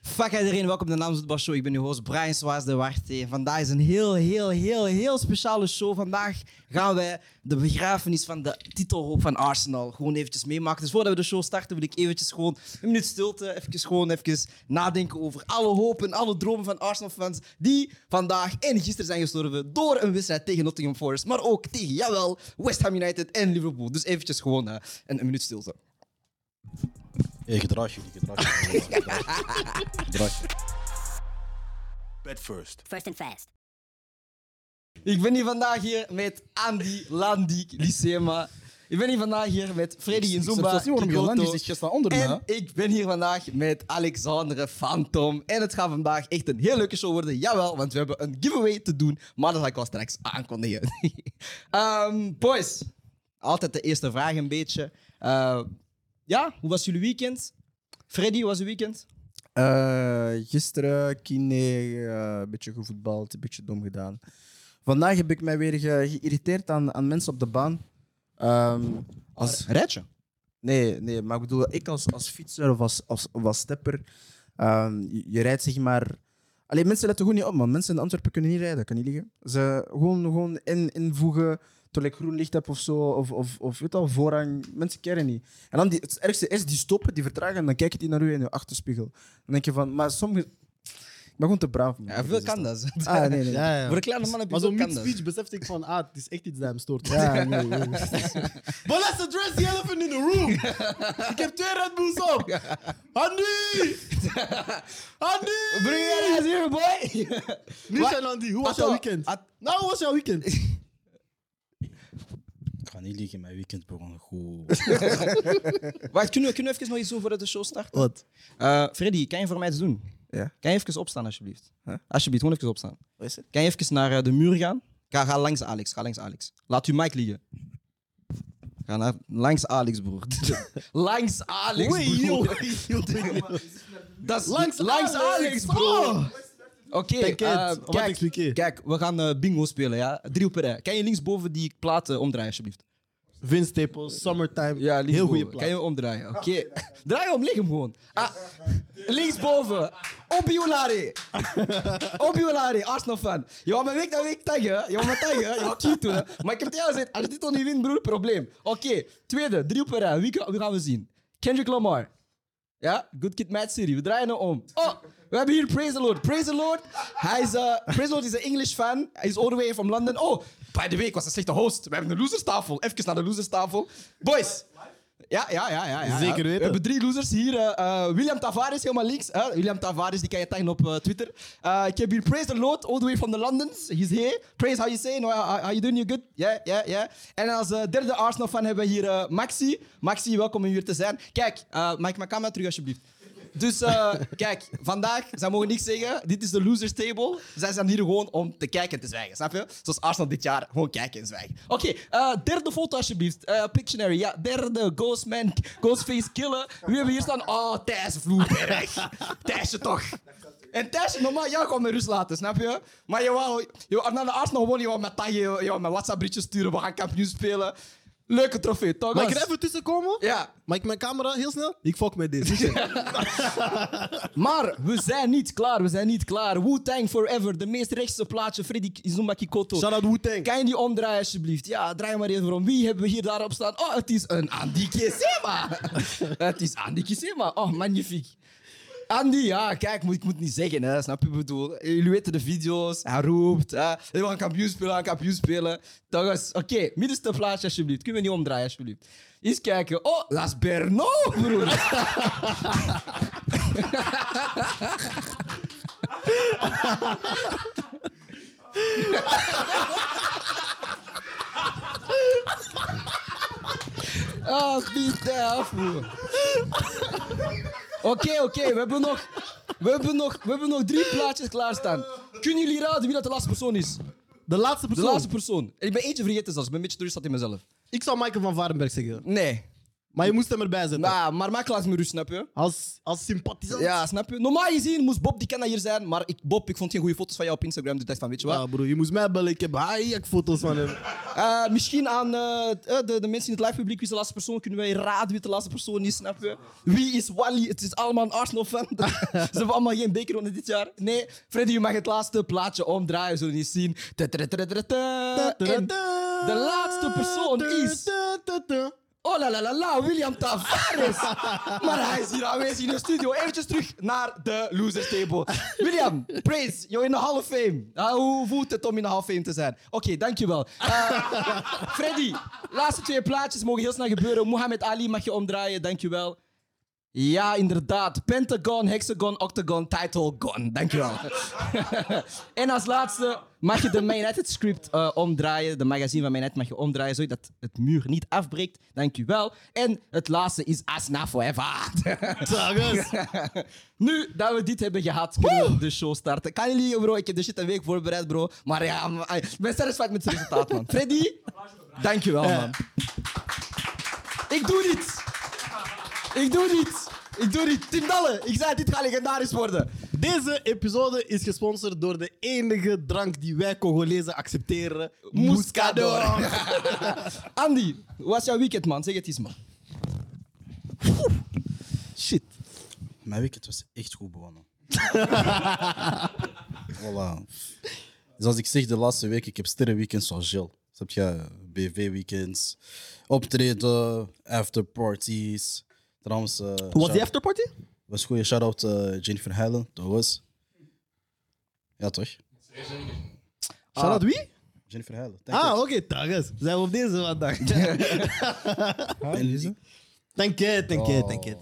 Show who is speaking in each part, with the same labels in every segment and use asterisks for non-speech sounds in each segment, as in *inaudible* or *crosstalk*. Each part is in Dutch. Speaker 1: Fuck iedereen, welkom bij de Namens Voetbal Show. Ik ben uw host Brian Swaas de Warte. Vandaag is een heel, heel, heel, heel speciale show. Vandaag gaan wij de begrafenis van de titelhoop van Arsenal gewoon eventjes meemaken. Dus voordat we de show starten wil ik eventjes gewoon een minuut stilte, even gewoon even nadenken over alle hoop en alle dromen van Arsenal-fans die vandaag en gisteren zijn gestorven door een wedstrijd tegen Nottingham Forest, maar ook tegen, jawel, West Ham United en Liverpool. Dus eventjes gewoon eh, een, een minuut stilte.
Speaker 2: Hey, gedrag Eh, jullie, gedrag
Speaker 3: *laughs*
Speaker 2: jullie. gedrag je. Bed first.
Speaker 4: First and fast.
Speaker 1: Ik ben hier vandaag hier met Andy Landik Lysema. Ik ben hier vandaag hier met Freddy
Speaker 2: Ik
Speaker 1: Nzumba.
Speaker 2: snap niet waarom je
Speaker 1: Kikoto.
Speaker 2: Landy zegt, je staat onder me,
Speaker 1: En ik ben hier vandaag met Alexandre Phantom. En het gaat vandaag echt een heel leuke show worden. Jawel, want we hebben een giveaway te doen. Maar dat ga ik wel straks aankondigen. *laughs* Ehm, boys, altijd de eerste vraag een beetje. Eh, ja, hoe was jullie weekend? Freddy, hoe was je weekend?
Speaker 5: Eh, gisteren kine, eh, een beetje gevoetbald, een beetje dom gedaan. Vandaag heb ik mij weer ge- geïrriteerd aan, aan mensen op de baan. Ehm, als,
Speaker 1: Rijtje.
Speaker 5: nee, nee, maar ik bedoel, ik als, als fietser of als, als, of als stepper, ehm, je, je rijdt zeg maar... Alleen mensen letten gewoon niet op, man. Mensen in Antwerpen kunnen niet rijden, kan niet liggen. Ze gewoon, gewoon in, invoegen, terwijl ik groen licht heb of zo, of, of, of weet al, voorrang. Mensen keren niet. En dan die, het ergste is, die stoppen, die vertragen, en dan kijken die naar u in je achterspiegel. Dan denk je van, maar sommige... Ik ben gewoon te braaf, man.
Speaker 1: Ja, veel kan dat.
Speaker 5: Ah, nee, nee.
Speaker 3: Ja,
Speaker 1: *laughs*
Speaker 3: ja.
Speaker 1: Voor een kleine man heb je
Speaker 3: Maar
Speaker 1: veel
Speaker 3: zo'n
Speaker 1: kan dat.
Speaker 3: mid-speech besefte ik van, ah, het is echt iets dat hem stoort.
Speaker 5: Ja, nee, nee.
Speaker 3: But let's address the elephant in the room. ik heb twee Red Bulls op. Andy! Andy!
Speaker 1: Brugge, is hier, boy!
Speaker 3: Nisha en Andy, hoe was jouw weekend? Nou, hoe was jouw weekend?
Speaker 2: Ik ga niet liegen, mijn weekend begon goed.
Speaker 1: Wacht, kunnen we, kunnen we even nog iets doen voordat de show start?
Speaker 5: Wat?
Speaker 1: Eh, Freddy, kan je voor mij iets doen?
Speaker 5: Ja.
Speaker 1: Kan je even opstaan, alsjeblieft?
Speaker 5: Huh?
Speaker 1: Alsjeblieft, gewoon even opstaan.
Speaker 5: Wat is het?
Speaker 1: Kan je even naar eh, de muur gaan? Ga, ga langs Alex, ga langs Alex. Laat uw mic liggen. Ga naar, langs Alex, broer. *laughs* langs Alex, broer. *laughs* Dat is-
Speaker 3: Langs Alex, oh.
Speaker 1: Oké,
Speaker 3: Kijk,
Speaker 1: eh,
Speaker 3: om wat te
Speaker 1: kijk,
Speaker 3: expliqueren.
Speaker 1: kijk, we gaan eh, bingo spelen, ja? Drie op een rij. Kan je linksboven die plaat eh, omdraaien, alsjeblieft?
Speaker 3: Vince Staples, Summertime.
Speaker 1: Ja, linksboven.
Speaker 3: Heel goede plaat.
Speaker 1: Kan je omdraaien? Oké. *laughs* Draai om, lig hem gewoon. Ah, linksboven.
Speaker 3: *laughs*
Speaker 1: Obiolari. Obiolari, Arsenal fan. Je wou me week na week taggen. Je wou me taggen. Je wou kiet doen. hè. Maar ik heb tegen jou gezegd, als je dit toch niet wint, broer, probleem. Oké, tweede, drie op een rij. Wie, ga- wie gaan we zien? Kendrick Lamar. Ja, Good Kid, Mad City. We draaien hem om. Oh, we hebben hier Praise the Lord. Praise the Lord. Hij is, eh, Praise the Lord is een English fan. Hij is all the way from London. Oh, by the way, ik was een slechte host. We hebben een loserstafel. Even naar de loserstafel. Boys. Ja, ja, ja, ja, ja.
Speaker 3: Zeker
Speaker 1: ja.
Speaker 3: weten.
Speaker 1: We hebben drie losers hier. eh, eh, William Tavares, helemaal links. hè. William Tavares, die kan je taggen op eh, Twitter. Eh, ik heb hier Praise the Lord, all the way from the Londons. He's here. Praise, how you saying? How, how- how you doing? You good? Yeah, yeah, yeah. En als eh, derde Arsenal-fan hebben we hier eh, Maxi. Maxi, welkom om hier te zijn. Kijk, eh maak mijn camera terug alsjeblieft. Dus eh, kijk, vandaag, zij mogen niks zeggen. Dit is de losers table. Zij zijn hier gewoon om te kijken en te zwijgen, snap je? Zoals Arsenal dit jaar, gewoon kijken en zwijgen. Oké, eh, derde foto alsjeblieft. Eh, Pictionary, ja, derde. Ghostman, Ghostface killen. Wie hebben we hier staan? Oh, Thijs Vloerberg. *laughs* Thijsje toch. En Thijsje, normaal, jou gewoon met rust laten, snap je? Maar je wou, je wou naar de Arsenal gewoon, je wou met taggen, je wou- je wou met WhatsApp-berichtjes sturen, we gaan kampioen spelen. Leuke trofee, toch?
Speaker 3: Mag ik
Speaker 1: gast?
Speaker 3: er even tussen komen?
Speaker 1: Ja,
Speaker 3: Mag ik mijn camera heel snel? Ik fuck met dit.
Speaker 1: Maar we zijn niet klaar, we zijn niet klaar. Wu-Tang Forever, de meest rechtse plaatje, Freddy Izumba Kikoto.
Speaker 3: Shout out Wu-Tang.
Speaker 1: Kan je die omdraaien alsjeblieft? Ja, draai maar even om. Wie hebben we hier daarop staan? Oh, het is een Andy Kisema. *laughs* het is Andy Kisema. Oh, magnifiek. Andy, ja, kijk, moet, ik moet niet zeggen, hè, snap je? Ik bedoel, jullie weten de video's, hij roept, hè, we gaan kampioen spelen, we gaan kampioen spelen. Toch eens, oké, middenste plaatje alsjeblieft, kunnen we niet omdraaien alsjeblieft. Eens kijken, oh, Las Berno, broer. Ah, pizda af, broer. Oké, oké, we hebben nog, we hebben nog, we hebben nog drie plaatjes klaarstaan. Kunnen jullie raden wie dat de laatste persoon is?
Speaker 3: De laatste
Speaker 1: De
Speaker 3: persoon.
Speaker 1: laatste persoon. Ik ben eentje vergeten zelfs, ik ben een beetje teleurgesteld in mezelf.
Speaker 3: Ik zou Michael van Varenberg zeggen.
Speaker 1: Nee.
Speaker 3: Maar je moest hem erbij zetten.
Speaker 1: Nou, maar maak laat me rust, snap je?
Speaker 3: Als, als sympathisant.
Speaker 1: Ja, snap je? Normaal gezien moest Bob die kenner hier zijn, maar ik, Bob, ik vond geen goede foto's van jou op Instagram. Dus ik dacht van, weet je wat?
Speaker 3: Ja, broer, je moest mij bellen. Ik heb haaik foto's van hem.
Speaker 1: Eh, misschien aan eh, eh, de, de mensen in het live publiek, wie is de laatste persoon? Kunnen wij raden wie de laatste persoon is, snap je? Wie is Wally? Het is allemaal een Arsenal-fan. *laughs* Ze hebben allemaal geen beker onder dit jaar. Nee, Freddy, je mag het laatste plaatje omdraaien, zullen we niet zien. Ta-ta-ta-ta-ta-ta. En de laatste persoon is... Oh la la la la, William Tavares. *laughs* maar hij is hier aanwezig in de studio. Eventjes terug naar de losers table. William, praise, you're in de Hall of Fame. Ah, hoe voelt het om in de Hall of Fame te zijn? Oké, dankjewel. Eh, Freddy, laatste twee plaatjes mogen heel snel gebeuren. Mohamed Ali mag je omdraaien, dankjewel. Ja, inderdaad. Pentagon, Hexagon, Octagon, Title, Gone. Dankjewel. *laughs* en als laatste mag je de Man United script eh, omdraaien. De magazine van Man United mag je omdraaien, zodat het muur niet afbreekt. Dankjewel. En het laatste is Asna Forever. *laughs*
Speaker 3: Zagus.
Speaker 1: nu dat we dit hebben gehad, kunnen we de show starten. Kan jullie, bro, ik heb de shit een week voorbereid, bro. Maar ja, man, ay, ik ben satisfied met het resultaat, man. Freddy, dankjewel, man. Ik doe dit. Ik doe dit. Ik doe dit. Tim Dalle, ik zei dit gaat legendarisch worden.
Speaker 3: Deze episode is gesponsord door de enige drank die wij Congolezen accepteren.
Speaker 1: Muscador. *laughs* Andy, hoe was jouw weekend, man? Zeg het eens, man.
Speaker 3: Shit.
Speaker 2: Mijn weekend was echt goed begonnen. voilà. Zoals ik zeg, de laatste week, ik heb sterrenweekends zoals Jill. Snap je? BV-weekends, optreden, afterparties. Trouwens, eh,
Speaker 3: Was
Speaker 2: shout-
Speaker 3: die afterparty?
Speaker 2: was een goede shout-out eh, Jennifer Heilen, dat was. Ja, toch?
Speaker 3: Shout out wie?
Speaker 2: Jennifer Heilen. Thank
Speaker 3: Ah,
Speaker 2: you.
Speaker 3: oké, tagus. Zijn we op deze vandaag?
Speaker 2: En die-
Speaker 3: Dank je, dank je, dank je.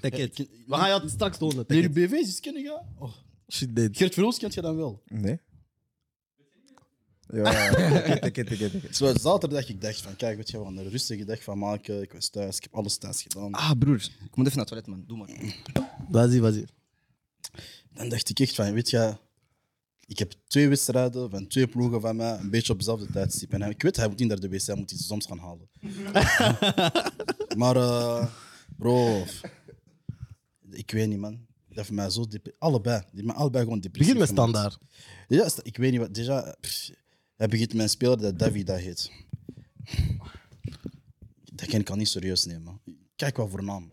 Speaker 3: Dank je. We gaan jou straks tonen.
Speaker 2: Jullie BV's is kennen, ja? Oh.
Speaker 3: Shit, dit.
Speaker 2: Gert Verhoes kent je dan wel.
Speaker 5: Nee. Ja, tikke, tikke, tikke, tikke.
Speaker 2: Het was zaterdag, ik dacht van, kijk, weet je, we gaan er een rustige dag van maken. Ik was thuis, ik heb alles thuis gedaan.
Speaker 1: Ah, broer. Ik moet even naar het toilet, man. Doe maar.
Speaker 3: Was hier, was hier.
Speaker 2: Dan dacht ik echt van, weet je, ik heb twee wedstrijden van twee ploegen van mij, een beetje op dezelfde tijdstip. En hij- ik weet, hij moet niet naar de wc, hij moet iets soms gaan halen.
Speaker 3: *laughs*
Speaker 2: maar, eh, bro, ik weet niet, man. Dat heeft mij zo dep- Allebei. Die hebben mij allebei gewoon depressief
Speaker 3: Begin met
Speaker 2: gemaakt.
Speaker 3: standaard.
Speaker 2: Ja, sta- ik weet niet wat. Déjà, pff, hij begint met een speler dat Davida heet. Dat kan ik al niet serieus nemen. Kijk wat voor naam.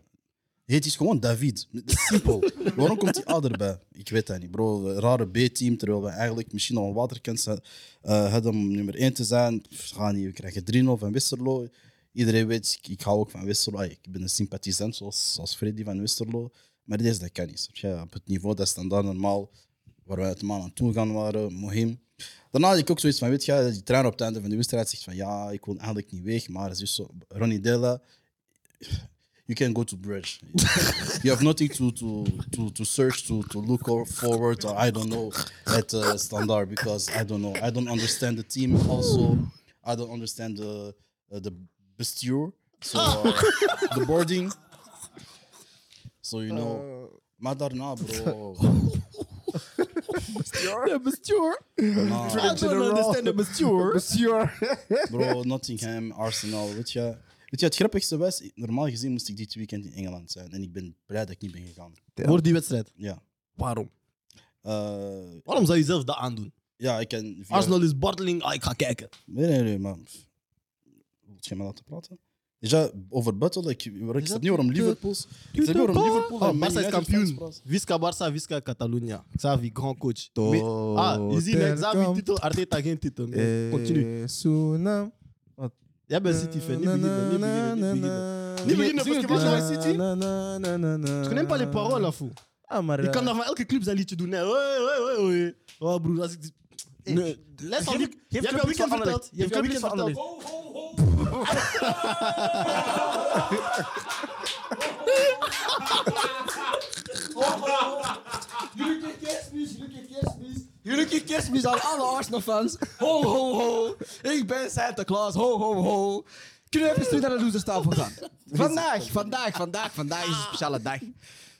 Speaker 2: Het is gewoon David. Simpel. Waarom komt die ouder bij? Ik weet dat niet, bro. Een Rare B-team, terwijl we eigenlijk misschien al een waterkans eh, hadden om nummer 1 te zijn. Pff, Ga niet, we krijgen 3-0 van Westerlo. Iedereen weet, ik, ik hou ook van Westerlo. Ah, Ik ben een sympathisant, zoals, zoals Freddy van Westerlo. Maar deze, dat kan niet. snap je? op het niveau dat standaard normaal waar wij het man aan toe gaan waren, Mohim. Daarna had ik ook zoiets van, weet je, die trainer op het einde van de wedstrijd zegt van, ja, ik wil eigenlijk niet weg, maar het is zo, Ronnie Della, you can go to bridge. you have nothing to, to, to, to search, to, to look or- forward, or I don't know, at uh, standard, because I don't know, I don't understand the team, also, I don't understand the, uh, the bestuur, so, uh, the boarding. So, you know, maar daarna, bro.
Speaker 3: De bestuur.
Speaker 2: Nah,
Speaker 3: I don't understand the
Speaker 5: *laughs*
Speaker 3: bestuur.
Speaker 5: Monsieur.
Speaker 2: bro, Nottingham, Arsenal, weet je. Weet je, het grappigste was, normaal gezien moest ik dit weekend in Engeland zijn. En ik ben blij dat ik niet ben gegaan.
Speaker 3: Voor die wedstrijd.
Speaker 2: Ja.
Speaker 3: Waarom?
Speaker 2: Eh,
Speaker 3: Waarom zou je zelf dat aandoen?
Speaker 2: ja, ik kan... via-
Speaker 3: Arsenal is barteling. Ah, ik ga kijken.
Speaker 2: Nee, nee, nee, maar... pff. Moet je me laten praten? Ja, over Battle, ik, ik snap niet waarom Liverpool... Ik snap niet waarom Liverpool...
Speaker 3: Oh,
Speaker 2: en Man
Speaker 3: Barça is
Speaker 2: United fans
Speaker 3: kampioen.
Speaker 2: praten.
Speaker 3: Visca Barça, Visca Catalunya. Xavi, grand coach.
Speaker 5: Tot
Speaker 3: Me- Ah, je ziet hè, Xavi
Speaker 5: Telkamp.
Speaker 3: titel, Arteta geen titel. Nee, Continu.
Speaker 5: Eh, Soenam.
Speaker 3: Jij bent City fan. Niet beginnen, niet beginnen, niet beginnen. Niet beginnen,
Speaker 1: Zing
Speaker 3: parce que
Speaker 1: het
Speaker 3: moi, je
Speaker 1: liedje.
Speaker 3: suis City. Je connais pas les paroles, la fou.
Speaker 5: Ah, maar...
Speaker 3: Je
Speaker 5: eh,
Speaker 3: kan dan van elke club zijn liedje doen. hè. Hoi, hoi, hoi, hoi. Oh, broer, als ik... die- Nee, les al Eh, week- Je hebt jouw weekend verteld. Je hebt jouw weekend verteld.
Speaker 1: Gelukkig kerstmis, gelukkig kerstmis. Gelukkig kerstmis aan alle Arsenal-fans. Ho, ho, ho. Ik ben Santa Claus. Ho, ho, ho. Kunnen we even terug naar de loserstafel gaan? Vandaag, vandaag, vandaag, vandaag is een speciale dag.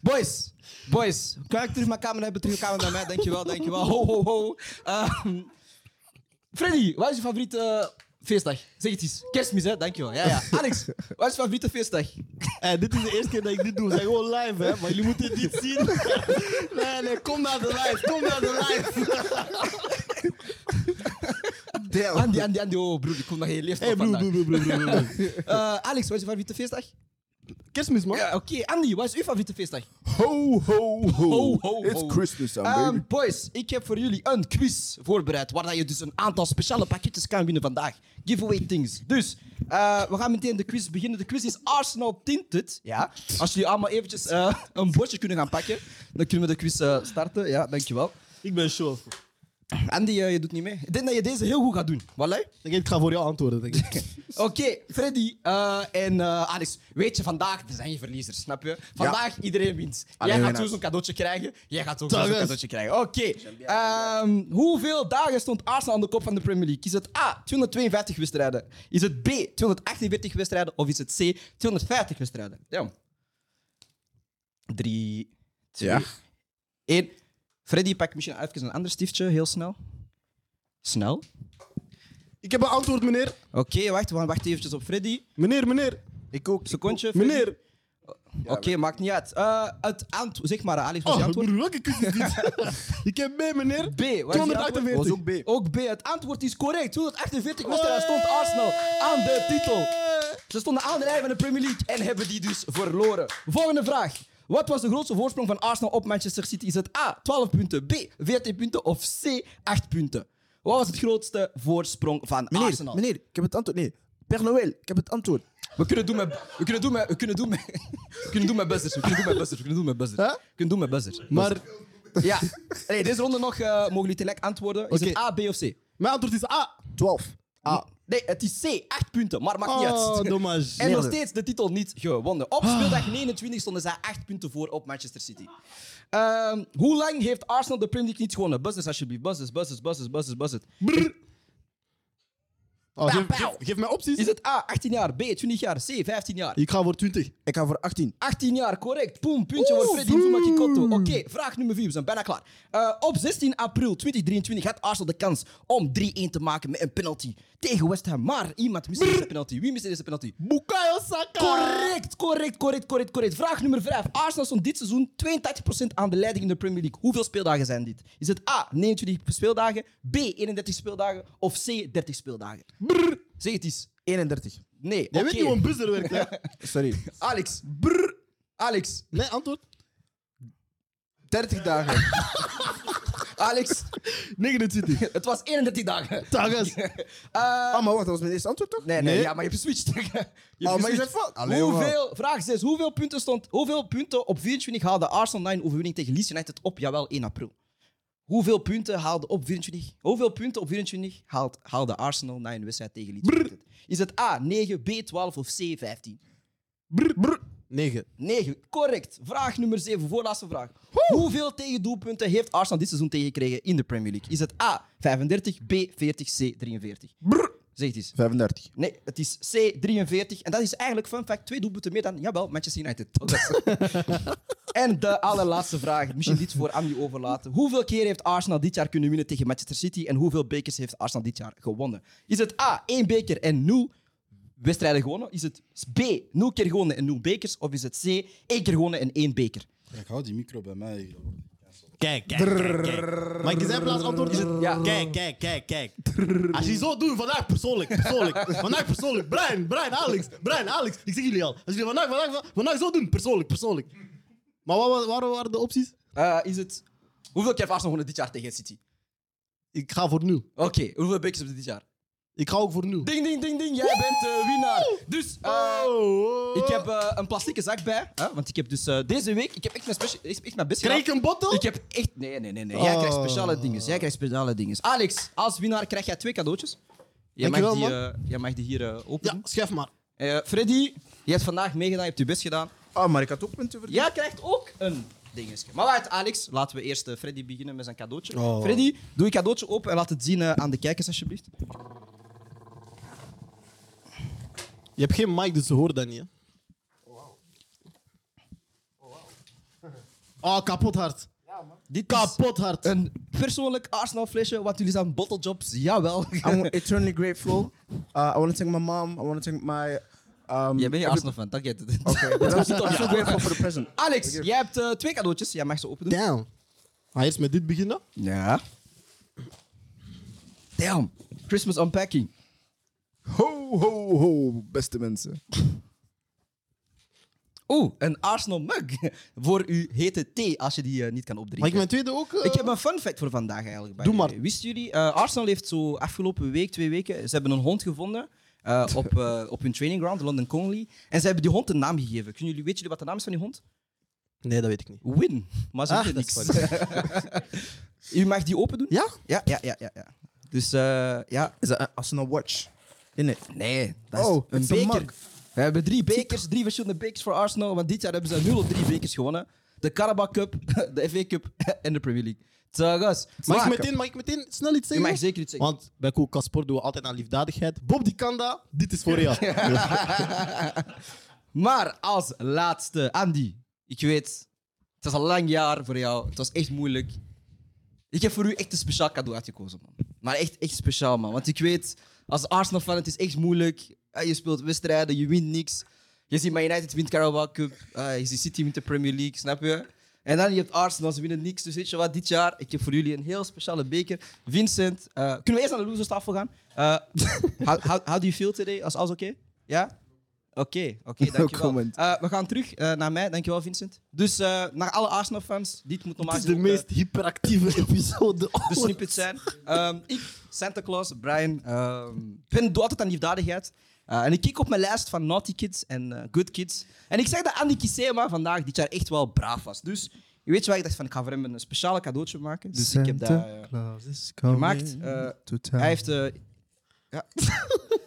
Speaker 1: Boys, boys. Kan ik terug mijn camera hebben? Terug mijn camera naar mij. Dankjewel, dankjewel. Ho, ho, ho. Ehm, Freddy, wat is je favoriete Feestdag. Zeg het eens. Kerstmis, hè? Dankjewel. Ja, ja. Alex, wat is je favoriete feestdag?
Speaker 3: Hey, Eh, dit is de eerste keer dat ik dit doe. We zijn gewoon live, hè? Maar jullie moeten dit zien. Nee, nee, kom naar de live. Kom naar de live.
Speaker 5: Damn.
Speaker 1: Andy, Andy, Andy. Oh, broer, ik kom nog geen leeftijd
Speaker 3: Hey,
Speaker 1: op
Speaker 3: broer,
Speaker 1: vandaag.
Speaker 3: broer, broer, broer, broer, broer.
Speaker 1: Eh, Alex, wat is je favoriete feestdag?
Speaker 3: Kerstmis, man.
Speaker 1: Ja, oké. Andy, wat is uw favoriete feestdag?
Speaker 5: Ho, ho,
Speaker 1: *laughs* Ho,
Speaker 3: Oh,
Speaker 1: ho,
Speaker 5: It's
Speaker 1: ho.
Speaker 5: Christmas time,
Speaker 1: Ehm,
Speaker 5: baby.
Speaker 1: boys, ik heb voor jullie een quiz voorbereid. Waar dat je dus een aantal speciale pakketjes kan winnen vandaag. Giveaway things. Dus eh, we gaan meteen de quiz beginnen. De quiz is Arsenal Tinted. Ja. Als jullie allemaal eventjes eh, een bordje kunnen gaan pakken, dan kunnen we de quiz eh, starten. Ja, dankjewel.
Speaker 3: Ik ben show.
Speaker 1: Andy, eh, je doet niet mee. Ik denk dat je deze heel goed gaat doen. Wallah.
Speaker 3: Ik, ik ga voor jou antwoorden, denk ik.
Speaker 1: Oké, Freddy eh, en eh, Alex. Weet je, vandaag er zijn geen verliezers, snap je? Vandaag iedereen wint.
Speaker 5: Alleen
Speaker 1: jij gaat
Speaker 5: winnaars.
Speaker 1: sowieso een cadeautje krijgen. Jij gaat ook sowieso
Speaker 3: Dames.
Speaker 1: een cadeautje krijgen. Oké. ehm, hoeveel dagen stond Arsenal aan de kop van de Premier League? Is het A, 252 wedstrijden? Is het B, 248 wedstrijden? Of is het C, 250 wedstrijden? Ja. 3, 2,
Speaker 5: Ja.
Speaker 1: 1. Freddy, pak misschien even een ander stiftje, heel snel. Snel.
Speaker 3: *laughs* Ik heb een antwoord, meneer.
Speaker 1: Oké, wacht, we gaan wachten eventjes op Freddy.
Speaker 3: Meneer, meneer.
Speaker 5: Ik ook.
Speaker 1: Secondje. Freddy.
Speaker 3: Meneer.
Speaker 1: Oké, maakt niet uit. Eh, het antwoord, zeg maar, Alex, wat is je
Speaker 3: Oh,
Speaker 1: antwoord?
Speaker 3: broer, welke kus is dit? *laughs* ik heb mee, meneer.
Speaker 1: B. wat is je antwoord?
Speaker 3: 248.
Speaker 5: Was ook B.
Speaker 1: Ook B. Het antwoord is correct. 248 wedstrijden stond Arsenal aan de titel. Ze stonden aan de rij van de Premier League en hebben die dus verloren. Volgende vraag. Wat was de grootste voorsprong van Arsenal op Manchester City? Is het A, 12 punten, B, 14 punten of C, 8 punten? Wat was het grootste voorsprong van
Speaker 5: Meneer,
Speaker 1: ah, Arsenal?
Speaker 5: meneer, ik heb het antwoord. Nee, Père Noël, ik heb het antwoord.
Speaker 1: We kunnen doen met... We kunnen doen met... We kunnen doen met... *laughs* We kunnen doen met buzzers. We kunnen doen met buzzers. We kunnen doen met buzzers.
Speaker 3: Huh?
Speaker 1: We kunnen doen met buzzers.
Speaker 3: Maar
Speaker 1: Ja. Allee, deze ronde nog eh, mogen jullie tegelijk antwoorden. Is
Speaker 3: Oké.
Speaker 1: het A, B of C?
Speaker 3: mijn antwoord is ah! A.
Speaker 5: 12.
Speaker 1: A. Nee, het is C. 8 punten, maar maakt
Speaker 5: Ah,
Speaker 3: Oh,
Speaker 1: niet uit.
Speaker 3: dommage.
Speaker 1: *laughs* En nog
Speaker 5: Merde.
Speaker 1: steeds de titel niet gewonnen. Op speeldag 29 stonden zij 8 punten voor op Manchester City. Ehm, hoe lang heeft Arsenal de Premier League niet gewonnen? Buzzers alsjeblieft. Buzzers, buzzers, buzzers, buzzers, buzzers.
Speaker 3: Brr. Oh,
Speaker 1: Pauw,
Speaker 3: geef,
Speaker 1: pauw.
Speaker 3: geef, geef mij opties.
Speaker 1: Is het A, 18 jaar, B, 20 jaar, C, 15 jaar?
Speaker 3: Ik ga voor 20.
Speaker 5: Ik ga voor 18.
Speaker 1: 18 jaar, correct. Poem, puntje voor Freddy
Speaker 3: oeh.
Speaker 1: Mvuma Kikoto. Oké, vraag nummer 4. We zijn bijna klaar. Eh, op 16 april 2023 had Arsenal de kans om 3-1 te maken met een penalty tegen West Ham. Maar iemand miste deze penalty. Wie miste deze penalty?
Speaker 3: Bukayo Saka.
Speaker 1: Correct, correct, correct, correct, correct. Vraag nummer 5. Arsenal stond dit seizoen 82% aan de leiding in de Premier League. Hoeveel speeldagen zijn dit? Is het A, 29 speeldagen, B, 31 speeldagen of C, 30 speeldagen?
Speaker 3: Brr.
Speaker 1: Zeg het eens.
Speaker 5: 31.
Speaker 1: Nee,
Speaker 3: Jij
Speaker 1: oké.
Speaker 3: weet niet hoe een buzzer werkt, hè?
Speaker 5: Sorry.
Speaker 1: Alex, brr. Alex,
Speaker 3: *laughs* Nee, antwoord.
Speaker 5: 30 dagen.
Speaker 1: *laughs* Alex.
Speaker 3: 29.
Speaker 1: Het was 31 dagen.
Speaker 3: Tages.
Speaker 1: Eh,
Speaker 5: Ah, maar wacht, dat was mijn eerste antwoord toch?
Speaker 1: nee, nee,
Speaker 3: nee.
Speaker 1: ja, maar je hebt geswitcht. *laughs* je hebt
Speaker 5: maar je
Speaker 1: geswitcht.
Speaker 5: zegt fout. Allee,
Speaker 1: hoeveel, vraag 6. Hoeveel punten, stond, hoeveel punten op 24 haalde Arsenal 9 overwinning tegen Leeds United op? Jawel, 1 april. Hoeveel punten haalde op 24? Hoeveel punten op 24 haalt, haalde Arsenal na een wedstrijd tegen Leeds United? Is het A, 9, B, 12 of C, 15?
Speaker 3: Brr. Brr. 9.
Speaker 1: 9, correct. Vraag nummer 7, voorlaatste vraag. Hoeveel tegendoelpunten heeft Arsenal dit seizoen tegengekregen in de Premier League? Is het A, 35, B, 40, C, 43? Zeg het eens.
Speaker 5: 35.
Speaker 1: Nee, het is C43. En dat is eigenlijk, fun fact, twee doelpunten meer dan, jawel, Manchester United. Oh, Dat is- *laughs* en de allerlaatste vraag, misschien dit voor Andy overlaten. Hoeveel keer heeft Arsenal dit jaar kunnen winnen tegen Manchester City? En hoeveel bekers heeft Arsenal dit jaar gewonnen? Is het A, één beker en nul wedstrijden gewonnen? Is het B, nul keer gewonnen en nul bekers? Of is het C, één keer gewonnen en één beker?
Speaker 2: Ik hou die micro bij mij.
Speaker 3: Kijk, kijk, kijk, kijk. Maar ik zei plaats antwoord. Is het,
Speaker 1: Ja.
Speaker 3: Kijk, kijk, kijk, kijk. Als je zo doet, vandaag persoonlijk, persoonlijk. Vandaag persoonlijk. Brian, Brian, Alex. Brian, Alex. Ik zeg jullie al. Als jullie vandaag, vandaag, vandaag, vandaag zo doen, persoonlijk, persoonlijk. Maar wat, wa- waar waren de opties?
Speaker 1: Eh, is het... Hoeveel keer heeft Arsenal gewonnen dit jaar tegen City?
Speaker 3: Ik ga voor nul.
Speaker 1: Oké, hoeveel bekers heeft dit jaar?
Speaker 3: Ik ga ook voor nul.
Speaker 1: Ding, ding, ding, ding. Jij bent de winnaar. Dus... eh,
Speaker 3: Oh, oh.
Speaker 1: Ik heb eh, een plastieke zak bij, hè? want ik heb dus eh, deze week, ik heb echt mijn, specia- echt mijn best
Speaker 3: Krijg ik
Speaker 1: gedaan.
Speaker 3: een bottle?
Speaker 1: Ik heb echt, nee, nee, nee, nee. jij krijgt
Speaker 3: Oh.
Speaker 1: speciale dingen, jij krijgt speciale dingen. Alex, als winnaar krijg jij twee cadeautjes. Jij, mag
Speaker 3: Dankjewel,
Speaker 1: die,
Speaker 3: man.
Speaker 1: eh, jij mag die hier eh
Speaker 3: Ja,
Speaker 1: openen.
Speaker 3: schrijf maar.
Speaker 1: Eh, Freddy, je hebt vandaag meegedaan, je hebt je best gedaan.
Speaker 5: Ah, maar ik had ook punten verdiend.
Speaker 1: Jij krijgt ook een dingetje. Maar wacht, Alex, laten we eerst eh, Freddy beginnen met zijn cadeautje.
Speaker 2: Oh.
Speaker 1: Freddy, doe je cadeautje open en laat het zien eh, aan de kijkers, alsjeblieft.
Speaker 3: Je hebt geen mic, dus ze horen dat niet. Hè? Oh, kapot hard. Ja, man.
Speaker 1: Dit is
Speaker 3: Kapot hard.
Speaker 1: een persoonlijk Arsenal flesje, want jullie zijn bottlejobs. Jawel.
Speaker 5: I'm eternally grateful. Uh, I want to thank my mom. I want to thank my. Um,
Speaker 1: Jij bent je Arsenal fan, dat get het. *laughs*
Speaker 5: Okay, but I'm so, I'm so grateful for the present.
Speaker 1: Alex, jij hebt eh, twee cadeautjes. Jij mag ze open doen.
Speaker 3: Damn. Ga je Ah, eerst met dit beginnen?
Speaker 1: Ja. Damn. Christmas unpacking.
Speaker 5: Ho, ho, ho, beste mensen.
Speaker 1: Oeh, een Arsenal mug. *laughs* voor uw hete thee, als je die eh, niet kan opdrinken.
Speaker 3: Mag ik mijn tweede ook? eh?
Speaker 1: Ik heb een fun fact voor vandaag eigenlijk. Bij
Speaker 3: Doe
Speaker 1: jullie.
Speaker 3: maar.
Speaker 1: Wisten jullie, eh, Arsenal heeft zo afgelopen week, twee weken, ze hebben een hond gevonden eh, op,
Speaker 3: *laughs*
Speaker 1: eh, op hun training ground, de London Conley. En ze hebben die hond een naam gegeven. Kunnen jullie, weten jullie wat de naam is van die hond?
Speaker 3: Nee, dat weet ik niet.
Speaker 1: Win. Maar ze
Speaker 3: Ah,
Speaker 1: weten
Speaker 3: dat
Speaker 1: niks. *laughs* U mag die open doen?
Speaker 3: Ja?
Speaker 1: Ja, ja, ja, ja. ja. Dus eh, ja,
Speaker 5: Is dat Arsenal Watch? In it.
Speaker 1: nee, dat is
Speaker 5: Oh,
Speaker 1: een
Speaker 5: it's a
Speaker 1: beker.
Speaker 5: mug.
Speaker 1: We hebben drie bekers, drie verschillende bekers voor Arsenal, want dit jaar hebben ze 0 op 3 bekers gewonnen. De Carabao Cup, *laughs* de FA Cup en de Premier League. Tzagas.
Speaker 3: Mag ik,
Speaker 1: Maar-
Speaker 3: meteen, mag ik meteen snel iets
Speaker 1: Je
Speaker 3: zeggen?
Speaker 1: mag zeker iets zeggen.
Speaker 3: Want bij Koelkast Sport doen we altijd aan liefdadigheid. Bob die kan dat, dit is voor jou.
Speaker 1: Maar als laatste, Andy. Ik weet, het was een lang jaar voor jou. Het was echt moeilijk. Ik heb voor u echt een speciaal cadeau uitgekozen, man. Maar echt, echt speciaal, man. Want ik weet, als Arsenal-fan, het is echt moeilijk. Eh, Je speelt wedstrijden, je wint niks. Je ziet Man United wint Carabao Cup. eh, je ziet City wint de Premier League, snap je? En dan je hebt Arsenal, ze winnen niks. Dus weet je wat, dit jaar, ik heb voor jullie een heel speciale beker. Vincent, eh, kunnen we eerst aan de loserstafel gaan? Eh, *laughs* how, how, how do you feel today? Als alles oké? Ja? Oké, oké, dankjewel.
Speaker 5: comment.
Speaker 1: Eh, we gaan terug eh, naar mij, dankjewel Vincent. Dus eh, naar alle Arsenal-fans, dit moet normaal
Speaker 3: Het is de
Speaker 1: gezien ook, eh,
Speaker 3: meest hyperactieve episode
Speaker 1: de
Speaker 3: ooit.
Speaker 1: snippets zijn. Ehm, ik, Santa Claus, Brian, ehm, ik ben doe altijd aan liefdadigheid. Eh, en ik kijk op mijn lijst van Naughty Kids en eh, Good Kids. En ik zeg dat Andy Kisema vandaag dit jaar echt wel braaf was. Dus weet je wat, ik dacht van ik ga voor hem een speciale cadeautje maken. Dus ik heb dat eh, gemaakt. Eh, hij heeft eh, ja, *laughs*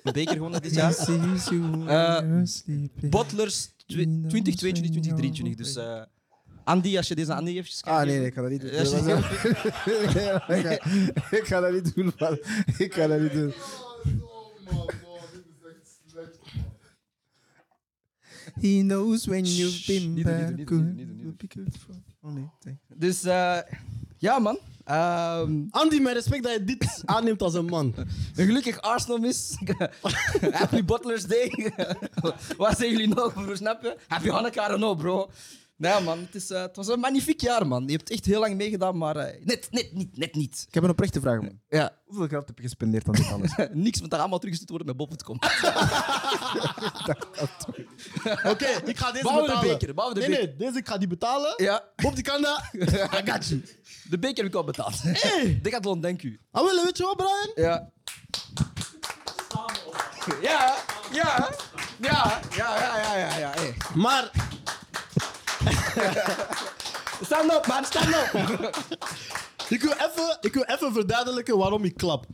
Speaker 1: een beker gewonnen dit jaar. Eh, Butlers twi- 2022, 2023. Dus eh, Andy, als je deze aan Andy even kijkt.
Speaker 5: Ah nee, nee, ik kan dat niet doen.
Speaker 1: Ja, zie je.
Speaker 5: ik, ga, *laughs* ik ga dat niet doen, man. Ik ga dat niet doen. He knows when
Speaker 1: you've been niet doen, niet doen, niet doen, niet doen, niet doen. Dus eh, ja, man. Ehm,
Speaker 3: Andy, mijn respect dat je dit aanneemt als een man.
Speaker 1: een gelukkig Arsenal mis. *laughs* Happy Butler's Day. *laughs* Wat zeggen jullie nog voor snappen? Happy Hanukkah, I don't know, bro. Nee, man. Het, is, eh, het was een magnifiek jaar, man. Je hebt echt heel lang meegedaan, maar eh, net, net niet, net niet.
Speaker 5: Ik heb een oprechte vraag, man.
Speaker 1: Ja, *laughs*
Speaker 5: Hoeveel geld heb je gespendeerd aan dit alles?
Speaker 1: niks, want dat gaat allemaal teruggestuurd worden met Bob.com.
Speaker 3: Oké, ik ga deze
Speaker 1: Bouwen de
Speaker 3: betalen.
Speaker 1: beker, bouwen de
Speaker 3: nee, nee, deze ik ga die betalen.
Speaker 1: *laughs* Ja, *laughs*
Speaker 3: Bob die kan dat. I got you.
Speaker 1: de beker heb ik al betaald. Decathlon, dank u.
Speaker 3: Ah, wel, weet je wat,
Speaker 1: *laughs*
Speaker 3: Brian?
Speaker 1: Ja. Ja, ja, ja, ja, ja, ja, ja, ja.
Speaker 6: eh.
Speaker 1: Hey.
Speaker 3: Maar
Speaker 1: Stand up, man, stand
Speaker 6: *laughs*
Speaker 1: up.
Speaker 3: Ik wil, even, ik wil even verduidelijken waarom ik klap.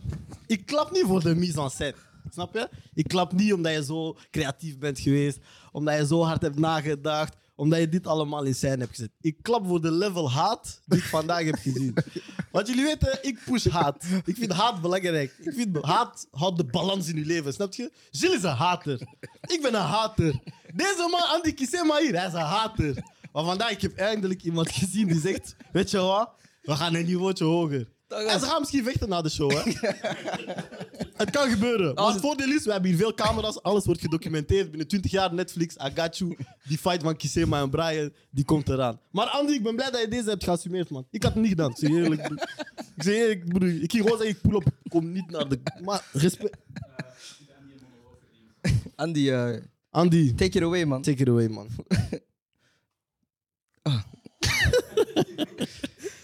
Speaker 3: Ik klap niet voor de mise en scène. Snap je? Ik klap niet omdat je zo creatief bent geweest, omdat je zo hard hebt nagedacht, omdat je dit allemaal in scène hebt gezet. Ik klap voor de level haat die ik vandaag heb gezien. Want jullie weten, ik push haat. Ik vind haat belangrijk. Ik vind haat houdt de balans in je leven, snap je? Gilles is een hater. Ik ben een hater. Deze man, Andy Kisema hier, hij is een hater. Maar vandaag ik heb eindelijk iemand gezien die zegt: Weet je wat? We gaan een niveautje hoger.
Speaker 1: Dat is-
Speaker 3: En ze gaan misschien vechten na de show,
Speaker 1: *laughs*
Speaker 3: hè? het kan gebeuren. Maar
Speaker 1: Als-
Speaker 3: het voordeel is: we hebben hier veel camera's, alles wordt gedocumenteerd. Binnen 20 jaar Netflix, I got you. Die fight van Kisema en Brian, die komt eraan. Maar Andy, ik ben blij dat je deze hebt geassumeerd, man. Ik had het niet gedaan, zeg je eerlijk. broer. Ik zeg je eerlijk, broer. Ik ging gewoon zeggen: ik pull op, ik kom niet naar de. Maar respect.
Speaker 1: Andy, eh,
Speaker 3: Andy,
Speaker 1: take it away, man.
Speaker 3: take it away, man.
Speaker 1: Ah.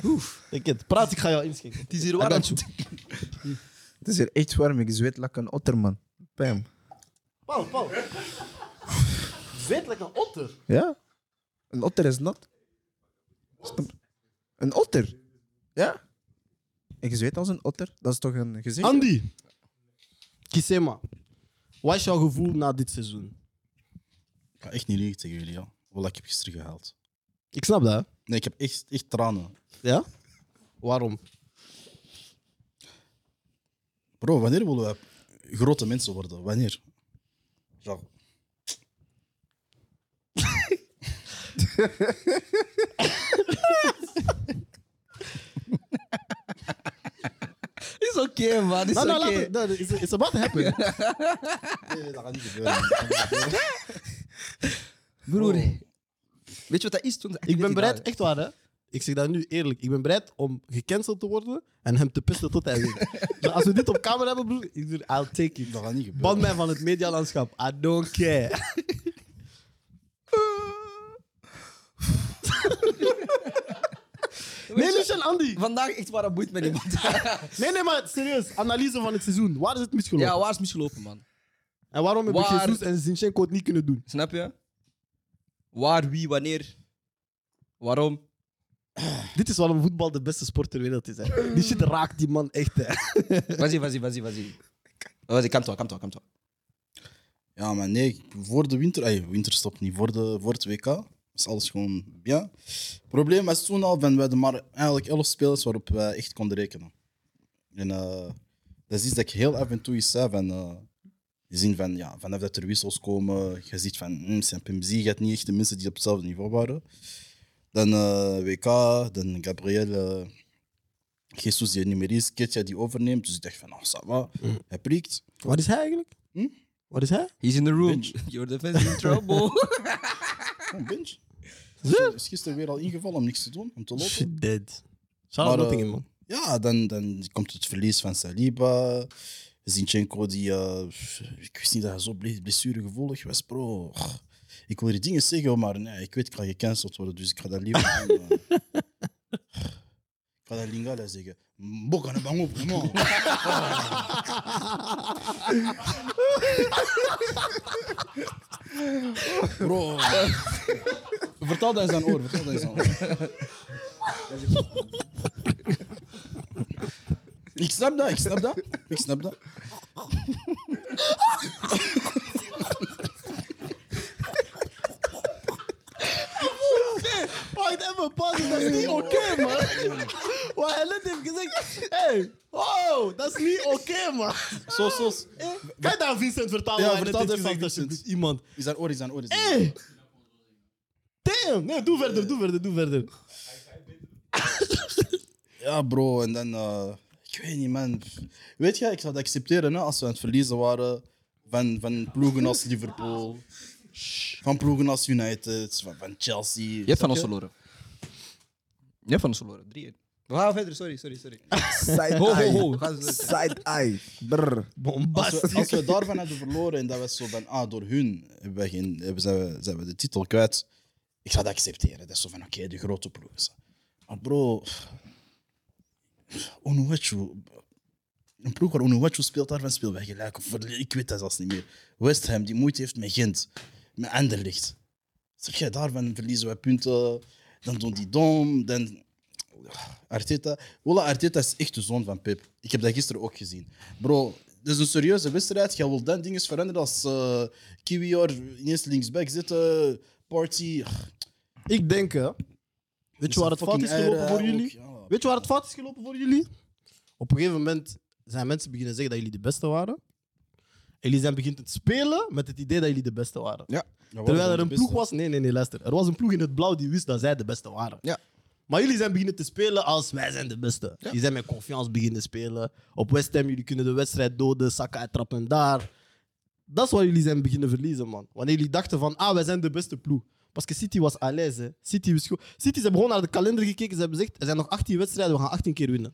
Speaker 3: Oef. Ik het. Praat, ik ga jou inschenken.
Speaker 1: Het is hier
Speaker 3: warm.
Speaker 5: *laughs* Het is hier echt warm. Ik zweet like een otter, man. Bam.
Speaker 3: Paul, Paul. Zweet lekker een otter.
Speaker 5: Ja? Een otter is nat. Snap- Een otter? Ja? En je zweet als een otter? Dat is toch een gezicht?
Speaker 3: Andy. Kisema. Wat is jouw gevoel na dit seizoen?
Speaker 2: Ik ga echt niet liegen tegen jullie, ja. Wat ik heb gisteren gehaald.
Speaker 3: Ik snap dat,
Speaker 2: Nee, ik heb echt, echt tranen.
Speaker 3: hè? Ja? Waarom?
Speaker 2: Bro, wanneer willen wij grote mensen worden? Wanneer? Ja.
Speaker 6: okay, man.
Speaker 3: Nee, nee,
Speaker 6: It's
Speaker 3: Nou, laat
Speaker 6: okay.
Speaker 3: het. Nee, nee, It's it's about to *laughs* happen.
Speaker 2: Nee, dat gaat niet gebeuren. man. Dat gaat niet gebeuren.
Speaker 6: Broer. Oh. Weet je wat dat is? Toen
Speaker 3: Ik ben bereid, echt waar, hè? Ik zeg dat nu eerlijk. Ik ben bereid om gecanceld te worden en hem te pissen tot hij wint. *laughs* Maar als we dit op camera hebben, broer, ik doe, I'll take it.
Speaker 2: Dat gaat niet gebeuren.
Speaker 3: Ban mij van het medialandschap. I don't care. Nee, Lucien, Andy.
Speaker 6: Vandaag echt waar dat boeit met iemand.
Speaker 3: Nee, nee, maar serieus. Analyse van het seizoen. Waar is het misgelopen?
Speaker 6: ja, waar is misgelopen, man?
Speaker 3: En waarom hebben
Speaker 6: Waar-
Speaker 3: Jesus en Zinchenko het niet kunnen doen?
Speaker 6: Snap je? Waar, wie, wanneer? Waarom?
Speaker 3: Dit is waarom voetbal de beste sport ter wereld is. Hè. Die shit raakt die man echt. Hè.
Speaker 6: Vas-y, vas-y, vas-y, vas-y. Vas-y, kan toch, kan toch, kan toch.
Speaker 2: Ja, maar nee, voor de winter, ay, winterstop niet, voor, de, voor het WK is alles gewoon ja. probleem was toen al, van we hadden maar eigenlijk elf spelers waarop we echt konden rekenen. En eh, dat is iets dat ik heel af en toe eens zei, van, eh, je ziet van, ja, vanaf dat er wissels komen, je ziet van, hm, Saint-Pimzi gaat niet echt de mensen die op hetzelfde niveau waren. Dan eh, WK, dan Gabriel, eh, Jesus die er niet meer is, Ketja die overneemt, dus ik dacht van, oh, ça va, hij prikt.
Speaker 3: Wat is hij eigenlijk?
Speaker 2: Hm?
Speaker 3: Wat is hij?
Speaker 6: He's in the room.
Speaker 2: Bitch.
Speaker 6: Your defense in *laughs* trouble.
Speaker 2: Gewoon bench. Ze is gisteren weer al ingevallen om niks te doen, om te lopen.
Speaker 3: Shit dead.
Speaker 2: Maar,
Speaker 3: Shout-out
Speaker 2: eh,
Speaker 3: Nottingham, man.
Speaker 2: Ja, dan, dan komt het verlies van Saliba. Zinchenko, die, eh, ik wist niet dat hij zo ble- blessuregevoelig was, bro. Och, Ik wil hier dingen zeggen, maar nee, ik weet, ik ga gecanceld worden, dus ik ga dat liever doen. eh. Ik ga dat Lingala zeggen. Mbok aan de bang op, man. Bro. Vertel dat in zijn oor, vertel dat in zijn oor. Ik snap dat, ik snap dat. Ik snap dat.
Speaker 3: Wacht even, pas, dat is niet oké, man. Wat hij net heeft gezegd. hey, wow, dat is niet oké, man.
Speaker 2: Zo, zo.
Speaker 3: Kan je dat aan Vincent vertalen?
Speaker 2: Ja,
Speaker 3: wat hij net
Speaker 2: vertaal
Speaker 3: heeft
Speaker 2: even aan
Speaker 3: gezegd,
Speaker 2: Vincent.
Speaker 3: alsjeblieft, Iemand.
Speaker 2: Is zijn oor, is zijn oor. Is zijn oor.
Speaker 3: Hey! Damn! Nee, doe verder, doe verder, doe verder.
Speaker 2: Ja, bro, en dan. eh, ik weet niet, man. Weet je, ik zou het accepteren hè, als we aan het verliezen waren van, van ploegen als Liverpool, van ploegen als United, van, van Chelsea.
Speaker 6: Je hebt van ons verloren. Je hebt van ons verloren. 3-1. We gaan verder, sorry, sorry, sorry.
Speaker 5: *laughs* Side
Speaker 6: Ho, ho,
Speaker 5: eye.
Speaker 6: ho. Ga eens door.
Speaker 5: Side eye. Brr.
Speaker 2: Als we, als
Speaker 3: Bombastisch.
Speaker 2: we daarvan hadden verloren en dat was zo van, ah, door hun hebben we geen, hebben, zijn, we, zijn we de titel kwijt, ik ga dat accepteren. Dat is zo van, oké, de grote ploeg. is dat. Maar bro, Onuwachu, een ploeg waar Onuwachu speelt, daarvan spelen wij gelijk. Of, ik weet dat zelfs niet meer. West Ham, die moeite heeft met Gent, met Anderlicht. Zeg jij, daarvan verliezen wij punten, dan doen die dom, dan... Arteta. Walla, Arteta is echt de zoon van Pep. Ik heb dat gisteren ook gezien. Bro, dit is een serieuze wedstrijd. Je wil dan dingen veranderen als eh Kiwior ineens linksback Ah, zitten. Party. Ach,
Speaker 3: Ik denk, hè. Weet je waar het fout
Speaker 2: fucking
Speaker 3: is gelopen
Speaker 2: eieren
Speaker 3: voor
Speaker 2: ook,
Speaker 3: jullie?
Speaker 2: ja.
Speaker 3: Weet je waar het fout is gelopen voor jullie? Op een gegeven moment zijn mensen beginnen zeggen dat jullie de beste waren. En jullie zijn beginnen te spelen met het idee dat jullie de beste waren.
Speaker 6: Ja.
Speaker 2: Ja,
Speaker 3: Terwijl
Speaker 2: wel,
Speaker 3: er een
Speaker 2: de
Speaker 3: ploeg
Speaker 2: beste.
Speaker 3: was. Nee, nee, nee, luister. Er was een ploeg in het blauw die wist dat zij de beste waren.
Speaker 6: Ja.
Speaker 3: Maar jullie zijn beginnen te spelen als wij zijn de beste. Jullie zijn met confiance beginnen spelen. Op West Ham, jullie kunnen de wedstrijd doden, Saka uittrappen en daar. Dat is waar jullie zijn beginnen verliezen, man. Wanneer jullie dachten van, ah, wij zijn de beste ploeg. Parce que City was à l'aise. hè. City, was goed. City, ze hebben gewoon naar de kalender gekeken. Ze hebben gezegd, er zijn nog 18 wedstrijden, we gaan 18 keer winnen.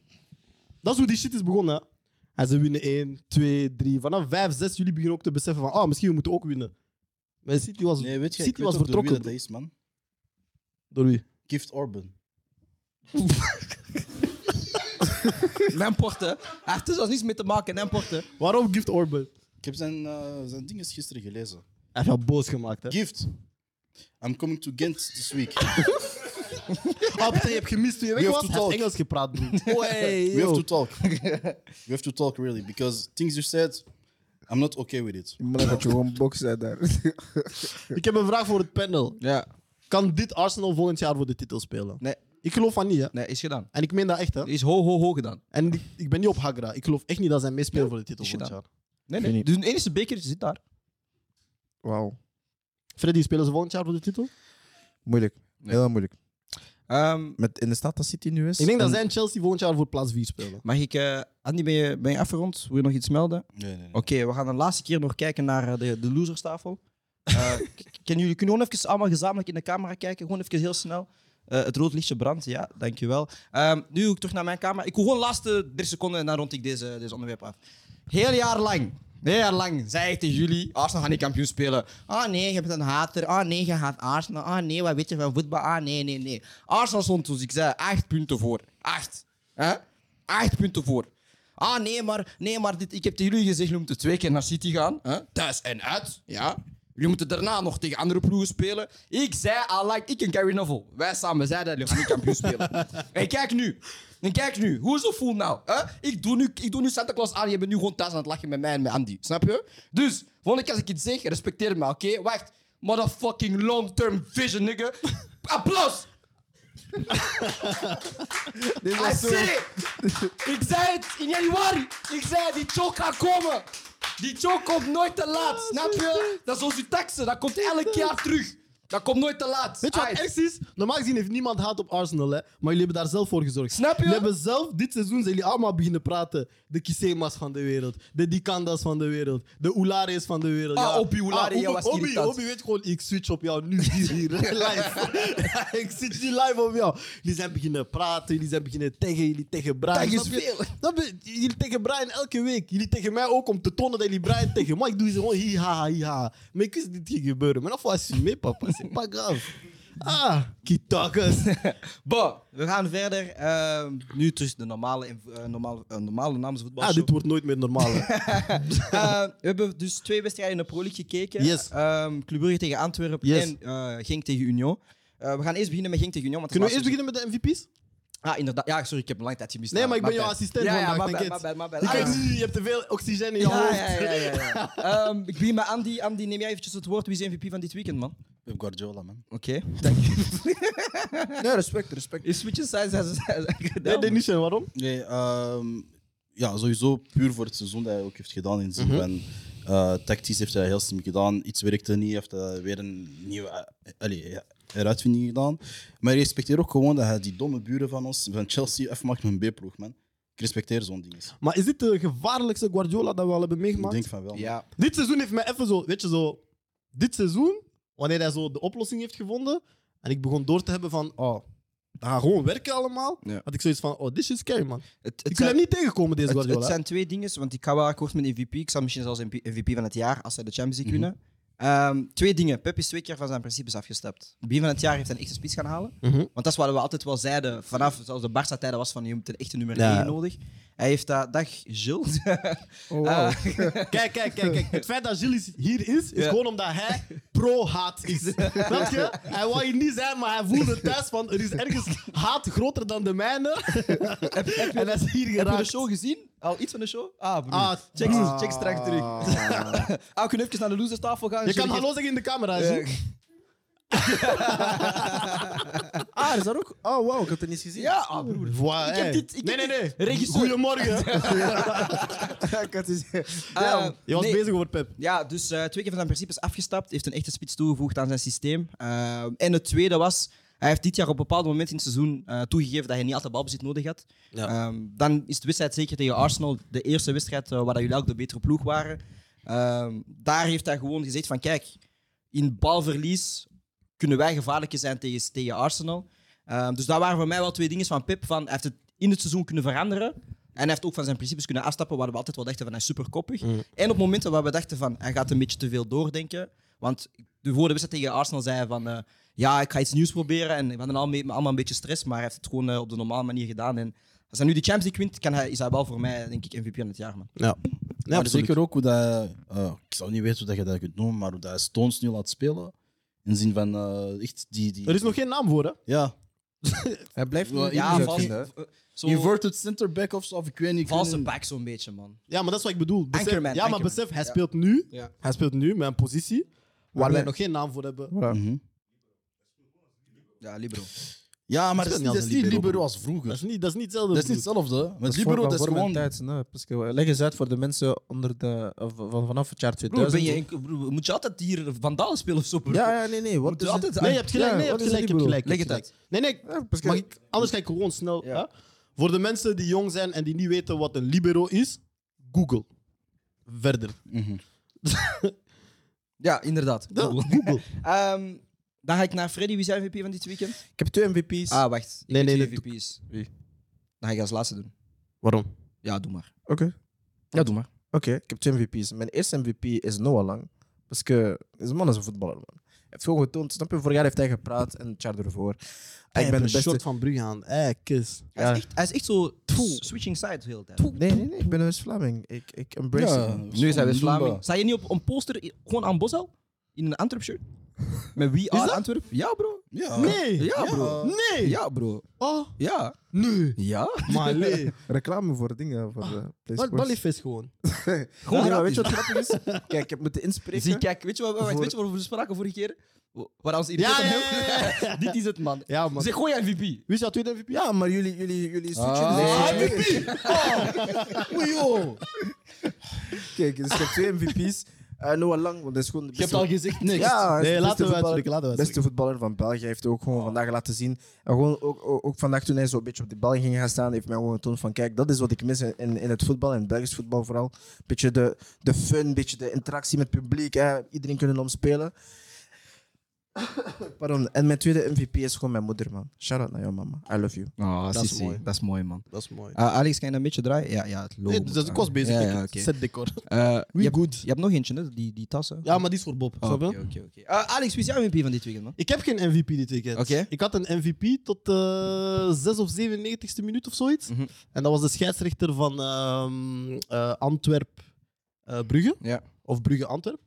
Speaker 3: Dat is hoe die shit is begonnen. Hè. En ze winnen 1, 2, 3. Vanaf 5, 6 jullie beginnen ook te beseffen van, ah, misschien we moeten ook winnen. Maar City was,
Speaker 2: Nee, weet je, ik
Speaker 3: City
Speaker 2: weet
Speaker 3: was
Speaker 2: ook door wie
Speaker 3: vertrokken.
Speaker 2: dat is, man.
Speaker 3: Door wie?
Speaker 2: Gift Orban.
Speaker 6: *laughs* Mijn porten. Hij heeft er zelfs niets mee te maken, mijn porten.
Speaker 3: Waarom Gift Orban?
Speaker 2: Ik heb zijn, eh, zijn dingen gisteren gelezen.
Speaker 3: Hij heeft jou boos gemaakt, hè?
Speaker 2: Gift. I'm coming to Ghent this week.
Speaker 3: *laughs* Ah, putain, je hebt gemist toen je weg
Speaker 2: have
Speaker 3: was.
Speaker 2: to
Speaker 3: Hij heeft
Speaker 2: talk.
Speaker 3: Engels gepraat, broer.
Speaker 2: We have to
Speaker 3: *laughs*
Speaker 2: talk. We have to talk, really. Because things you said, I'm not okay with it.
Speaker 5: Ik moet dat je gewoon boksen daar.
Speaker 3: Ik heb een vraag voor het panel.
Speaker 6: Ja.
Speaker 3: Kan dit Arsenal volgend jaar voor de titel spelen?
Speaker 6: Nee,
Speaker 3: Ik geloof van niet, hè?
Speaker 6: nee, is gedaan.
Speaker 3: En ik meen dat echt, hè?
Speaker 6: Is ho, ho, ho gedaan.
Speaker 3: En ik, ik ben niet op Hagra. Ik geloof echt niet dat zij meespelen voor de titel
Speaker 6: is
Speaker 3: volgend
Speaker 6: gedaan.
Speaker 3: jaar.
Speaker 6: Nee, nee. Dus een enige bekertje zit daar.
Speaker 5: Wauw.
Speaker 3: Freddy, spelen ze volgend jaar voor de titel?
Speaker 5: Moeilijk.
Speaker 6: Nee.
Speaker 5: Heel moeilijk.
Speaker 6: Ehm,
Speaker 5: Met, in de staat dat City nu is.
Speaker 3: Ik denk dat
Speaker 5: En-
Speaker 3: zij en Chelsea volgend jaar voor plaats 4 spelen.
Speaker 6: mag ik... eh, Andy, ben je, ben je afgerond? Wil je nog iets melden?
Speaker 2: Nee, nee, nee.
Speaker 6: Oké, we gaan de laatste keer nog kijken naar eh, de, de loserstafel. Eh, k- kunnen jullie kunnen gewoon even allemaal gezamenlijk in de camera kijken? Gewoon even heel snel. Eh, het rood lichtje brandt, ja, dankjewel. Ehm nu ook terug naar mijn camera. Ik wil gewoon de laatste drie seconden en dan rond ik deze, deze onderwerp af. Heel jaar lang, heel jaar lang, zei ik tegen jullie, Arsenal gaat niet kampioen spelen. Ah nee, je bent een hater. Ah nee, je haat Arsenal. Ah nee, wat weet je van voetbal? Ah nee, nee, nee. Arsenal stond dus, ik zei, acht punten voor. Acht. Hè? Acht punten voor. Ah, nee, maar, nee, maar dit, ik heb tegen jullie gezegd, jullie moeten twee keer naar City gaan. Hè? Thuis en uit, ja. Jullie moeten daarna nog tegen andere ploegen spelen. Ik zei al lang, ik en Gary Neville, wij samen zeiden dat jullie gaan niet kampioen spelen. en kijk nu. En kijk nu, hoe is het voel nou? Hè? Ik, doe nu, ik doe nu Santa Claus aan, je bent nu gewoon thuis aan het lachen met mij en met Andy. Snap je? Dus, volgende keer als ik iets zeg, respecteer me, oké? Wacht. Motherfucking long-term vision, nigga. Applaus!
Speaker 5: Dit
Speaker 6: I
Speaker 5: was zo-
Speaker 6: said it. Ik zei het in januari. Ik zei die choke gaat komen. Die choke komt nooit te
Speaker 3: Ah,
Speaker 6: laat. Snap je? Dat is onze taxen. Dat komt elk jaar terug. Dat komt nooit te laat. Ah,
Speaker 3: Weet je wat
Speaker 6: Aight.
Speaker 3: echt is? Normaal gezien heeft niemand haat op Arsenal, hè? maar jullie hebben daar zelf voor gezorgd.
Speaker 6: Snap je?
Speaker 3: Jullie hebben zelf, dit seizoen zijn jullie allemaal beginnen praten. De Kisema's van de wereld, de Dikandas van de wereld, de Oulares van de wereld.
Speaker 6: Ah, Obi Oulare, jij
Speaker 3: Obi-
Speaker 6: was
Speaker 3: Obi,
Speaker 6: irritant.
Speaker 3: Obi weet gewoon, ik switch op jou nu hier, hier live. *laughs* ik switch nu live op jou. Jullie zijn beginnen praten, jullie zijn beginnen tegen, jullie tegen Brian.
Speaker 6: Taggen is
Speaker 3: Snap je?
Speaker 6: veel.
Speaker 3: Snap je? Jullie tegen Brian elke week. Jullie tegen mij ook om te tonen dat jullie Brian tegen. Maar ik doe ze gewoon hiha, hiha. Maar ik wist dit ging gebeuren. Maar dat was je mee, papa. C'est pas grave. Ah, kitakas.
Speaker 6: Bon, we gaan verder. Ehm, nu tussen de normale, inv- eh, normale, eh, normale
Speaker 3: Ah,
Speaker 6: namensvoetbalshow.
Speaker 3: dit wordt nooit meer normaal. hè.
Speaker 6: Eh, we hebben dus twee wedstrijden in de Pro League gekeken.
Speaker 3: Yes.
Speaker 6: Ehm, Club Brugge tegen Antwerpen
Speaker 3: Yes.
Speaker 6: en eh Genk tegen Union. Eh, we gaan eerst beginnen met Genk tegen Union. Want
Speaker 3: Kunnen we
Speaker 6: het
Speaker 3: eerst
Speaker 6: laatste-
Speaker 3: beginnen met de MVP's?
Speaker 6: Ah, inderdaad. Ja, sorry, ik heb een lang tijd gemist.
Speaker 3: Nee,
Speaker 6: Ah,
Speaker 3: maar ik ben
Speaker 6: my
Speaker 3: jouw
Speaker 6: bad.
Speaker 3: assistent
Speaker 6: Ja, ja,
Speaker 3: vandaag,
Speaker 6: my
Speaker 3: denk
Speaker 6: bad,
Speaker 3: het.
Speaker 6: my bad, my bad.
Speaker 3: Je
Speaker 6: Ah,
Speaker 3: kijkt
Speaker 6: ja.
Speaker 3: nu, je hebt te veel oxygen
Speaker 1: Ah,
Speaker 3: in je
Speaker 6: Ja,
Speaker 3: hoofd.
Speaker 6: ja, ja, ja. ja. Ehm, ik begin met Andy. Andy, neem jij eventjes het woord. Wie is E MVP van dit weekend, man?
Speaker 2: Pep Guardiola, man.
Speaker 6: Oké.
Speaker 5: Nee, respect, respect.
Speaker 6: Is Switches size has
Speaker 3: *laughs* Nee,
Speaker 6: gedaan?
Speaker 3: Denise, waarom?
Speaker 2: Nee, ehm, ja, sowieso puur voor het seizoen dat hij ook heeft gedaan in
Speaker 3: Mhm.
Speaker 2: Zimba. En eh, tactisch heeft hij heel slim gedaan. Iets werkte niet, heeft hij weer een nieuwe eh, allee, ja, heruitvinding gedaan. Maar ik respecteer ook gewoon dat hij die domme buren van ons, van Chelsea, even maakt met een B-ploeg, man. Ik respecteer zo'n ding. eens.
Speaker 3: Maar is dit de gevaarlijkste Guardiola dat we al hebben
Speaker 2: Ik
Speaker 3: meegemaakt?
Speaker 2: denk van wel. man.
Speaker 6: Ja.
Speaker 3: Dit seizoen heeft mij even zo, weet je zo, dit seizoen, wanneer hij zo de oplossing heeft gevonden, en ik begon door te hebben van, oh, dat gaat gewoon werken allemaal,
Speaker 6: Ja.
Speaker 3: had ik zoiets van, oh, dit is scary man.
Speaker 6: Het, het,
Speaker 3: Ik wil
Speaker 6: zijn,
Speaker 3: hem niet tegenkomen deze
Speaker 6: het, het
Speaker 3: Guardiola.
Speaker 6: zijn twee dingen, want ik ga wel akkoord met MVP. Ik zou misschien zelfs MP MVP van het jaar, als zij de Champions League
Speaker 3: Mhm.
Speaker 6: winnen. Ehm, twee dingen. Pep is twee keer van zijn principes afgestapt. Begin van het jaar heeft hij een echte spits gaan halen.
Speaker 3: Mhm.
Speaker 6: Want dat is wat we altijd wel zeiden. Vanaf zelfs de Barca-tijden was van je hebt een echte nummer
Speaker 3: Ja.
Speaker 6: 1 nodig. Hij heeft dat... Dag, *laughs* Gilles.
Speaker 5: Oh, wauw.
Speaker 3: Kijk, kijk, kijk, kijk. Het feit dat Gilles hier is, is
Speaker 6: Ja.
Speaker 3: gewoon omdat hij pro-haat is. Snap je? Hij wou hier niet zijn, maar hij voelde thuis van, er is ergens haat groter dan de mijne. en hij is hier
Speaker 6: Heb je de
Speaker 3: geraakt.
Speaker 6: show gezien? Al iets van de show? Ah, broer.
Speaker 3: Ah,
Speaker 6: check,
Speaker 3: ah.
Speaker 6: check straks terug. *laughs* ah, we kunnen even naar de loserstafel gaan. Eh,
Speaker 3: Je kan
Speaker 6: Jullie-
Speaker 3: hallo zeggen in de camera.
Speaker 6: Ja.
Speaker 3: zie.
Speaker 5: Ah, is dat ook? Oh, wauw, ik had het niet gezien.
Speaker 6: Ja, ah, broer.
Speaker 3: Voilà,
Speaker 6: Ik heb
Speaker 3: hè.
Speaker 6: dit- ik
Speaker 3: nee,
Speaker 6: heb
Speaker 3: nee,
Speaker 6: dit-
Speaker 3: nee.
Speaker 6: regisseur.
Speaker 3: Goedemorgen.
Speaker 5: *laughs* ik had het gezien.
Speaker 6: Eh,
Speaker 3: Je was
Speaker 6: nee.
Speaker 3: bezig over Pep.
Speaker 6: Ja, dus eh, twee keer van zijn principes afgestapt. Heeft een echte spits toegevoegd aan zijn systeem. Eh, en het tweede was, hij heeft dit jaar op een bepaald moment in het seizoen eh, toegegeven dat hij niet altijd balbezit nodig had. Ehm, dan is de wedstrijd zeker tegen Arsenal de eerste wedstrijd eh, waar dat jullie ook de betere ploeg waren. Ehm, daar heeft hij gewoon gezegd van kijk, in balverlies kunnen wij gevaarlijker zijn tegen, tegen Arsenal. Ehm, dus dat waren voor mij wel twee dingen van Pip. Van, hij heeft het in het seizoen kunnen veranderen. En hij heeft ook van zijn principes kunnen afstappen, waar we altijd wel dachten van hij is superkoppig. En op momenten waar we dachten van hij gaat een beetje te veel doordenken. Want de voor de wedstrijd tegen Arsenal zei hij van eh, ja, ik ga iets nieuws proberen. En we hadden al mee- allemaal een beetje stress, maar hij heeft het gewoon eh, op de normale manier gedaan. En als hij nu de Champions League wint, kan hij, is hij wel voor mij denk ik MVP van het jaar. Man.
Speaker 3: Ja.
Speaker 2: maar zeker ook hoe dat. eh, ik zou niet weten hoe dat je dat kunt noemen, maar hoe dat hij Stones nu laat spelen. In zin van eh, echt die. die
Speaker 3: Er is nog geen naam voor, hè?
Speaker 2: Ja,
Speaker 5: Hij blijft
Speaker 2: Ja,
Speaker 5: niet
Speaker 2: ja,
Speaker 5: zo
Speaker 2: vast.
Speaker 5: vinden, hè.
Speaker 6: Zo,
Speaker 2: inverted center back of zo, of ik weet niet. ik weet
Speaker 6: valse
Speaker 2: niet.
Speaker 6: back zo'n beetje, man.
Speaker 3: Ja, maar dat is wat ik bedoel. Besef,
Speaker 6: Anchorman,
Speaker 3: ja, maar
Speaker 6: Anchorman.
Speaker 3: besef, hij
Speaker 6: Ja.
Speaker 3: speelt nu.
Speaker 6: Ja.
Speaker 3: Hij speelt nu met een positie waar
Speaker 5: nee.
Speaker 3: wij nog geen naam voor hebben.
Speaker 5: Voilà.
Speaker 2: Mhm.
Speaker 6: Ja, Libro.
Speaker 2: Ja, maar
Speaker 3: Dat
Speaker 2: dat
Speaker 3: is
Speaker 2: is,
Speaker 3: niet
Speaker 2: dat is
Speaker 3: als een
Speaker 2: niet
Speaker 3: Libero,
Speaker 2: Libero als
Speaker 3: Dat is
Speaker 2: vroeger.
Speaker 3: niet, dat is niet hetzelfde.
Speaker 2: Dat is niet
Speaker 3: broer.
Speaker 2: hetzelfde. Met
Speaker 5: is voor-
Speaker 2: Libero, dat is
Speaker 5: voor mijn
Speaker 2: gewoon...
Speaker 5: tijd, nee. Parce que, eh, Leg eens uit voor de mensen onder de, eh, van, vanaf het jaar 2000.
Speaker 6: Broer, ben je, in- broer, moet je altijd hier vandalen spelen of zo, broer?
Speaker 5: Ja, ja, nee, nee. Wat
Speaker 6: Moet je
Speaker 5: is het?
Speaker 6: altijd-
Speaker 3: Nee, je hebt gelijk.
Speaker 5: Ja,
Speaker 3: nee, je
Speaker 5: wat
Speaker 3: hebt
Speaker 5: is
Speaker 3: gelijk. Je hebt
Speaker 5: Libero?
Speaker 3: gelijk. je
Speaker 6: Leg
Speaker 3: hebt
Speaker 6: het uit.
Speaker 3: gelijk. Nee, nee.
Speaker 5: Ja, parce que-
Speaker 3: Mag ik, anders ga ik gewoon snel.
Speaker 5: Ja.
Speaker 3: hè? Voor de mensen die jong zijn en die niet weten wat een libero is, Google. Verder.
Speaker 2: Mhm.
Speaker 6: Ja, inderdaad.
Speaker 3: Ja,
Speaker 6: Cool.
Speaker 3: Google.
Speaker 6: Ehm, dan ga ik naar Freddy. Wie zijn MVP van dit weekend?
Speaker 5: Ik heb twee MVP's.
Speaker 6: Ah, wacht. Ik
Speaker 3: Nee,
Speaker 6: weet
Speaker 3: nee,
Speaker 6: wie
Speaker 3: dat
Speaker 6: MVP is.
Speaker 5: Wie?
Speaker 6: Dan ga ik als laatste doen.
Speaker 3: Waarom?
Speaker 6: Ja, doe maar.
Speaker 5: Oké.
Speaker 6: Ja, doe maar.
Speaker 5: Oké, ik heb twee MVP's. Mijn eerste MVP is Noah Lang. Parce que, deze man is een voetballer, man. Hij heeft gewoon getoond. Snap je, vorig jaar heeft hij gepraat en het jaar ervoor. ik ben de beste...
Speaker 3: shot van Brugge aan. Eh, kus.
Speaker 6: Hij,
Speaker 5: Ja.
Speaker 6: is echt, hij is echt zo
Speaker 3: Poeh.
Speaker 6: switching sides heel de tijd.
Speaker 3: Poeh.
Speaker 5: Nee, nee, nee. Ik ben een West-Vlaming. Ik, ik embrace
Speaker 2: Ja,
Speaker 5: it.
Speaker 6: Nu is hij west
Speaker 2: Lumba.
Speaker 6: vlaming Sta je niet op een poster i- gewoon aan Bosal? In een Antwerp shirt? *laughs* Met wie
Speaker 3: dat?
Speaker 6: aan Antwerp? Ja, bro.
Speaker 2: Ja.
Speaker 3: Nee.
Speaker 6: Ja, bro.
Speaker 3: Nee.
Speaker 6: Ja, bro.
Speaker 3: Oh,
Speaker 6: Ja.
Speaker 3: nee.
Speaker 6: Ja.
Speaker 3: Maar nee.
Speaker 5: Reclame voor dingen, voor eh,
Speaker 3: Wat
Speaker 5: PlaySports.
Speaker 3: balliefist gewoon.
Speaker 5: Gewoon,
Speaker 6: Ja,
Speaker 5: ja, weet
Speaker 6: gratis.
Speaker 5: je wat grappig is? *laughs* Kijk, ik heb moeten inspreken.
Speaker 6: *laughs* Zie, kijk, weet je wat,
Speaker 5: Voor-
Speaker 6: weet je wat we spraken vorige keer? Waar ons
Speaker 3: Ja,
Speaker 6: irriteert aan
Speaker 3: ja,
Speaker 6: hem?
Speaker 3: ja, *laughs* ja,
Speaker 6: Dit is het, man.
Speaker 3: Ja, man.
Speaker 6: Zeg, gooi MVP.
Speaker 3: Wie is jouw tweede MVP?
Speaker 5: Ja, maar jullie, jullie, jullie switchen.
Speaker 2: Ah,
Speaker 5: dus-
Speaker 2: nee. *laughs* Oei, joh.
Speaker 5: Oh. Kijk, dus ik heb twee MVP's. Eh, Noah Lang, want dat is gewoon de
Speaker 3: Je hebt
Speaker 5: beste
Speaker 3: al gezegd niks.
Speaker 5: Ja, hij is
Speaker 3: nee,
Speaker 5: de beste
Speaker 3: laten we
Speaker 5: voetballer.
Speaker 3: uitspreken. Laten we
Speaker 5: beste
Speaker 3: uitspreken. Ah.
Speaker 5: voetballer van België. Hij heeft ook gewoon vandaag laten zien. En gewoon ook, ook, ook vandaag toen hij zo'n beetje op de bal ging gaan staan, heeft mij gewoon getoond van kijk, dat is wat ik mis in, in het voetbal, in het Belgisch voetbal vooral. Een beetje de, de fun, een beetje de interactie met het publiek. Hè. Iedereen kunnen omspelen. Pardon. En mijn tweede MVP is gewoon mijn moeder, man. Shout out naar jou, mama. I love you.
Speaker 6: Oh,
Speaker 3: Dat is mooi.
Speaker 6: Dat is mooi, man.
Speaker 3: Dat is mooi.
Speaker 6: Eh, Alex, kan je een beetje draaien? Ja, ja het logo.
Speaker 3: Nee,
Speaker 6: moet
Speaker 3: dat is ik was
Speaker 6: aan.
Speaker 3: bezig.
Speaker 6: Ja,
Speaker 3: met
Speaker 6: ja,
Speaker 3: het
Speaker 6: oké.
Speaker 3: Set decor.
Speaker 6: Eh, je,
Speaker 3: We
Speaker 6: hebt,
Speaker 3: good.
Speaker 6: je hebt nog eentje, hè? Die, die tassen.
Speaker 3: Ja, maar die is voor Bob.
Speaker 6: Oh,
Speaker 3: Snap
Speaker 6: Oké,
Speaker 3: je?
Speaker 6: oké, oké. Eh, Alex, wie is jouw MVP van dit weekend, man?
Speaker 3: Ik heb geen MVP dit weekend.
Speaker 6: Oké.
Speaker 3: Ik had een MVP tot de 6 of 97ste minuut of zoiets.
Speaker 6: Mhm.
Speaker 3: En dat was de scheidsrechter van ehm, eh, Antwerp eh, Brugge.
Speaker 6: Ja.
Speaker 3: Of Brugge Antwerp.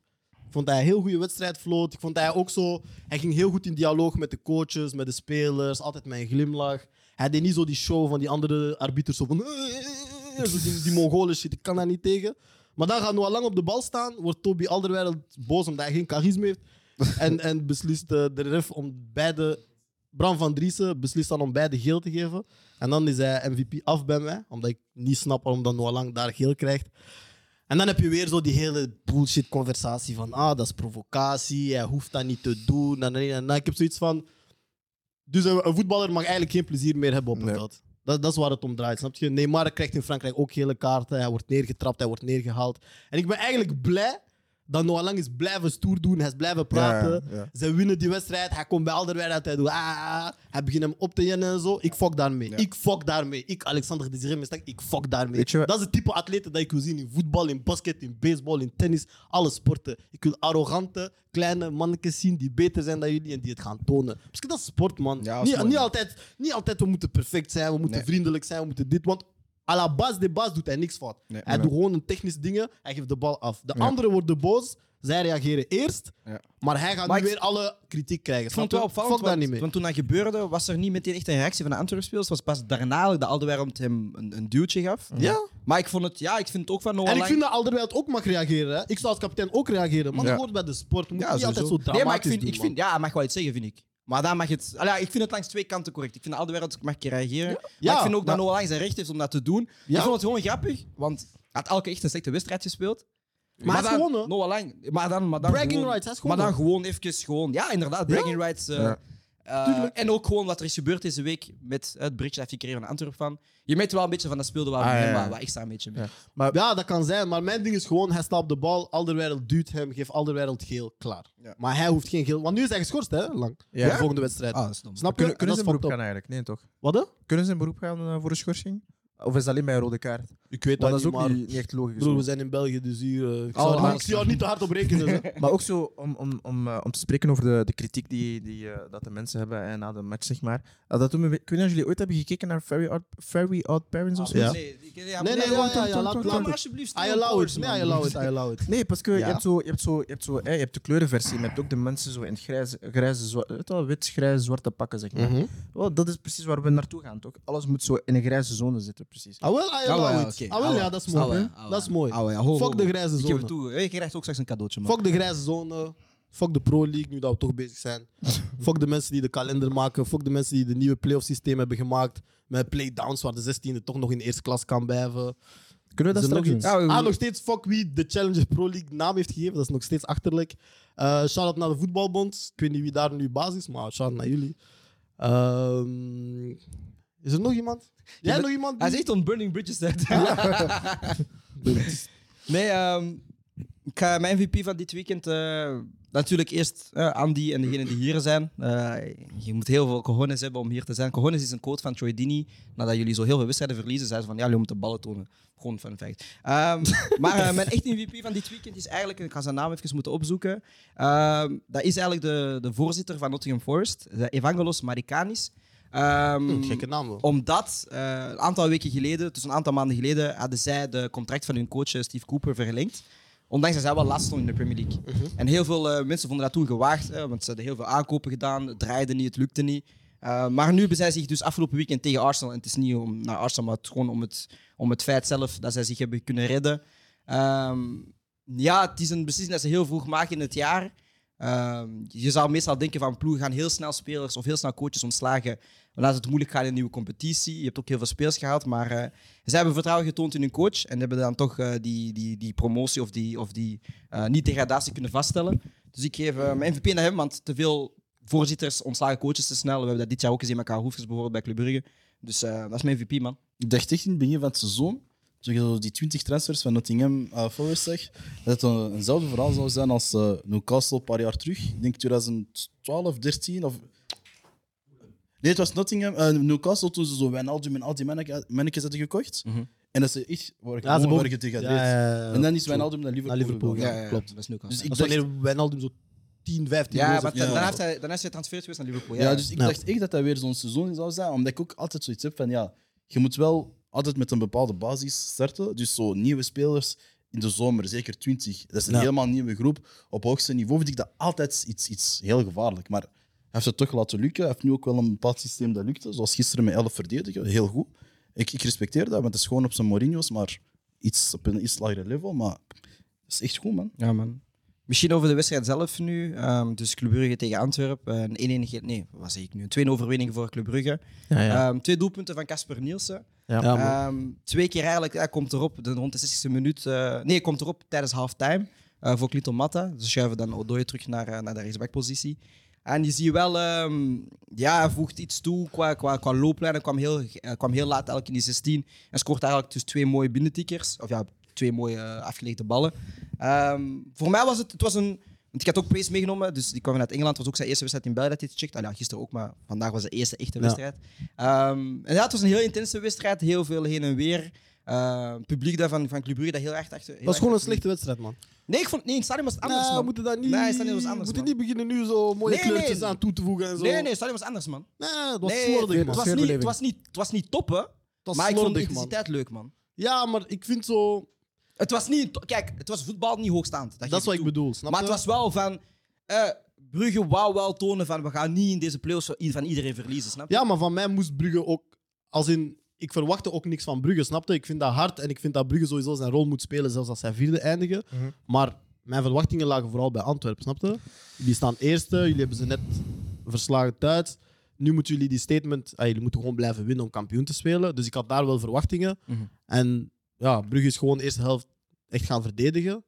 Speaker 3: Ik vond dat hij een heel goede wedstrijd vloot. Ik vond dat hij ook zo. Hij ging heel goed in dialoog met de coaches, met de spelers. Altijd met een glimlach. Hij deed niet zo die show van die andere arbiters. Zo van. "Eh, zo die, die Mongolen shit, ik kan daar niet tegen. Maar dan gaat Noah Lang op de bal staan. Wordt Toby Alderweireld boos omdat hij geen charisma heeft. En, en beslist eh, de ref om beide. Bram van Driessen beslist dan om beide geel te geven. En dan is hij MVP af bij mij. Omdat ik niet snap waarom dan Noah Lang daar geel krijgt. En dan heb je weer zo die hele bullshit conversatie van ah, dat is provocatie, hij hoeft dat niet te doen. En, en, en, en ik heb zoiets van. Dus een, een voetballer mag eigenlijk geen plezier meer hebben op het
Speaker 5: Nee.
Speaker 3: veld. Dat, dat is waar het om draait, snap je? Neymar krijgt in Frankrijk ook gele kaarten. Hij wordt neergetrapt, hij wordt neergehaald. En ik ben eigenlijk blij dat Noah Lang is blijven stoer doen. Hij is blijven praten.
Speaker 5: Ja, ja.
Speaker 3: Ze winnen die wedstrijd. Hij komt bij Alderweireld. Hij doet ah, ah, ah. Hij begint hem op te jennen en zo. Ik fuck daarmee. Ik fuck daarmee. Ik, Alexander Desiree Mestak, ik fuck daarmee.
Speaker 5: Weet je wat-
Speaker 3: Dat is het type atleten dat ik wil zien in voetbal, in basket, in baseball, in tennis. Alle sporten. Ik wil arrogante, kleine mannetjes zien die beter zijn dan jullie en die het gaan tonen. Misschien dat is sport, man.
Speaker 6: Ja, dat is
Speaker 3: niet,
Speaker 6: mooi,
Speaker 3: niet,
Speaker 6: man.
Speaker 3: altijd, niet altijd we moeten perfect zijn, we moeten
Speaker 6: Nee.
Speaker 3: vriendelijk zijn, we moeten dit. Want à la base de baas doet hij niks fout.
Speaker 6: Nee.
Speaker 3: hij doet gewoon een technisch dingen, hij geeft de bal af. De anderen worden boos, zij reageren eerst.
Speaker 6: Ja.
Speaker 3: Maar hij gaat
Speaker 6: Maar
Speaker 3: nu
Speaker 6: ik-
Speaker 3: weer alle kritiek krijgen.
Speaker 6: Ik vond
Speaker 3: snap
Speaker 6: het wel
Speaker 3: je?
Speaker 6: opvallend,
Speaker 3: Fuck daar
Speaker 6: want,
Speaker 3: niet mee.
Speaker 6: want toen dat gebeurde, was er niet meteen echt een reactie van de Antwerp-spelers. Het was pas daarna dat Alderweireld hem een, een duwtje gaf.
Speaker 3: Ja.
Speaker 6: Maar ik vond het, ja, ik vind het ook van Noah
Speaker 3: En ik
Speaker 6: Lang-
Speaker 3: vind dat Alderweireld ook mag reageren. Hè. Ik zou als kapitein ook reageren. Maar dat hoort bij de sport. Je moet niet altijd zo
Speaker 6: sowieso.
Speaker 3: dramatisch
Speaker 6: Nee, maar ik vind,
Speaker 3: doen,
Speaker 6: ik vind, ja, hij mag wel iets zeggen, vind ik. Maar dan mag het, allee, ik vind het langs twee kanten correct. Ik vind dat Alderweireld mag een keer reageren. Maar
Speaker 3: Ja,
Speaker 6: ik vind ook
Speaker 3: maar-
Speaker 6: dat Noah Lang zijn recht heeft om dat te doen.
Speaker 3: Ja.
Speaker 6: Ik vond het gewoon grappig, want hij had elke echt een slechte wedstrijd gespeeld.
Speaker 3: Maar hij is
Speaker 6: dan-
Speaker 3: gewonnen.
Speaker 6: Noah Lang. Maar dan, maar dan
Speaker 3: Bragging
Speaker 6: gewoon,
Speaker 3: rights, hij is
Speaker 6: Maar dan
Speaker 3: gewonnen.
Speaker 6: gewoon even gewoon... Ja, inderdaad, bragging rights. eh,
Speaker 5: Ja.
Speaker 6: eh, en ook gewoon wat er is gebeurd deze week met het berichtje dat ik kreeg van Antwerp van. Je merkt wel een beetje van dat speelde waar we
Speaker 5: Ah,
Speaker 6: hem,
Speaker 5: ja, ja.
Speaker 6: maar waar ik sta een beetje mee.
Speaker 5: Ja.
Speaker 3: man. Ja, dat kan zijn. Maar mijn ding is gewoon, hij staat op de bal. Alderweireld duwt hem. Geeft Alderweireld geel. Klaar.
Speaker 6: Ja.
Speaker 3: Maar hij hoeft geen geel. Want nu is hij geschorst, hè? Lang.
Speaker 5: Ja.
Speaker 3: Voor de volgende wedstrijd.
Speaker 6: Ah,
Speaker 3: Snap
Speaker 6: stom.
Speaker 3: je?
Speaker 5: Kunnen,
Speaker 3: En
Speaker 5: kunnen
Speaker 3: dat
Speaker 5: ze in
Speaker 3: is
Speaker 5: beroep
Speaker 3: fucked
Speaker 5: gaan
Speaker 3: up.
Speaker 5: eigenlijk? Nee, toch?
Speaker 3: Wat? hè?
Speaker 5: Kunnen ze in beroep gaan eh, voor een schorsing? Of is dat alleen bij een rode kaart?
Speaker 3: Ik weet dat,
Speaker 5: Want dat is
Speaker 3: niet,
Speaker 5: ook
Speaker 3: maar...
Speaker 5: niet, niet echt logisch.
Speaker 3: Broer,
Speaker 5: hoor.
Speaker 3: we zijn in België, dus hier... eh, ik,
Speaker 6: Oh,
Speaker 3: zou,
Speaker 6: maar-
Speaker 3: ik zie jou niet te hard op *laughs* rekenen. hè.
Speaker 5: Maar ook zo om, om, om, eh, om te spreken over de, de kritiek die, die, eh, dat de mensen hebben eh, na de match, zeg maar. Eh, dat doet me, ik weet niet of jullie ooit hebben gekeken naar Very Odd, Very Odd Parents of zo.
Speaker 3: Ja.
Speaker 6: Nee, ik- Ah, ja,
Speaker 3: Nee, nee,
Speaker 6: maar-
Speaker 3: ja, ja, ja, laat- Ah,
Speaker 6: Laat
Speaker 3: laat-
Speaker 6: maar alsjeblieft.
Speaker 3: I allow it.
Speaker 6: man.
Speaker 3: Nee, I allow it. I allow it.
Speaker 5: Nee, parce que je
Speaker 3: Ja.
Speaker 5: hebt zo, je hebt zo, je hebt zo, eh, je hebt de kleurenversie, maar je hebt ook de mensen zo in het grijze, grijze zwa- weet je wel, wit, grijs, zwarte pakken, zeg maar.
Speaker 3: Mhm.
Speaker 5: Wel, dat is precies waar we naartoe gaan, toch? Alles moet zo in een grijze zone zitten, precies.
Speaker 3: Ah, wel, I allow it.
Speaker 6: oké.
Speaker 3: Ah, wel, ja, dat is mooi.
Speaker 6: Ah, wel,
Speaker 3: hè.
Speaker 6: ah, wel.
Speaker 3: Dat is mooi.
Speaker 6: Ah, wel, ja, ho, ho,
Speaker 3: Fuck de
Speaker 6: ho.
Speaker 3: grijze
Speaker 6: Ik heb
Speaker 3: zone.
Speaker 6: het toe. Je krijgt ook straks een cadeautje, man.
Speaker 3: Fuck de grijze zone. Fuck de Pro League, nu dat we toch bezig zijn. Fuck de mensen die de kalender maken. Fuck de mensen die de nieuwe playoff systeem hebben gemaakt. Met playdowns waar de 16e toch nog in eerste klas kan blijven.
Speaker 5: Kunnen we
Speaker 3: Is er
Speaker 5: dat
Speaker 3: nog
Speaker 5: straks doen?
Speaker 3: iets? Ah, nog steeds fuck wie de Challenger Pro League naam heeft gegeven. Dat is nog steeds achterlijk. Eh shout-out naar de voetbalbond. Ik weet niet wie daar nu baas is, maar shout-out naar jullie. Ehm, is er nog iemand? Jij
Speaker 6: bent- Ah,
Speaker 3: nog iemand?
Speaker 6: Hij
Speaker 3: die-
Speaker 6: zegt on Burning Bridges. zegt.
Speaker 3: *laughs*
Speaker 6: nee, ehm, ik ga mijn MVP van dit weekend eh, natuurlijk eerst eh, Andy en degenen die hier zijn. Eh, je moet heel veel cojones hebben om hier te zijn. Cojones is een quote van Troy Dini. Nadat jullie zo heel veel wedstrijden verliezen, zei ze van ja, jullie moeten ballen tonen. Gewoon fun fact. Ehm, maar eh, mijn echte MVP van dit weekend is eigenlijk, ik ga zijn naam even moeten opzoeken. Ehm, dat is eigenlijk de, de voorzitter van Nottingham Forest, eh, Evangelos Marikanis. Ehm,
Speaker 3: Hm, gekke naam wel.
Speaker 6: omdat eh, een aantal weken geleden, dus een aantal maanden geleden, hadden zij de contract van hun coach eh, Steve Cooper verlengd. Ondanks dat zij wel last stond in de Premier League. En heel veel eh, mensen vonden dat toen gewaagd, eh, want ze hadden heel veel aankopen gedaan, het draaide niet, het lukte niet. Eh, maar nu hebben zij zich dus afgelopen weekend tegen Arsenal, en het is niet om naar Arsenal, maar het, gewoon om het, om het feit zelf dat zij zich hebben kunnen redden. Ehm, ja, het is een beslissing dat ze heel vroeg maken in het jaar. Ehm, je zou meestal denken van ploegen gaan heel snel spelers of heel snel coaches ontslagen. Laat het moeilijk gaan in een nieuwe competitie. Je hebt ook heel veel spelers gehaald, maar eh zij hebben vertrouwen getoond in hun coach en hebben dan toch eh, die, die, die promotie of die, of die eh, niet-degradatie kunnen vaststellen. Dus ik geef eh, mijn MVP naar hem, want te veel voorzitters ontslagen coaches te snel. We hebben dat dit jaar ook gezien met elkaar Hoefkes bijvoorbeeld bij Club Brugge. Dus eh, dat is mijn MVP, man.
Speaker 2: Ik dacht echt in het begin van het seizoen, toen je zo die 20 transfers van Nottingham eh, Forest zag, dat het een, eenzelfde verhaal zou zijn als eh, Newcastle een paar jaar terug. Ik denk 2012, 13 of... Nee, het was Nottingham, eh, Newcastle toen ze zo Wijnaldum en al die manneke- mannetjes hadden gekocht. En dat ze echt waar ik
Speaker 3: Ja, ze
Speaker 2: morgen
Speaker 3: mogen-
Speaker 2: tegen
Speaker 3: Ja, ja, ja, ja.
Speaker 2: En dan is Wijnaldum naar Liverpool,
Speaker 3: Naar Liverpool,
Speaker 2: gegaan.
Speaker 3: ja. klopt.
Speaker 6: Dat is nu
Speaker 2: Dus ik
Speaker 3: Dat is
Speaker 2: dacht-
Speaker 3: wanneer Wijnaldum zo 10, 15
Speaker 6: Ja,
Speaker 3: goals
Speaker 6: maar
Speaker 3: heeft.
Speaker 2: ja.
Speaker 6: dan daarna heeft hij, daarna is hij transfer geweest naar Liverpool.
Speaker 2: Ja, dus ik
Speaker 3: Ja.
Speaker 2: dacht echt dat dat weer zo'n seizoen zou zijn, omdat ik ook altijd zoiets heb van ja, je moet wel altijd met een bepaalde basis starten. Dus zo nieuwe spelers in de zomer, zeker 20. Dat is een
Speaker 3: Ja.
Speaker 2: helemaal nieuwe groep. Op hoogste niveau vind ik dat altijd iets, iets heel gevaarlijk. Maar hij heeft het toch laten lukken. Hij heeft nu ook wel een bepaald systeem dat lukte, zoals gisteren met 11 verdedigen. Heel goed. Ik, ik respecteer dat, want het is gewoon op zijn Mourinho's, maar iets op een iets lagere level. Maar dat is echt goed, man.
Speaker 6: Ja, man. Misschien over de wedstrijd zelf nu. Ehm, dus Club Brugge tegen Antwerpen. eh, Een 1 ge- nee, wat zeg ik nu? Een 2-0 overwinning voor Club Brugge. Ehm, twee doelpunten van Casper Nielsen.
Speaker 3: Ja, man.
Speaker 6: Ehm, twee keer eigenlijk, hij komt erop de, rond de 60e minuut. eh, nee, hij komt erop tijdens halftime eh, voor Clito Matta. Ze schuiven dan Odoi terug naar, eh, naar de rechtsbackpositie. En je ziet wel, ehm, ja, hij voegt iets toe qua, qua, qua looplijn. Hij kwam heel, hij kwam heel laat eigenlijk in die 16 en scoort eigenlijk dus twee mooie binnentikkers. Of ja, twee mooie eh, afgelegde ballen. Ehm, voor mij was het, het was een... Want ik had ook Praise meegenomen, dus die kwam uit Engeland. was ook zijn eerste wedstrijd in België dat hij het checkt. Ah, ja, gisteren ook, maar vandaag was de eerste echte wedstrijd. Ehm, en ja, het was een heel intense wedstrijd. Heel veel heen en weer. Eh, het publiek daar van, van Club Brugge dat heel erg achter... heel
Speaker 3: Dat is
Speaker 6: erg
Speaker 3: gewoon een
Speaker 6: achter-
Speaker 3: slechte wedstrijd, man.
Speaker 6: Nee, ik vond, nee, in het stadion was het anders,
Speaker 3: nee, Ah, we
Speaker 6: man.
Speaker 3: moeten dat niet,
Speaker 6: Nee, het stadion was
Speaker 3: we
Speaker 6: anders,
Speaker 3: moeten
Speaker 6: man.
Speaker 3: niet beginnen nu zo mooie
Speaker 6: Nee,
Speaker 3: kleurtjes
Speaker 6: nee.
Speaker 3: aan toe te voegen en zo.
Speaker 6: Nee, nee, het stadion was anders, man.
Speaker 3: Nee, het was
Speaker 6: nee,
Speaker 3: slordig, man.
Speaker 6: Het was, niet,
Speaker 5: Sfeerbeleving.
Speaker 6: het, was niet, het was niet top, hè.
Speaker 3: was
Speaker 6: maar ik vond de
Speaker 3: slordig, man.
Speaker 6: intensiteit leuk, man.
Speaker 3: Ja, maar ik vind zo...
Speaker 6: Het was niet... to- Kijk, het was voetbal niet hoogstaand. Dat,
Speaker 3: Dat
Speaker 6: geef
Speaker 3: is wat ik
Speaker 6: toe.
Speaker 3: bedoel, snap
Speaker 6: Maar
Speaker 3: je?
Speaker 6: het was wel van... eh, Brugge wou wel tonen van... We gaan niet in deze playoffs van i- van iedereen verliezen, snap je?
Speaker 3: Ja, maar van mij moest Brugge ook... Als in, ik verwachtte ook niks van Brugge, snapte? Ik vind dat hard en ik vind dat Brugge sowieso zijn rol moet spelen, zelfs als zij vierde eindigen. Maar mijn verwachtingen lagen vooral bij Antwerpen, snapte? Jullie staan eerste, jullie hebben ze net verslagen thuis. Nu moeten jullie die statement... ah, jullie moeten gewoon blijven winnen om kampioen te spelen. Dus ik had daar wel verwachtingen.
Speaker 6: Mhm.
Speaker 3: En ja, Brugge is gewoon de eerste helft echt gaan verdedigen.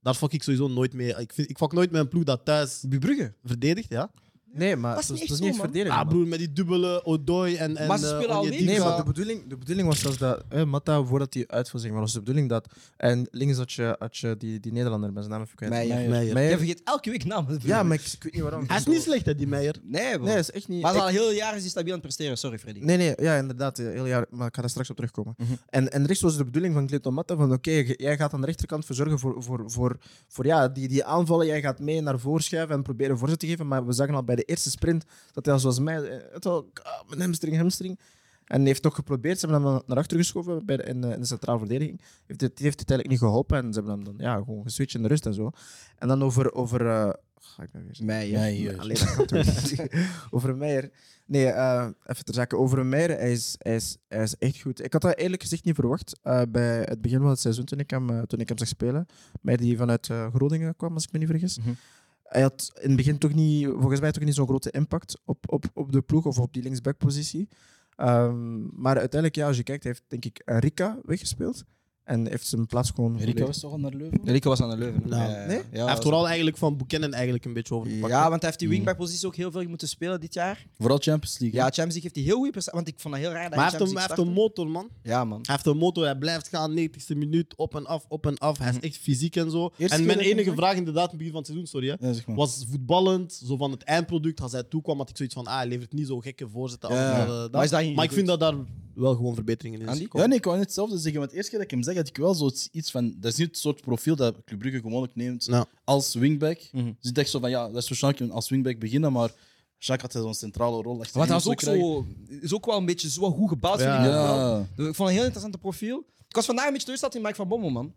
Speaker 3: Daar fuck ik sowieso nooit mee. Ik, vind, ik fuck nooit met een ploeg dat
Speaker 5: Ah,
Speaker 3: thuis
Speaker 6: Bij Brugge.
Speaker 3: verdedigt, ja.
Speaker 5: Nee, maar
Speaker 6: Was
Speaker 5: het was, het
Speaker 6: niet
Speaker 5: was
Speaker 6: echt
Speaker 5: niet echt
Speaker 6: zo,
Speaker 5: verdedigend.
Speaker 6: man.
Speaker 3: Ah,
Speaker 5: man.
Speaker 3: broer, met die dubbele Odoi en, en
Speaker 6: Maar ze
Speaker 3: eh,
Speaker 6: spelen al
Speaker 3: Onyedika.
Speaker 6: weken.
Speaker 5: Nee, maar de bedoeling, de bedoeling was zelfs dat eh, Matta, voordat hij uitviel, zeg maar, was de bedoeling dat. En links had je, had je die, die Nederlander, ik ben zijn naam even kwijt.
Speaker 6: Meijer.
Speaker 3: Meijer.
Speaker 6: Je vergeet elke week namen.
Speaker 5: Ja, maar ik, ik weet niet waarom.
Speaker 3: Hij is niet slecht, hè, die Meijer.
Speaker 6: Nee, bro.
Speaker 5: Nee, is echt niet.
Speaker 6: maar
Speaker 5: ik-
Speaker 6: ze al heel jaren is hij stabiel aan het presteren. Sorry, Freddy.
Speaker 5: Nee, nee, ja, inderdaad. eh, Heel jaar, maar ik ga daar straks op terugkomen.
Speaker 6: Mhm.
Speaker 5: En, en rechts was de bedoeling van Clinton Matta van oké, ge- jij gaat aan de rechterkant verzorgen voor, voor, voor, voor ja, die, die aanvallen. Jij gaat mee naar voren schuiven en proberen voorzet te geven. Maar we zagen al bij de eerste sprint dat hij al zoals mij, eh, het al, ah, mijn hamstring, hamstring. En hij heeft nog geprobeerd, ze hebben hem dan naar achter geschoven bij de, in, eh, in de centrale verdediging. Heeft het, heeft het eigenlijk niet geholpen en ze hebben hem dan ja, gewoon geswitcht in de rust en zo. En dan over... over eh, ga ik ben weer
Speaker 6: Meijer.
Speaker 2: Meijer.
Speaker 5: Alleen dat kan toch niet. *laughs* Over Meijer. Nee, eh, even ter zake. Over Meijer, hij is, hij, is, hij is echt goed. Ik had dat eerlijk gezegd niet verwacht eh, bij het begin van het seizoen toen ik hem, eh, toen ik hem zag spelen. Meijer die vanuit eh, Groningen kwam, als ik me niet vergis.
Speaker 6: Mhm.
Speaker 5: Eh, Hij had in het begin toch niet, volgens mij toch niet zo'n grote impact op, op, op de ploeg of op die linksbackpositie. Ehm, maar uiteindelijk, ja, als je kijkt, hij heeft denk ik Rika weggespeeld. En heeft zijn plaats gewoon...
Speaker 2: Rico was toch al naar Leuven?
Speaker 6: Rico was aan de Leuven.
Speaker 3: Nou,
Speaker 6: Ja, ja,
Speaker 5: nee?
Speaker 6: ja. Ja,
Speaker 3: Hij heeft vooral eigenlijk van Buchanan eigenlijk een beetje overgepakt.
Speaker 6: Ja, want hij heeft die wingback-positie ook heel veel moeten spelen dit jaar.
Speaker 2: Vooral Champions League.
Speaker 6: Ja,
Speaker 2: hè?
Speaker 6: Champions League heeft hij heel goede prestaties. Want ik vond dat heel raar dat
Speaker 3: maar hij heeft,
Speaker 6: Champions
Speaker 3: een, hij heeft een
Speaker 6: League
Speaker 3: motor, man.
Speaker 6: startte. Ja, man.
Speaker 3: Hij heeft een motor, hij blijft gaan, 90ste minuut, op en af, op en af. Hij is echt fysiek en zo.
Speaker 2: Eerste
Speaker 3: en mijn
Speaker 2: keer dat
Speaker 3: enige
Speaker 2: ik-
Speaker 3: vraag inderdaad, in het begin van het seizoen, sorry hè,
Speaker 2: Ja, zeg maar.
Speaker 3: was voetballend, zo van het eindproduct. Als hij toekwam, had ik zoiets van, ah, hij levert niet zo gekke voorzetten. als,
Speaker 6: Ja.
Speaker 3: eh, dat.
Speaker 6: Maar is dat hier
Speaker 3: maar ik
Speaker 6: goed?
Speaker 3: vind dat daar wel gewoon verbeteringen in is.
Speaker 6: Andy?
Speaker 2: Ja, nee, ik wou net hetzelfde zeggen. Want de eerste keer dat ik hem zeg, had ik wel zoiets van... Dat is niet het soort profiel dat Club Brugge gewoonlijk neemt
Speaker 3: Ja.
Speaker 2: als wingback. Dus ik dacht zo van, ja, dat is waarschijnlijk als wingback beginnen, maar Jacques had zo'n centrale rol. achter
Speaker 6: Want
Speaker 2: de
Speaker 6: hij is ook,
Speaker 2: krijgen.
Speaker 6: zo, is ook wel een beetje zo goed gebouwd.
Speaker 3: Ja.
Speaker 6: vind ik ook wel.
Speaker 2: Ja.
Speaker 6: Dus Ik vond het een heel interessant profiel. Ik was vandaag een beetje teleurgesteld in Mike van Bommel, man.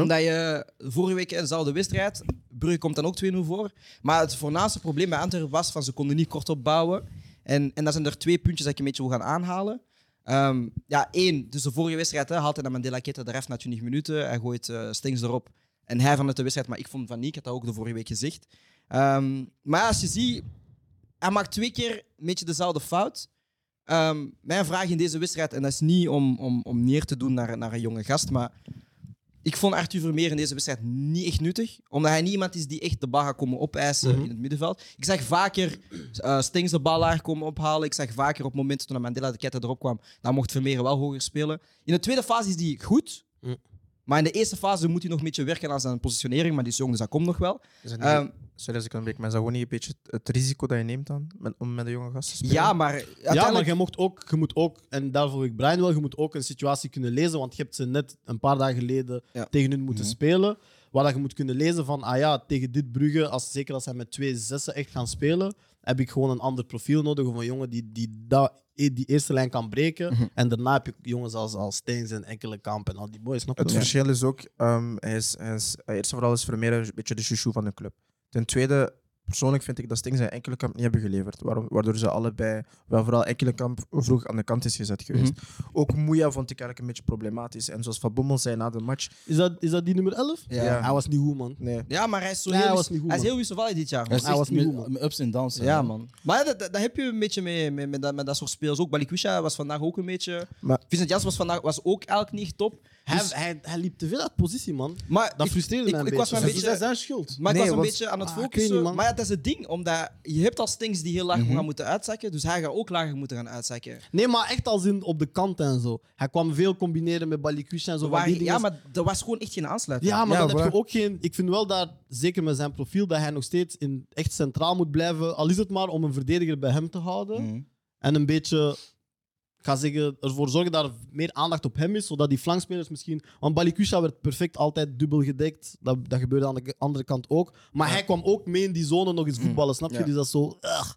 Speaker 6: Omdat je vorige week eh, zou de wedstrijd, Brugge komt dan ook 2-0 voor. Maar het voornaamste probleem bij Antwerpen was van ze konden niet kort opbouwen. En, en dat zijn er twee puntjes dat ik een beetje wil gaan aanhalen. Ehm, ja, één, dus de vorige wedstrijd hè, haalt hij dan Mandela Keta eraf na 20 minuten. Hij gooit eh Stings erop en hij vanuit de wedstrijd. Maar ik vond van niet, ik had dat ook de vorige week gezegd. Ehm, maar als je ziet, hij maakt twee keer een beetje dezelfde fout. Ehm, mijn vraag in deze wedstrijd, en dat is niet om, om, om neer te doen naar, naar een jonge gast, maar ik vond Arthur Vermeer in deze wedstrijd niet echt nuttig. Omdat hij niet iemand is die echt de bal gaat komen opeisen
Speaker 3: Mhm.
Speaker 6: in het middenveld. Ik zag vaker eh Stings de bal laag komen ophalen. Ik zag vaker op momenten toen Mandela de kette erop kwam, dan mocht Vermeer wel hoger spelen. In de tweede fase is hij goed.
Speaker 3: Mhm.
Speaker 6: Maar in de eerste fase moet hij nog een beetje werken aan zijn positionering. Maar die is jong, dus dat komt nog wel.
Speaker 5: Is dat niet-
Speaker 6: Ehm,
Speaker 5: sorry als ik ontbreek, maar is dat gewoon niet een beetje het- het risico dat je neemt dan met, om met een jonge gast te spelen?
Speaker 6: ja, maar
Speaker 3: Ja,
Speaker 6: uiteindelijk...
Speaker 3: maar je, mocht ook, je moet ook, en daarvoor wil ik Brian wel, je moet ook een situatie kunnen lezen. Want je hebt ze net een paar dagen geleden
Speaker 6: Ja.
Speaker 3: tegen hun
Speaker 5: Mhm.
Speaker 3: moeten spelen. Waar dat je moet kunnen lezen van, ah ja, tegen dit Brugge, als, zeker als zij met twee zessen echt gaan spelen, heb ik gewoon een ander profiel nodig. Of een jongen die die, dat- eh, die eerste lijn kan breken.
Speaker 5: Mhm.
Speaker 3: En daarna heb je jongens als, als Steens en Enkelenkamp en al die boys. Snap je
Speaker 5: Het
Speaker 3: wel?
Speaker 5: verschil is ook, ehm, hij is, hij is, eh, eerst en vooral is Vermeer een beetje de chouchou van de club. Ten tweede, persoonlijk vind ik dat Sting zijn enkele kamp niet hebben geleverd. Waarom, waardoor ze allebei, wel vooral enkele kamp, vroeg aan de kant is gezet geweest. Ook Moeja vond ik eigenlijk een beetje problematisch. En zoals Van Bommel zei na de match,
Speaker 3: Is, dat, is dat die nummer 11?
Speaker 6: Ja.
Speaker 5: Ja.
Speaker 3: Hij was niet goed, man.
Speaker 5: nee.
Speaker 6: Ja, maar hij is zo
Speaker 3: Nee,
Speaker 6: heel,
Speaker 3: hij
Speaker 6: wis-
Speaker 3: was niet goed,
Speaker 6: hij is
Speaker 3: man.
Speaker 6: heel wisselvallig dit jaar.
Speaker 2: Hij
Speaker 6: Man.
Speaker 2: is
Speaker 3: Hij was
Speaker 2: echt
Speaker 3: niet
Speaker 2: met-
Speaker 3: goed,
Speaker 2: met ups en downs. hè.
Speaker 6: Ja, man. Maar ja, dat, dat, dat heb je een beetje mee, met, met, dat, met dat soort spelers ook. Balikwisha was vandaag ook een beetje...
Speaker 5: Maar-
Speaker 6: Vincent Jans was vandaag was ook eigenlijk niet top.
Speaker 3: Hij,
Speaker 6: Dus-
Speaker 3: hij, hij liep te veel uit positie, man.
Speaker 6: maar
Speaker 3: Dat
Speaker 6: ik-
Speaker 3: frustreerde
Speaker 6: ik,
Speaker 3: mij een
Speaker 6: ik was
Speaker 3: beetje.
Speaker 6: maar
Speaker 2: Dus
Speaker 6: een
Speaker 2: is dat
Speaker 6: beetje...
Speaker 2: zijn schuld?
Speaker 6: Maar ik
Speaker 5: Nee,
Speaker 6: was een
Speaker 5: want-
Speaker 6: beetje aan het
Speaker 3: Ah, ik weet
Speaker 6: focussen.
Speaker 3: niet, man.
Speaker 6: maar ja, dat is het ding, omdat je hebt al Stings die heel laag gaan moeten uitzakken, dus hij gaat ook lager moeten gaan uitzakken.
Speaker 3: Nee, maar echt als in op de kant en zo. Hij kwam veel combineren met Balikwisha en zo. van
Speaker 6: Waar-
Speaker 3: die dingen.
Speaker 6: ja, maar er was gewoon echt geen aansluiting.
Speaker 3: Ja, maar
Speaker 5: Ja,
Speaker 3: dan heb
Speaker 5: waar.
Speaker 3: je ook geen... Ik vind wel daar, zeker met zijn profiel, dat hij nog steeds in, echt centraal moet blijven. Al is het maar om een verdediger bij hem te houden.
Speaker 2: Mhm.
Speaker 3: En een beetje, ik ga zeggen, ervoor zorgen dat er meer aandacht op hem is. Zodat die flankspelers misschien... Want Balikusha werd perfect altijd dubbel gedekt. Dat, dat gebeurde aan de k- andere kant ook. Maar hij kwam ook mee in die zone nog eens
Speaker 6: Mhm.
Speaker 3: voetballen. Snap je?
Speaker 2: Ja.
Speaker 3: Dus dat is zo... ugh.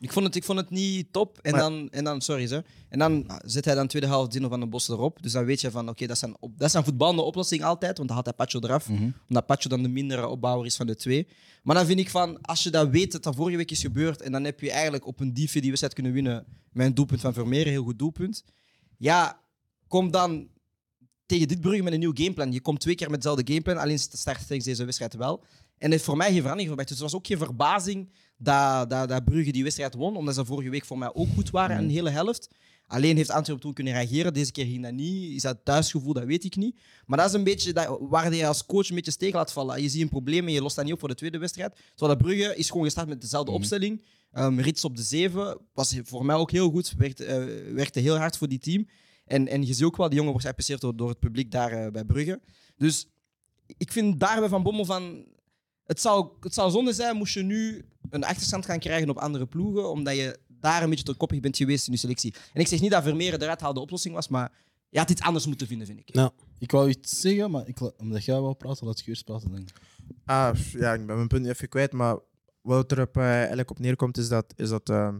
Speaker 6: Ik vond het, ik vond het niet top. En,
Speaker 5: Maar-
Speaker 6: dan, en dan, sorry ze. En dan zet hij dan tweede helft Dino van den Bos erop. Dus dan weet je van, oké, dat zijn, op- dat zijn voetballende oplossingen altijd. Want dan haalt hij Pacho eraf. Omdat Pacho dan de mindere opbouwer is van de twee. Maar dan vind ik van, als je dat weet dat dat vorige week is gebeurd. En dan heb je eigenlijk op een diefje die wedstrijd kunnen winnen. Met een doelpunt van Vermeer, een heel goed doelpunt. Ja, kom dan tegen dit Brugge met een nieuw gameplan. Je komt twee keer met hetzelfde gameplan. Alleen start tegen deze wedstrijd wel. En het heeft voor mij geen verandering gebracht. Dus het was ook geen verbazing dat, dat, dat Brugge die wedstrijd won, omdat ze vorige week voor mij ook goed waren, een hele helft. Alleen heeft Antwerpen toen kunnen reageren. Deze keer ging dat niet. Is dat thuisgevoel? Dat weet ik niet. Maar dat is een beetje dat, waar je als coach een beetje steek laat vallen. Je ziet een probleem en je lost dat niet op voor de tweede wedstrijd. Terwijl dat Brugge is gewoon gestart met dezelfde opstelling. Ehm, Rits op de zeven was voor mij ook heel goed. Werkte, eh, werkte heel hard voor die team. En, en je ziet ook wel, die jongen wordt geapprecieerd door, door het publiek daar eh, bij Brugge. Dus ik vind daarbij van Bommel van. Het zou, het zou zonde zijn moest je nu een achterstand gaan krijgen op andere ploegen, omdat je daar een beetje te koppig bent geweest in je selectie. En ik zeg niet dat Vermeer eruit haalde oplossing was, maar je had iets anders moeten vinden, vind ik.
Speaker 2: Ik wou iets zeggen, maar ik, la- omdat jij wou praten, laat ik eerst praten. Denk. ik.
Speaker 5: Ah, pff, ja, ik ben mijn punt even kwijt, maar wat er op, eh, eigenlijk op neerkomt is dat... Is dat ehm,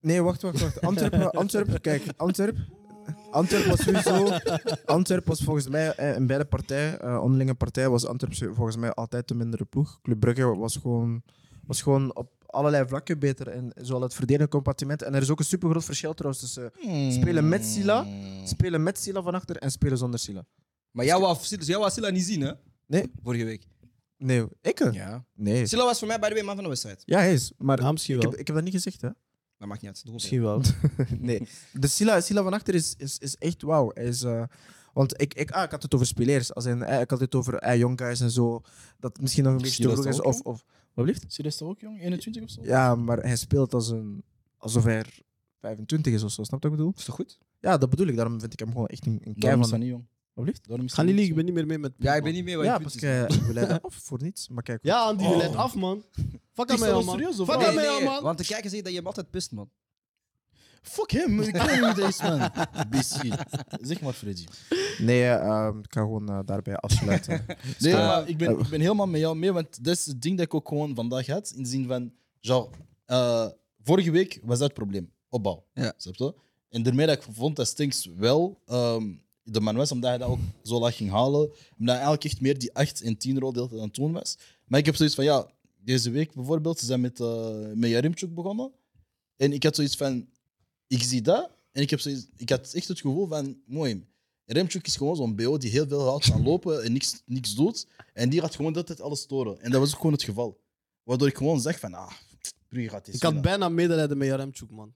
Speaker 5: Nee, wacht, wacht, wacht. Antwerpen, Antwerpen kijk, Antwerpen... Antwerpen was sowieso... Antwerpen was volgens mij eh, in beide partijen, eh, onderlinge partijen, was Antwerpen volgens mij altijd de mindere ploeg. Club Brugge was gewoon, was gewoon op allerlei vlakken beter, in, zowel het verdedigende compartiment. En er is ook een supergroot verschil trouwens tussen
Speaker 2: Oh.
Speaker 5: spelen met Sila, spelen met Sila van achter en spelen zonder Sila.
Speaker 6: Maar jij wou, Sil- jij wou Silla niet zien, hè?
Speaker 5: Nee.
Speaker 6: Vorige week.
Speaker 5: Nee, ik?
Speaker 2: Ja.
Speaker 5: Nee.
Speaker 6: Silla was voor mij, by the way, man van de wedstrijd.
Speaker 5: Ja, hij is. Maar
Speaker 3: Ja, misschien
Speaker 5: ik,
Speaker 3: wel.
Speaker 5: heb, ik heb dat niet gezegd, hè?
Speaker 6: Dat maakt niet uit. Doe ons
Speaker 5: Misschien wel. nee. De Sila, Sila van achter is, is, is echt wauw. Hij is, eh, want ik, ik, ah, ik had het over spelers. Als in, eh, ik had het over eh, young guys en zo. Dat het misschien nog een beetje
Speaker 2: Sila
Speaker 5: te
Speaker 2: is
Speaker 5: vroeg is.
Speaker 2: dat ook
Speaker 5: Of, of, wat blieft?
Speaker 2: Zie je dat ook, jong? 21 of zo?
Speaker 5: Ja, maar hij speelt als een, alsof hij er 25 is of zo. Snap je wat ik bedoel?
Speaker 6: Is toch goed?
Speaker 5: Ja, dat bedoel ik. Daarom vind ik hem gewoon echt een, een kei
Speaker 2: Daarom is
Speaker 5: van-
Speaker 2: dat niet, jong.
Speaker 5: Wat blieft?
Speaker 2: Daarom is
Speaker 3: Ga
Speaker 2: dat
Speaker 3: niet liegen,
Speaker 2: zo.
Speaker 3: ik ben niet meer mee met.
Speaker 6: Ja, ik ben niet mee. wat je
Speaker 5: Ja,
Speaker 6: punt
Speaker 5: want
Speaker 6: is.
Speaker 5: eh, we
Speaker 6: *laughs*
Speaker 5: leiden af voor niets. Maar kijk,
Speaker 3: Ja, Andy, je
Speaker 2: Oh.
Speaker 3: leidt af, man. Fuck aan
Speaker 2: Is
Speaker 3: mij,
Speaker 2: dat
Speaker 3: al,
Speaker 2: wel
Speaker 3: man.
Speaker 2: serieus, of
Speaker 3: Fuck
Speaker 2: wat?
Speaker 3: aan
Speaker 6: Nee,
Speaker 3: mij, al,
Speaker 6: nee,
Speaker 3: man.
Speaker 6: want de kijkers zeggen dat je hem altijd pist, man.
Speaker 2: Fuck hem, ik weet niet wie dat is, man. *laughs* BC. Zeg maar, Freddy.
Speaker 5: nee, eh, ehm, ik ga gewoon eh, daarbij
Speaker 6: *laughs*
Speaker 5: afsluiten. Dus,
Speaker 2: Nee,
Speaker 6: Eh,
Speaker 2: maar ik ben, ik ben helemaal met jou mee, want dat is het ding dat ik ook gewoon vandaag had. In de zin van, genre, eh, vorige week was dat het probleem. Opbouw.
Speaker 6: Ja.
Speaker 2: Snap je? En daarmee dat ik vond dat Stinks wel ehm, de man was, omdat hij dat ook zo laag ging halen. Omdat hij eigenlijk echt meer die 8 en 10 rol deelt dan het toen was. Maar ik heb zoiets van, ja, deze week bijvoorbeeld, ze zijn met, eh met Jarimchuk begonnen. En ik had zoiets van, ik zie dat. En ik, heb zoiets, ik had echt het gevoel van, mooi, Remchuk is gewoon zo'n BO die heel veel houdt van lopen en niks, niks doet. En die gaat gewoon dat het alles storen. En dat was ook gewoon het geval. Waardoor ik gewoon zeg van, ah, Brugge gaat dit
Speaker 3: Ik had
Speaker 2: winnen.
Speaker 3: bijna medelijden met Jaremchuk, man.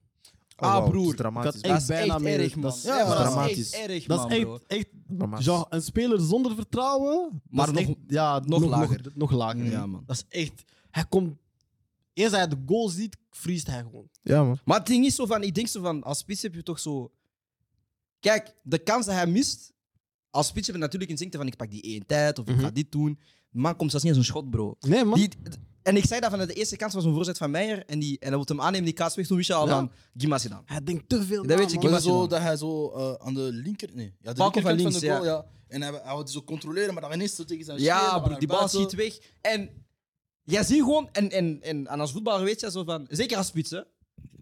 Speaker 5: Oh,
Speaker 6: ah,
Speaker 5: wauw, het is
Speaker 6: broer.
Speaker 5: Dramatisch.
Speaker 3: Ik had
Speaker 6: Dat
Speaker 3: echt
Speaker 6: is echt
Speaker 3: bijna meer.
Speaker 6: erg, man.
Speaker 3: Dat is-
Speaker 6: Ja, maar dat is
Speaker 5: dramatisch.
Speaker 6: echt erg,
Speaker 3: Dat
Speaker 6: man,
Speaker 3: is
Speaker 6: bro.
Speaker 3: echt, echt
Speaker 5: Dramatisch.
Speaker 3: genre, een speler zonder vertrouwen. dat
Speaker 6: Maar
Speaker 3: is
Speaker 6: nog-
Speaker 3: echt- ja,
Speaker 6: nog lager.
Speaker 3: Nog, nog lager,
Speaker 6: Ja, man.
Speaker 3: Dat is echt... Hij komt... Eens hij de goal ziet, vriest hij gewoon.
Speaker 5: Ja, man.
Speaker 6: Maar het ding is zo van, ik denk zo van, als spits heb je toch zo... Kijk, de kans dat hij mist, als spits heb je natuurlijk instincten van, ik pak die één tijd, of ik ga dit doen. Man komt zelfs niet eens een schot, bro.
Speaker 3: Nee, Mhm. man.
Speaker 6: Die, en ik zei dat van de eerste kans was een voorzet van Meijer, en, die, en hij moet hem aannemen, die kaas weg, toen wist je al
Speaker 3: Ja.
Speaker 6: dan, Gimas gedaan.
Speaker 3: Hij denkt te veel
Speaker 6: Dat
Speaker 3: na,
Speaker 6: weet je,
Speaker 3: man.
Speaker 6: ik
Speaker 2: Was
Speaker 6: was
Speaker 2: het zo
Speaker 6: dan.
Speaker 2: dat hij zo eh, aan de linker... Nee, ja, de
Speaker 6: Balken
Speaker 2: linkerkant
Speaker 6: van
Speaker 2: van,
Speaker 6: links,
Speaker 2: de goal, ja. En hij, hij wilde zo controleren, maar dan ineens zo tegen zijn schenen,
Speaker 6: Ja,
Speaker 2: maar
Speaker 6: bro,
Speaker 2: naar
Speaker 6: die bal
Speaker 2: buiten.
Speaker 6: schiet weg. En jij ziet gewoon, en, en, en, en als voetballer weet je zo van, zeker als spits, hè,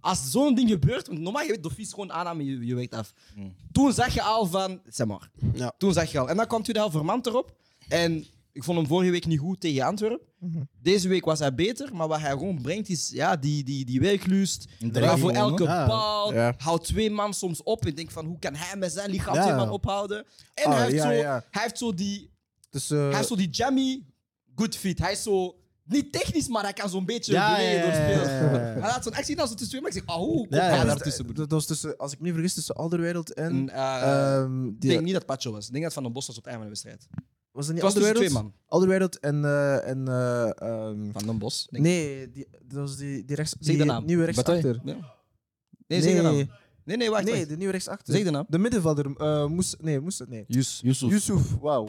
Speaker 6: als zo'n ding gebeurt, want normaal je weet, Dofi is gewoon aanname, je, je werkt af.
Speaker 2: Mm.
Speaker 6: Toen zag je al van, zeg maar.
Speaker 3: Ja.
Speaker 6: Toen zag je al. En dan kwam Tudel Vermand erop. En ik vond hem vorige week niet goed tegen Antwerpen. Deze week was hij beter, maar wat hij gewoon brengt is ja, die, die, die werklust.
Speaker 2: Een
Speaker 6: Ja,
Speaker 2: dreiging
Speaker 6: voor
Speaker 2: gewoon,
Speaker 6: elke
Speaker 2: hè?
Speaker 3: Ja.
Speaker 6: paal.
Speaker 5: Ja.
Speaker 6: Houdt twee man soms op. Ik denk van, hoe kan hij met zijn lichaam
Speaker 5: Ja.
Speaker 6: twee man ophouden? En
Speaker 5: Ah,
Speaker 6: hij, heeft
Speaker 5: ja,
Speaker 6: zo,
Speaker 5: ja.
Speaker 6: hij heeft zo die
Speaker 5: Dus, eh,
Speaker 6: hij is zo die jammy, good fit. Hij is zo, niet technisch, maar hij kan zo'n beetje
Speaker 3: Ja,
Speaker 6: bewegen
Speaker 3: ja,
Speaker 6: door
Speaker 3: ja,
Speaker 6: spelers.
Speaker 3: ja, ja, ja.
Speaker 6: Hij laat zo'n actie dan zo tussen twee, maar ik zeg, oh, hoe komt
Speaker 3: Ja, ja,
Speaker 6: hij
Speaker 5: ja,
Speaker 3: daar
Speaker 5: dat-
Speaker 6: daartussen? broer?
Speaker 5: dat was tussen, als ik me niet vergis, tussen Alderwereld en...
Speaker 6: En, eh,
Speaker 5: ehm,
Speaker 6: ik
Speaker 5: die,
Speaker 6: denk niet dat Pacho was. Ik denk dat Van den Bos was op het einde van de wedstrijd.
Speaker 5: was dat niet
Speaker 6: Het was tussen
Speaker 5: Alderwereld?
Speaker 6: twee man.
Speaker 5: Alderwereld en... eh, en eh, ehm,
Speaker 6: Van den Bos. denk ik.
Speaker 5: nee, die, dat was die, die, rechts,
Speaker 6: Zeg de
Speaker 5: die
Speaker 6: naam.
Speaker 5: nieuwe rechtsachter.
Speaker 6: Nee, nee, zeg de
Speaker 5: Nee.
Speaker 6: naam. Nee, nee, wacht.
Speaker 5: Nee,
Speaker 6: Nee,
Speaker 5: de nieuwe rechtsachter.
Speaker 6: Ah, Zeg de naam.
Speaker 5: De middenvelder. eh moest, nee, moest het? Nee.
Speaker 2: Yusuf.
Speaker 5: Yusuf, wauw.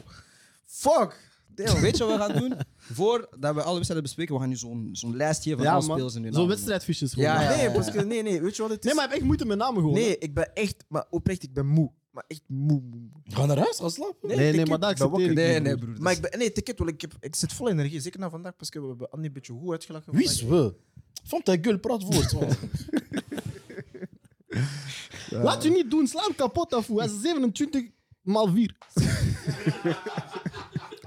Speaker 5: Fuck! Damn.
Speaker 6: Weet je wat we gaan doen? Voordat we alle wedstrijden bespreken, we gaan nu zo'n zo'n lijst geven
Speaker 3: *laughs*
Speaker 6: van
Speaker 3: Ja,
Speaker 6: alle
Speaker 3: man.
Speaker 6: spelers in hun
Speaker 3: Zo'n
Speaker 6: naam.
Speaker 3: wedstrijdfiches
Speaker 6: Ja,
Speaker 3: gewoon.
Speaker 6: ja,
Speaker 5: Nee, Boske, nee, nee. Weet je wat het is?
Speaker 3: Nee, maar ik heb echt moeite met namen gewoon.
Speaker 5: Nee, ik ben echt... Maar oprecht, ik ben moe. Maar echt moe, moe, moe.
Speaker 2: Ga naar huis, ga slapen.
Speaker 3: Nee,
Speaker 5: ik
Speaker 3: nee,
Speaker 5: heb-
Speaker 3: maar dat
Speaker 5: ik
Speaker 3: accepteer
Speaker 5: ben
Speaker 3: ik
Speaker 5: wakker.
Speaker 3: niet,
Speaker 6: Nee, nee,
Speaker 3: broer.
Speaker 6: broer.
Speaker 5: Maar ik ben, nee, ticket, wel, ik, heb, ik zit vol energie. Zeker na vandaag, want we hebben Andy een beetje goed uitgelachen.
Speaker 2: Wie is
Speaker 5: vandaag.
Speaker 2: we? Van ta gueule, praat woord. man.
Speaker 3: Laat je niet doen, sla hem kapot af. hoe. Hij is 27 maal 4.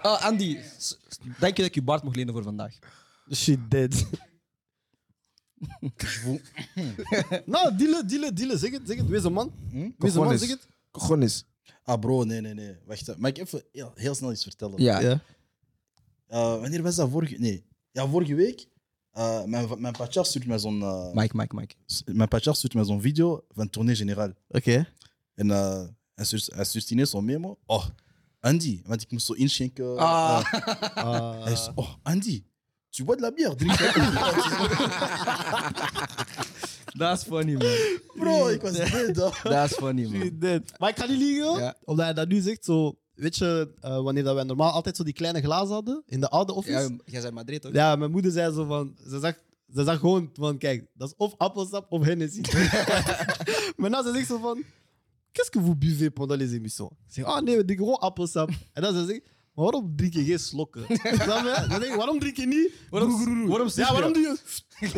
Speaker 6: Oh, Andy, s- s- denk je dat ik je baard mocht lenen voor vandaag?
Speaker 3: Shit dead. nou, dealen, dealen, dealen. Zeg het, zeg het. Wees een man.
Speaker 6: Hm?
Speaker 3: Wees een
Speaker 5: Gewoon
Speaker 3: man,
Speaker 6: dus.
Speaker 5: eens.
Speaker 3: zeg het.
Speaker 5: Gewoon eens.
Speaker 2: Ah, bro, nee, nee, nee. Wacht, hè. mag ik even heel, heel snel iets vertellen?
Speaker 6: ja.
Speaker 2: Eh, wanneer was dat vorige... Nee. Ja, vorige week. eh, mijn mijn patja stuurt mij zo'n... eh,
Speaker 6: Mike, Mike, Mike.
Speaker 2: mijn patja stuurt mij zo'n video van Tournee Generaal.
Speaker 3: Oké.
Speaker 2: En eh, hij stuurt, hij stuurt ineens zo'n memo. Oh, Andy. Want ik moest zo inschenken.
Speaker 6: Ah.
Speaker 3: *laughs*
Speaker 2: eh, hij is- oh, Andy. Tu bois de la bière, drink je
Speaker 6: *laughs* Dat is funny, man.
Speaker 2: *laughs* Bro, ik was dead.
Speaker 6: *laughs*
Speaker 2: hè.
Speaker 6: Dat is funny, man.
Speaker 3: Maar ik ga niet liegen, hoor.
Speaker 6: Ja.
Speaker 3: omdat hij dat nu zegt. Zo, weet je, eh, wanneer dat wij normaal altijd zo die kleine glazen hadden in de oude office.
Speaker 6: Ja,
Speaker 3: Ja,
Speaker 6: jij bent Madrid, toch?
Speaker 3: mijn moeder zei zo van. Ze zag, ze zag gewoon van: kijk, dat is of appelsap of Hennessy. *laughs* maar nou, ze zegt zo van: Qu'est-ce que vous buvez pendant les émissions? Ik zeg: Ah nee, we drinken gewoon appelsap. En dan ze zegt. Maar waarom drink je geen slokken? *laughs* Snap je? Dan denk ik, waarom drink je niet?
Speaker 6: Waarom, waarom
Speaker 3: Ja, waarom doe je? *laughs*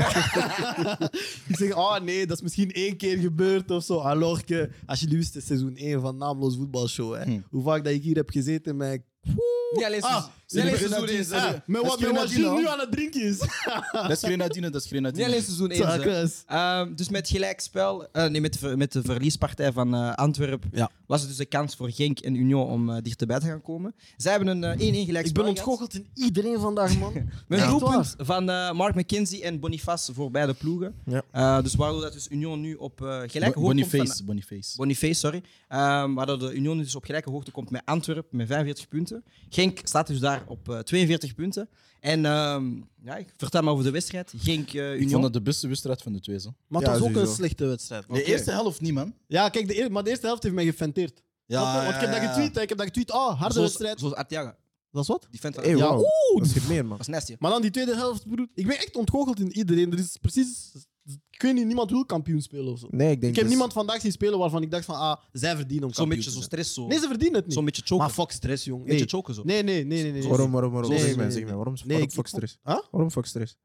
Speaker 3: ik zeg, oh nee, dat is misschien één keer gebeurd of zo. Ah, Alors Hmm. que, als jullie wisten, seizoen 1 van Naamloos Voetbalshow. Hè, Hoe vaak dat ik hier heb gezeten met... Woe,
Speaker 6: Niet alleen
Speaker 3: Ah,
Speaker 6: Suze- niet alleen
Speaker 2: beginnen
Speaker 6: seizoen
Speaker 2: te
Speaker 6: 1.
Speaker 2: zeggen-
Speaker 6: hè.
Speaker 3: Ah, Met
Speaker 2: Dat
Speaker 3: wat
Speaker 2: is
Speaker 3: met wat
Speaker 2: Grenadine,
Speaker 3: Gilles nu
Speaker 2: hoor.
Speaker 3: aan het drinken *laughs* is.
Speaker 2: Dat is Grenadine, dat is
Speaker 6: Niet
Speaker 2: Grenadine.
Speaker 6: alleen seizoen 1.
Speaker 3: Zakkes.
Speaker 6: dus met gelijkspel, eh, nee, met, de ver- met de verliespartij van eh Antwerpen,
Speaker 2: Ja.
Speaker 6: was het dus een kans voor Genk en Union om eh, dichterbij te gaan komen. Zij hebben een eh, 1-1 gelijkspel.
Speaker 3: Ik ben
Speaker 6: gehad.
Speaker 3: ontgoocheld in iedereen vandaag, *laughs* man.
Speaker 6: Met een
Speaker 3: Echt
Speaker 6: doelpunt van eh, Mark McKenzie en Boniface voor beide ploegen.
Speaker 3: Ja.
Speaker 6: Eh, dus waardoor dat dus Union nu op eh, gelijke
Speaker 2: Bo-
Speaker 6: hoogte komt.
Speaker 2: Boniface,
Speaker 6: van-
Speaker 2: Boniface.
Speaker 6: Boniface, sorry. Ehm waardoor de Union dus op gelijke hoogte komt met Antwerpen met 45 punten. Genk staat dus daar op eh, 42 punten. En ehm, ja, ik vertel maar over de wedstrijd. Genk, eh,
Speaker 2: Ik
Speaker 6: Union.
Speaker 2: vond dat de beste wedstrijd van de twee, zo.
Speaker 3: Maar
Speaker 5: Ja,
Speaker 3: het was ook een
Speaker 5: sowieso.
Speaker 3: slechte wedstrijd.
Speaker 2: De eerste helft niet, man.
Speaker 3: Ja, kijk, de eer- maar de eerste helft heeft mij gefanteerd. Snap je? Want ik heb dat getweet, hè. ik heb dat getweet. Ah, harde
Speaker 6: zoals,
Speaker 3: wedstrijd.
Speaker 6: zoals Arteaga.
Speaker 3: Dat is wat?
Speaker 6: Die vent van
Speaker 5: Hey,
Speaker 3: Ja,
Speaker 5: wauw.
Speaker 3: oeh.
Speaker 5: Dat is meer, man.
Speaker 6: was nasty.
Speaker 3: Maar dan die tweede helft, broer. Ik ben echt ontgoocheld in iedereen. Er is precies... Ik weet niet, niemand wil kampioen spelen of zo.
Speaker 5: Nee, ik denk
Speaker 3: Ik heb
Speaker 5: dus-
Speaker 3: niemand vandaag zien spelen waarvan ik dacht van, ah, zij verdienen om kampioen
Speaker 6: Zo'n beetje
Speaker 3: te
Speaker 6: zo
Speaker 3: zijn.
Speaker 6: stress. Zo.
Speaker 3: Nee, ze verdienen het niet.
Speaker 6: Zo'n beetje choken.
Speaker 3: Maar fuck stress, jong.
Speaker 6: beetje
Speaker 3: Nee.
Speaker 6: choken zo.
Speaker 3: Nee, nee, nee, nee. nee.
Speaker 5: Waarom, waarom, waarom?
Speaker 3: Nee,
Speaker 5: zeg
Speaker 3: nee,
Speaker 5: mij,
Speaker 3: nee.
Speaker 5: zeg mij. Waarom,
Speaker 3: Nee,
Speaker 5: waarom
Speaker 3: ik-
Speaker 5: fuck stress?
Speaker 3: Huh?
Speaker 5: Waarom fuck stress?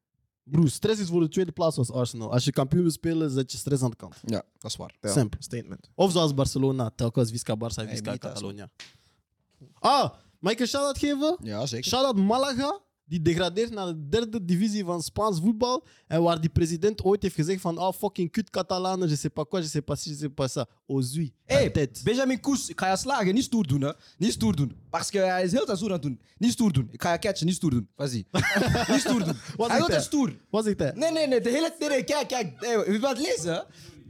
Speaker 3: Broer, stress is voor de tweede plaats als Arsenal. Als je kampioen wil spelen, zet je stress aan de kant.
Speaker 6: Ja, dat is waar.
Speaker 3: Ja. Simpel.
Speaker 5: Statement.
Speaker 3: Of zoals Barcelona, telkens Visca Barça,
Speaker 6: Hey,
Speaker 3: Visca
Speaker 6: Benitez.
Speaker 3: Catalonia. Ah, mag ik een shout-out geven?
Speaker 6: Ja, zeker.
Speaker 3: Shout-out Malaga, die degradeert naar de derde divisie van Spaans voetbal. En waar die president ooit heeft gezegd van, ah, fucking kut Catalanen, je sais pas quoi, je sais pas si, je sais pas ça. Ozui.
Speaker 6: Hey,
Speaker 3: Altijd.
Speaker 6: Benjamin Koes, ik ga je slagen, niet stoer doen, hè? Niet stoer doen. Parce que hij is heel tijd stoer aan het doen. Niet stoer doen. Ik ga je catchen, niet stoer doen. Vas-y. *laughs* niet stoer *laughs* doen.
Speaker 3: Wat
Speaker 6: hij
Speaker 3: is
Speaker 6: wil
Speaker 3: dat?
Speaker 6: te stoer.
Speaker 3: Wat zegt hij?
Speaker 6: Nee, nee, nee, de hele tijd. Nee, kijk, kijk. Nee, u wilt lezen? hè?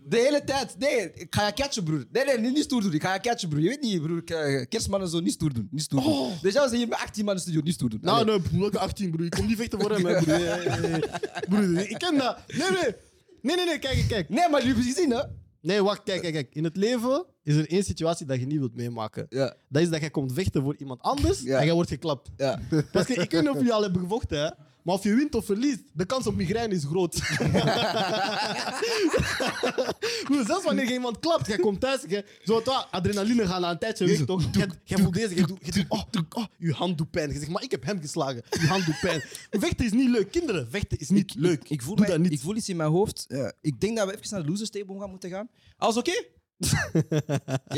Speaker 6: De hele tijd. Nee, ik ga je catchen, broer. Nee, nee, niet, niet stoer doen. Ik ga je catchen, broer. Je weet niet, broer. K- Kerstman en zo, niet stoer doen. Niet stoer doen. Dus jij was hier met 18 man in de studio, niet stoer doen.
Speaker 3: Oh. Nou,
Speaker 6: Allee.
Speaker 3: nee, broer, welke 18, broer. Ik kom niet vechten voor hem, hè, broer. Nee, nee, nee. Broer, ik ken dat. Nee, nee. Nee, nee, nee, kijk, kijk.
Speaker 6: Nee, maar jullie hebben gezien, hè?
Speaker 3: Nee, wacht, kijk, kijk, kijk. In het leven is er één situatie dat je niet wilt meemaken.
Speaker 6: Ja,
Speaker 3: Dat is dat jij komt vechten voor iemand anders
Speaker 6: Ja.
Speaker 3: en jij wordt geklapt.
Speaker 6: ja.
Speaker 3: Parce que, ik weet niet of jullie al hebben gevochten, hè. Maar of je wint of verliest, de kans op migraine is groot. *laughs* Broer, zelfs wanneer je iemand klapt, jij komt thuis, jij, zo het wat, adrenaline gaat na een tijdje weg, toch? Jij- Jij voelt deze, jij doet, jij doet, oh, oh, je hand doet pijn. Je zegt, maar ik heb hem geslagen, je hand doet pijn. Vechten is niet leuk, kinderen, vechten is niet leuk.
Speaker 6: Ik voel,
Speaker 3: Doe
Speaker 6: mij-
Speaker 3: dat niet.
Speaker 6: ik voel iets in mijn hoofd. Eh, ik denk dat we even naar de losers table gaan moeten gaan. Alles oké?
Speaker 3: *laughs*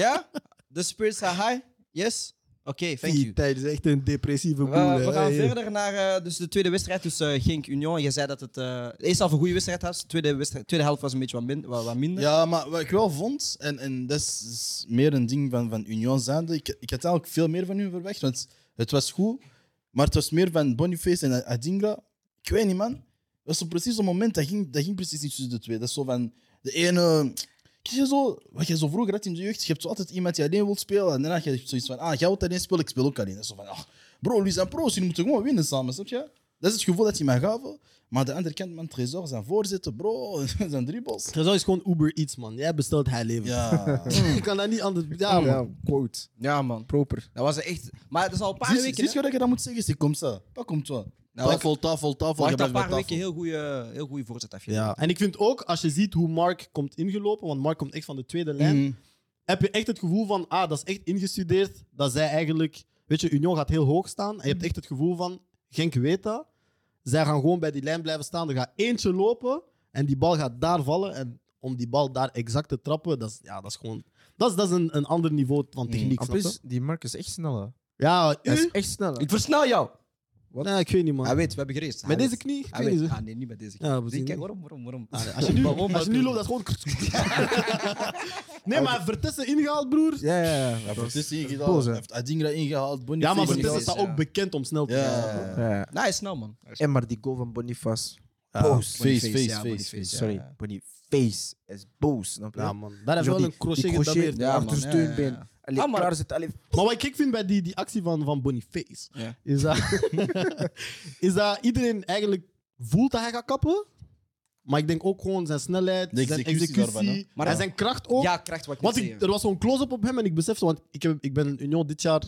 Speaker 6: ja? The spirits are high? Yes? Oké, thank
Speaker 3: Die
Speaker 6: you.
Speaker 3: tijd is echt een depressieve boel.
Speaker 6: We,
Speaker 3: hè.
Speaker 6: we gaan
Speaker 3: Hey.
Speaker 6: verder naar eh, dus de tweede wedstrijd tussen Genk Union. Je zei dat het eh de eerste half een goede wedstrijd was. De tweede, wedstrijd- tweede helft was een beetje wat, min- wat, wat minder.
Speaker 2: Ja, maar wat ik wel vond, en, en dat is- is meer een ding van, van Union zijnde, ik, ik had eigenlijk veel meer van hun verwacht, want het was goed, maar het was meer van Boniface en Adingra. Ik weet niet, man. Dat was zo precies zo'n moment, dat ging, dat ging precies niet tussen de twee. Dat is zo van, de ene... Kijk je zo, wat je zo vroeger had in de jeugd, je hebt zo altijd iemand die alleen wil spelen, en daarna heb je zoiets van, ah, jij wilt alleen spelen, ik speel ook alleen. Dat is zo van, ah, bro, Luis en Pro's, jullie moeten gewoon winnen samen, snap je? Dat is het gevoel dat hij mij gaven. Maar aan de andere kant, man, Trezor, zijn voorzetten, bro, *laughs* zijn dribbles.
Speaker 3: Trezor is gewoon Uber Eats, man. Jij bestelt, hij levert. *laughs*
Speaker 2: Ja.
Speaker 3: Ik kan dat niet anders... Ja,
Speaker 5: Ja,
Speaker 3: man.
Speaker 5: quote.
Speaker 6: Ja, man.
Speaker 5: Proper.
Speaker 6: Dat was echt... Maar dat is al een paar
Speaker 2: Zie
Speaker 6: weken...
Speaker 2: zie je
Speaker 6: hè?
Speaker 2: wat ik dan moet zeggen? C'est comme ça. Pas comme toi.
Speaker 6: Nou,
Speaker 2: tafel, tafel, tafel.
Speaker 6: Maar
Speaker 2: je
Speaker 6: echt al
Speaker 2: blijft
Speaker 6: een
Speaker 2: bij
Speaker 6: paar
Speaker 2: tafel.
Speaker 6: weken heel goede heel goede voorzet afgegeven.
Speaker 3: Ja, en ik vind ook, als je ziet hoe Mark komt ingelopen, want Mark komt echt van de tweede lijn,
Speaker 2: Mm.
Speaker 3: heb je echt het gevoel van, ah, dat is echt ingestudeerd, dat zij eigenlijk... Weet je, Union gaat heel hoog staan, en je hebt echt het gevoel van, Genk weet dat. Zij gaan gewoon bij die lijn blijven staan, er gaat eentje lopen, en die bal gaat daar vallen, en om die bal daar exact te trappen, dat is, ja, dat is gewoon... Dat is, dat is een, een ander niveau van techniek,
Speaker 5: En
Speaker 3: snap je?
Speaker 5: plus, die Mark is echt snel, hè.
Speaker 3: Ja,
Speaker 5: Hij is
Speaker 3: u?
Speaker 5: echt snel, hè.
Speaker 6: Ik versnel jou.
Speaker 3: Nee, ik weet niet, man.
Speaker 6: Hij Ah, weet, we hebben gereest. Hij
Speaker 3: Met
Speaker 6: weet.
Speaker 3: deze knie? Ik
Speaker 6: Hij
Speaker 3: weet niet,
Speaker 6: weet.
Speaker 3: zo.
Speaker 6: Ah, nee, niet met deze knie.
Speaker 3: Ja, we
Speaker 6: Zie,
Speaker 3: zien
Speaker 6: kijk,
Speaker 3: niet.
Speaker 6: waarom, waarom, waarom? *laughs*
Speaker 3: Ah, Als je nu,
Speaker 6: Waarom
Speaker 3: als je
Speaker 6: dat
Speaker 3: nu
Speaker 6: doen?
Speaker 3: loopt, dat is gewoon... Nee, maar Vertessen ingehaald, broer.
Speaker 5: Ja, ja, ja.
Speaker 2: Ja,
Speaker 5: Dat was-
Speaker 2: Vertis
Speaker 5: boos,
Speaker 2: ingehaald.
Speaker 5: hè.
Speaker 2: Hij heeft Adingra ingehaald. Boniface
Speaker 3: Ja, maar
Speaker 6: Vertessen
Speaker 3: Vertessen
Speaker 2: ingehaald.
Speaker 3: staat ook bekend om snel te
Speaker 2: Ja.
Speaker 3: gaan.
Speaker 5: Ja, ja.
Speaker 6: Nee, hij is snel, man. Hij is-
Speaker 5: En maar die goal van Boniface.
Speaker 2: Ja.
Speaker 5: Boos.
Speaker 2: Face,
Speaker 6: Boniface,
Speaker 2: face,
Speaker 6: ja,
Speaker 2: face,
Speaker 6: Boniface,
Speaker 2: face.
Speaker 6: ja.
Speaker 5: Sorry, Boniface is boos. snap je?
Speaker 3: Ja, man. Daar
Speaker 5: Zo
Speaker 3: hebben we wel
Speaker 5: die-
Speaker 3: een crochet
Speaker 5: die
Speaker 3: gedameerd.
Speaker 6: ja, man, ja, ja,
Speaker 5: achtersteunbeen.
Speaker 6: ja.
Speaker 5: Allee,
Speaker 6: Ah, maar-
Speaker 5: klaar zit. Allee,
Speaker 3: Maar wat ik gek vind bij die, die actie van, van Boniface,
Speaker 6: Ja.
Speaker 3: is, dat, *laughs* is dat iedereen eigenlijk voelt dat hij gaat kappen. Maar ik denk ook gewoon zijn snelheid,
Speaker 2: De
Speaker 3: zijn
Speaker 2: executie
Speaker 3: executie
Speaker 2: daarvan, hè.
Speaker 3: maar
Speaker 6: Ja.
Speaker 3: en zijn kracht ook.
Speaker 6: Ja, krijgt wat ik moet
Speaker 3: want ik,
Speaker 6: zeggen.
Speaker 3: er was zo'n close-up op hem en ik besefte, want ik, heb, ik ben Union dit jaar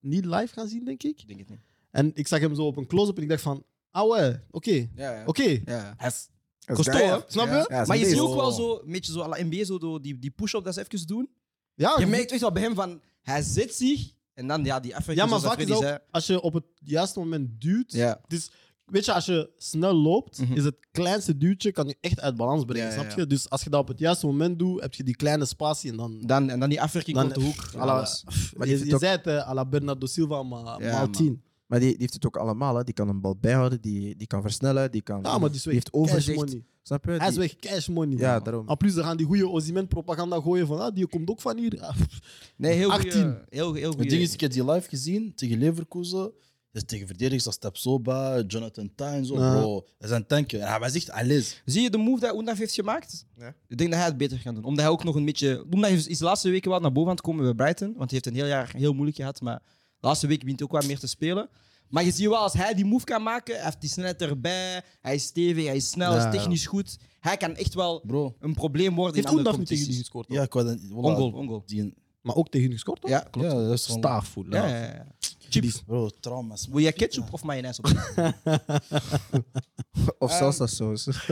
Speaker 3: niet live gaan zien, denk ik.
Speaker 6: Ik denk het niet.
Speaker 3: En ik zag hem zo op een close-up en ik dacht van, ah ouais, oké,
Speaker 6: Ja, ja.
Speaker 3: oké.
Speaker 6: Ja.
Speaker 3: Hij is-
Speaker 5: dat is
Speaker 6: Costaud,
Speaker 5: gaaf.
Speaker 6: hè?
Speaker 3: Snap je?
Speaker 5: Ja, dat is
Speaker 6: Maar je
Speaker 5: een
Speaker 6: ziet
Speaker 5: beest.
Speaker 6: ook wel zo, een beetje zo à la NBA, zo door die, die push-up dat ze even doen.
Speaker 3: Ja,
Speaker 6: *laughs* Je
Speaker 3: je-
Speaker 6: merkt echt wel bij hem van, hij zit zich en dan ja, die effecten
Speaker 3: ja maar
Speaker 6: zoals
Speaker 3: vaak is
Speaker 6: Freddy
Speaker 3: dat
Speaker 6: zei.
Speaker 3: ook, als je op het juiste moment duwt,
Speaker 6: Ja.
Speaker 3: Dus Weet je, als je snel loopt, is het kleinste duwtje kan je echt uit balans brengen,
Speaker 5: Mhm. Ja, ja,
Speaker 3: snap
Speaker 5: ja.
Speaker 3: je? Dus als je dat op het juiste moment doet, heb je die kleine spatie en dan...
Speaker 6: Dan, en dan die afwerking
Speaker 3: Dan-
Speaker 6: op de hoek. en
Speaker 3: à la-
Speaker 6: alles.
Speaker 5: Maar die
Speaker 3: je
Speaker 5: heeft
Speaker 3: je
Speaker 5: het ook-
Speaker 3: zei het, eh, à la Bernardo Silva, maar
Speaker 5: Ja,
Speaker 3: maal
Speaker 5: man.
Speaker 3: tien.
Speaker 5: Maar die, die heeft het ook allemaal. Hè. Die kan een bal bijhouden, die, die kan versnellen, die kan...
Speaker 3: Ja, Ah, maar die is weg.
Speaker 5: heeft
Speaker 3: Cash
Speaker 5: overzicht.
Speaker 3: money.
Speaker 5: Snap je?
Speaker 3: Hij is
Speaker 5: Die-
Speaker 3: weg, cash money.
Speaker 5: Ja, daarom.
Speaker 3: En plus, ze gaan die goede Ozyman-propaganda gooien van, ah, die komt ook van hier. Ah, pff.
Speaker 6: Nee, heel goed.
Speaker 3: 18.
Speaker 6: Heel, heel
Speaker 2: Het ding is,
Speaker 6: goed.
Speaker 2: ik heb die live gezien tegen Leverkusen. Dus tegen verdedigers als Tapsoba, Jonathan Tine, zo,
Speaker 3: Ja.
Speaker 2: bro. Dat zijn tanken. En hij was echt alles.
Speaker 6: Zie je de move dat Oendaf heeft gemaakt?
Speaker 5: Ja.
Speaker 6: Ik denk dat hij het beter gaat doen. Omdat hij ook nog een beetje. Omdat hij is de laatste weken wat naar boven aan het komen bij Brighton. Want hij heeft een heel jaar heel moeilijk gehad. Maar de laatste week begint hij ook wat meer te spelen. Maar je ziet wel, als hij die move kan maken, hij heeft die snelheid erbij. Hij is stevig, hij is snel, hij
Speaker 5: Ja,
Speaker 6: is
Speaker 5: ja.
Speaker 6: technisch goed. Hij kan echt wel
Speaker 2: Bro.
Speaker 6: een probleem worden
Speaker 3: Heeft
Speaker 6: in andere
Speaker 3: Oendaf niet tegen die
Speaker 6: competities.
Speaker 3: gescoord?
Speaker 2: Ja, ik wou dan- voilà,
Speaker 6: Ongoal, ongoal.
Speaker 2: Die,
Speaker 3: Maar ook tegen hun gescoord, toch?
Speaker 6: Ja, klopt.
Speaker 2: ja, dat is gewoon-
Speaker 3: Staafvoel.
Speaker 6: Ja, ja, ja. Chips.
Speaker 2: Bro, trauma's. man.
Speaker 6: Wil jij ketchup of mayonaise op?
Speaker 5: Of
Speaker 3: Ah.
Speaker 5: salsa saus.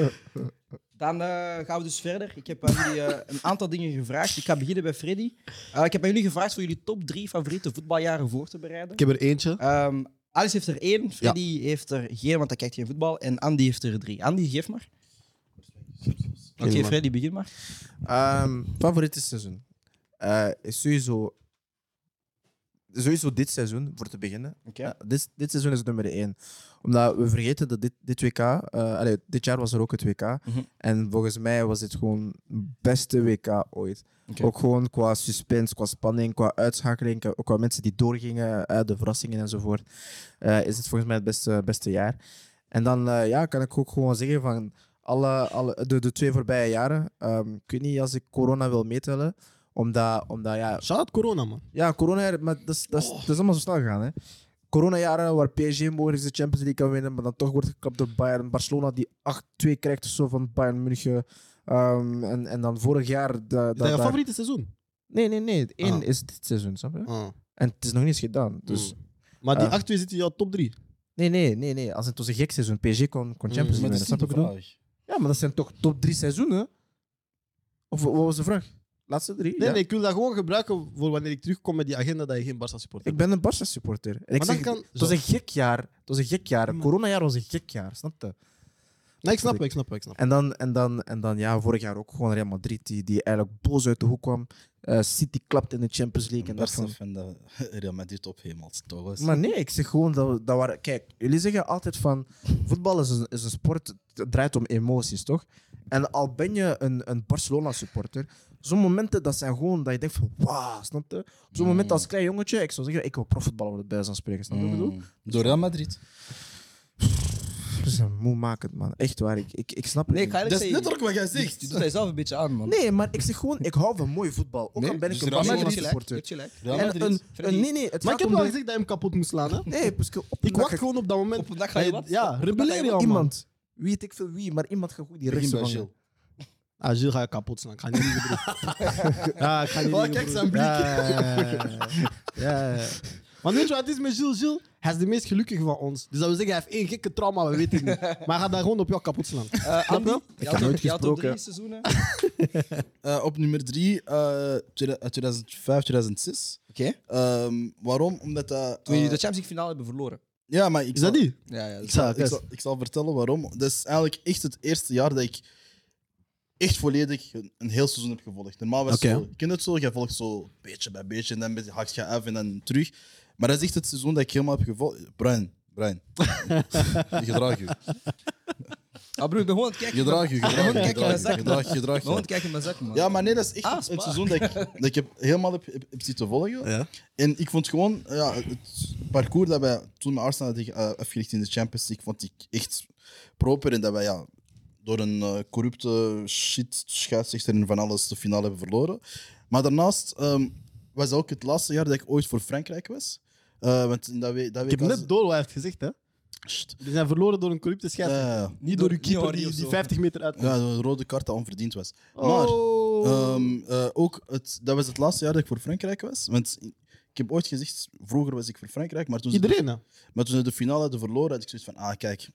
Speaker 6: Dan eh, gaan we dus verder. Ik heb aan jullie eh, een aantal dingen gevraagd. Ik ga beginnen bij Freddy. Eh, ik heb aan jullie gevraagd voor jullie top drie favoriete voetbaljaren voor te bereiden.
Speaker 3: Ik heb er eentje.
Speaker 6: Ehm, Alice heeft er één, Freddy heeft er geen, want hij kijkt geen voetbal. En Andy heeft er drie. Andy, geef maar. Oké,
Speaker 3: man.
Speaker 6: Freddy, begin maar.
Speaker 5: Ehm favoriete seizoen? Eh, is sowieso, sowieso dit seizoen, voor te beginnen.
Speaker 6: Oké.
Speaker 5: Ja, dit, dit seizoen is nummer één. Omdat we vergeten dat dit, dit WK... eh, allee, dit jaar was er ook het WK.
Speaker 6: Mhm.
Speaker 5: En volgens mij was dit gewoon het beste WK ooit.
Speaker 6: Oké.
Speaker 5: Ook gewoon qua suspense, qua spanning, qua uitschakeling, qua- qua mensen die doorgingen, eh, de verrassingen enzovoort. eh, is het volgens mij het beste, beste jaar. En dan eh, ja, kan ik ook gewoon zeggen van alle, alle, de, de twee voorbije jaren. ehm, ik weet niet als ik corona wil meetellen. Omdat, omdat ja,
Speaker 3: Shout-out corona, man.
Speaker 5: ja, corona, maar dat is, dat
Speaker 3: Oh.
Speaker 5: is, dat is allemaal zo snel gegaan. Hè. Corona-jaren waar PSG mogelijk de Champions League kan winnen, maar dan toch wordt gekapt door Bayern. Barcelona die 8-2 krijgt of zo van Bayern München. Ehm, en, en dan vorig jaar... da- da-
Speaker 3: Is dat je
Speaker 5: daar-
Speaker 3: favoriete seizoen?
Speaker 5: Nee, nee, nee. Het één
Speaker 3: Ah.
Speaker 5: is dit seizoen, snap je? En het is nog niet eens gedaan. Dus...
Speaker 3: Hmm. Maar die
Speaker 5: Eh.
Speaker 3: 8 zit in jouw top 3.
Speaker 5: Nee, nee, nee, nee. Als het was een gek seizoen. PSG kon,
Speaker 3: Hmm.
Speaker 5: kon Champions
Speaker 2: Maar dat
Speaker 5: League winnen,
Speaker 2: is
Speaker 5: snap
Speaker 2: niet
Speaker 5: je?
Speaker 2: de
Speaker 5: wat ik bedoel?
Speaker 2: vraag.
Speaker 5: Ja, maar dat zijn toch top drie seizoenen? Of wat was de vraag? Laatste drie?
Speaker 3: Nee,
Speaker 5: ja.
Speaker 3: nee, ik wil dat gewoon gebruiken voor wanneer ik terugkom met die agenda dat je geen Barca supporter
Speaker 5: Ik ben een Barca supporter. En ik
Speaker 3: Maar dan
Speaker 5: zeg,
Speaker 3: kan-
Speaker 5: het was
Speaker 3: Zo.
Speaker 5: een gek jaar. Het was een gek jaar. Corona-jaar was een gek jaar, snap je?
Speaker 3: bent. Nee, ik snap het, ik snap het, ik snap het.
Speaker 5: En dan, en dan, en dan ja, vorig jaar ook gewoon Real Madrid, die, die eigenlijk boos uit de hoek kwam. Eh, City klapt in de Champions League. En dat
Speaker 2: Barca
Speaker 5: van...
Speaker 2: vindt dat Real Madrid ophemelt, toch? eens.
Speaker 5: Maar nee, ik zeg gewoon dat, we- dat waren... Kijk, jullie zeggen altijd van, voetbal is een, is een sport, het draait om emoties, toch? En al ben je een, een Barcelona-supporter, zo'n momenten, dat zijn gewoon dat je denkt van, wauw, snap je? Op
Speaker 3: Mm.
Speaker 5: zo'n moment als klein jongetje, ik zou zeggen, ik wil profvoetballer worden bij zo'n spreken, snap je wat ik bedoel?
Speaker 2: Mm. Door Real Madrid.
Speaker 5: Dat is een moemakend, man. Echt waar, ik, ik, ik snap het
Speaker 6: Nee, ik
Speaker 5: niet.
Speaker 6: ga eerlijk
Speaker 2: Dat is
Speaker 6: zeggen,
Speaker 2: letterlijk wat jij
Speaker 6: je-
Speaker 2: zegt.
Speaker 6: je doet dat zelf een beetje aan, man.
Speaker 5: Nee, maar ik zeg gewoon, ik hou van mooi voetbal. Ook
Speaker 2: Nee,
Speaker 5: al ben ik
Speaker 2: dus
Speaker 5: een
Speaker 2: Real Madrid is
Speaker 6: gelijk.
Speaker 5: Barcelona-supporter.
Speaker 6: Heb je gelijk.
Speaker 2: Real
Speaker 5: En
Speaker 2: Madrid.
Speaker 5: een,
Speaker 6: Freddy.
Speaker 5: een- nee, nee, het
Speaker 3: Maar ik
Speaker 5: gaat
Speaker 3: heb
Speaker 5: om
Speaker 3: wel
Speaker 5: de-
Speaker 3: gezegd dat je hem kapot moest slaan. Hè?
Speaker 5: Nee, Puske, op een
Speaker 3: Ik
Speaker 5: dag
Speaker 3: wacht
Speaker 5: ga-
Speaker 3: gewoon op dat moment.
Speaker 6: Op een dag ga je wat? Op
Speaker 3: Ja,
Speaker 6: een dag ga je
Speaker 3: rebelleren,
Speaker 6: wat?
Speaker 3: ja, man.
Speaker 5: Iemand, weet ik veel wie, maar iemand gaat goed die
Speaker 2: Begin
Speaker 5: rechts
Speaker 2: bij
Speaker 5: vangen.
Speaker 2: Gilles.
Speaker 3: Ah, Gilles ga je kapot slaan. Ik ga niet liegen, broer. Ja, ik ga niet
Speaker 2: Oh,
Speaker 3: liegen,
Speaker 2: kijk
Speaker 3: broer.
Speaker 2: zijn blik.
Speaker 3: Ja, ja, ja, ja, ja. Want weet je wat het is met Gilles? Gilles, hij is de meest gelukkige van ons. Dus dat wil zeggen, hij heeft één gekke trauma, we weten het niet. Maar hij gaat daar gewoon op jou kapot slaan.
Speaker 6: Eh, Andy,
Speaker 3: je?
Speaker 6: je
Speaker 5: Ik
Speaker 6: had
Speaker 5: heb nooit
Speaker 6: je had op drie
Speaker 5: gesproken.
Speaker 6: seizoenen.
Speaker 2: Eh, op nummer eh, 3, 2005, 2006.
Speaker 6: Oké.
Speaker 2: Ehm, waarom? Omdat dat.
Speaker 6: Toen jullie
Speaker 2: eh,
Speaker 6: de Champions League finale hebben verloren.
Speaker 2: ja, maar ik
Speaker 3: Is dat
Speaker 2: zal-
Speaker 3: die?
Speaker 6: Ja, ja.
Speaker 2: Ik
Speaker 3: Ja,
Speaker 2: zal, ik,
Speaker 3: yes.
Speaker 2: zal, ik zal vertellen waarom. Dat is eigenlijk echt het eerste jaar dat ik echt volledig een, een heel seizoen heb gevolgd. Normaal was het
Speaker 3: Oké.
Speaker 2: zo, je kent het zo, je volgt zo beetje bij beetje en dan ben- hakt je af en dan terug. Maar dat is echt het seizoen dat ik helemaal heb gevolgd. Brian, Brian. gedraag je.
Speaker 6: Ah, broer, ik ben gewoon aan het kijken.
Speaker 2: Gedraag je,
Speaker 6: Ik ben
Speaker 2: gedraag
Speaker 6: gewoon aan
Speaker 2: je,
Speaker 6: het kijken
Speaker 2: gedraag je,
Speaker 6: naar zakken. Ik ben
Speaker 2: gedraag je, gedraag
Speaker 6: gewoon aan
Speaker 2: je.
Speaker 6: het kijken naar zakken, man.
Speaker 2: Ja, maar nee, dat is echt
Speaker 6: Ah,
Speaker 2: het
Speaker 6: spa.
Speaker 2: seizoen dat ik, dat ik heb helemaal heb, heb, heb zitten volgen.
Speaker 3: Ja.
Speaker 2: En ik vond gewoon ja, het parcours dat wij toen met Arsenal hadden eh, afgericht in de Champions League, vond ik echt proper. En dat wij ja, door een eh, corrupte shit scheidsrechter en van alles de finale hebben verloren. Maar daarnaast ehm, was dat ook het laatste jaar dat ik ooit voor Frankrijk was. Eh, want in dat we, dat
Speaker 3: Ik heb
Speaker 2: WK
Speaker 3: net door wat hij heeft gezegd, hè.
Speaker 2: Sst.
Speaker 3: Die zijn verloren door een corrupte scheidsrechter.
Speaker 2: Ja,
Speaker 3: Niet door uw
Speaker 6: Door-
Speaker 3: keeper
Speaker 6: Niori
Speaker 3: die,
Speaker 6: of
Speaker 3: die
Speaker 6: zo.
Speaker 3: 50 meter uit.
Speaker 2: ja, een rode kaart dat onverdiend was. Maar
Speaker 3: Oh.
Speaker 2: Ehm, eh, ook het, dat was het laatste jaar dat ik voor Frankrijk was. Want ik heb ooit gezegd, vroeger was ik voor Frankrijk, maar toen, ze,
Speaker 3: Iedereen, hè?
Speaker 2: maar toen ze de finale hadden verloren, had ik zoiets van, ah kijk,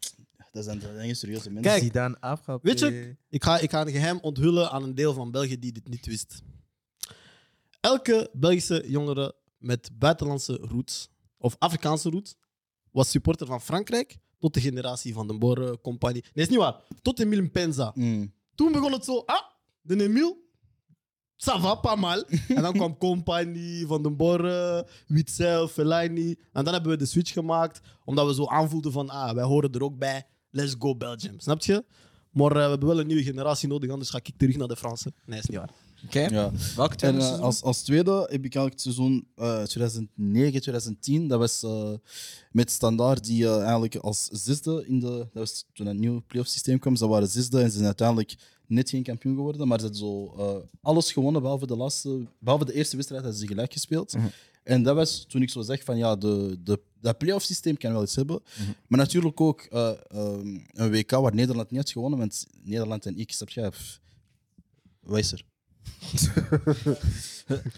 Speaker 2: dat zijn, dat zijn geen serieuze mensen.
Speaker 3: Kijk,
Speaker 5: Zidane afgaat.
Speaker 3: Weet je, ik ga, ik ga een geheim onthullen aan een deel van België die dit niet wist. Elke Belgische jongere met buitenlandse roots, of Afrikaanse roots, was supporter van Frankrijk Tot de generatie van de Boren Compagnie. Nee, is niet waar. Tot Emile Penza.
Speaker 2: Mm.
Speaker 3: Toen begon het zo, ah, de Emile, ça va, pas mal. En dan kwam Compagnie, Van den Borre, Witzel, Fellaini. En dan hebben we de switch gemaakt, omdat we zo aanvoelden van, ah, wij horen er ook bij. Let's go Belgium, snap je? Maar eh, we hebben wel een nieuwe generatie nodig, anders ga ik terug naar de Fransen. Nee, is niet waar.
Speaker 6: Oké.
Speaker 2: Ja.
Speaker 6: Welke
Speaker 2: En
Speaker 6: tweede
Speaker 2: eh,
Speaker 6: seizoen?
Speaker 2: als, als tweede heb ik eigenlijk het seizoen eh, 2009, 2010. Dat was eh, met Standaard, die eh, eigenlijk als zesde in de. Dat was toen een nieuw playoff systeem kwam. Ze waren zesde en ze zijn uiteindelijk net geen kampioen geworden. Maar ze hebben zo eh, alles gewonnen behalve de, laatste, behalve de eerste wedstrijd hadden ze gelijk gespeeld. En dat was toen ik zo zeg van ja, de, de, dat playoff systeem kan wel iets hebben. Maar natuurlijk ook eh, ehm, een WK waar Nederland niet had gewonnen. Want Nederland en ik, snap je? pff, Wat is er?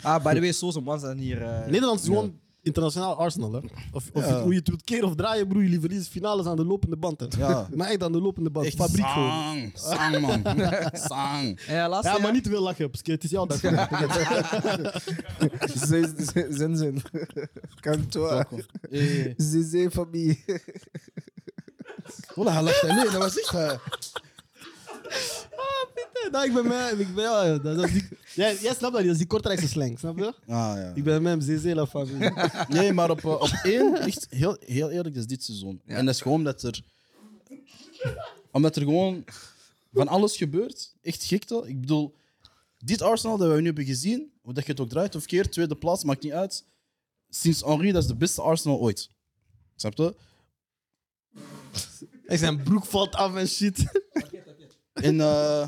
Speaker 6: Ah, by the way, Soos en Mans zijn hier. eh, *laughs*
Speaker 3: Nederland is gewoon internationaal Arsenal, hè. Of, of
Speaker 2: Ja.
Speaker 3: hoe je het wilt keren of draaien, broer, jullie verliezen finales aan de lopende band, hè.
Speaker 2: Ja.
Speaker 3: Maar echt aan de lopende band. Fabriek gewoon.
Speaker 2: Sang, sang, *laughs* man. sang.
Speaker 6: Ja, laatste
Speaker 3: Ja, maar
Speaker 6: jaar-
Speaker 3: niet te veel lachen, Pske. Het is jouw dag.
Speaker 5: Zin, *laughs* zin. Kan toch?
Speaker 2: Hey.
Speaker 5: Zizé familie.
Speaker 2: Voilà, hij lacht. Nee, dat was echt... eh,
Speaker 3: nou, ik ben mij. Ik ben, ja, dat, dat is die, jij, jij snapt dat, niet, dat is die kortrijkse slang, snap je?
Speaker 2: Ah,
Speaker 3: Ik
Speaker 2: ja.
Speaker 3: ben mijn ZZ la familie.
Speaker 2: Nee, maar op, eh, op één, echt heel, heel eerlijk, dat is dit seizoen. En dat is gewoon omdat er... Omdat er gewoon van alles gebeurt. Echt gekte. Ik bedoel, dit Arsenal dat we nu hebben gezien, hoe dat je het ook draait of keert, tweede plaats, maakt niet uit. Sinds Henri, dat is de beste Arsenal ooit. Snap je?
Speaker 3: En zijn broek valt af en shit.
Speaker 2: En eh,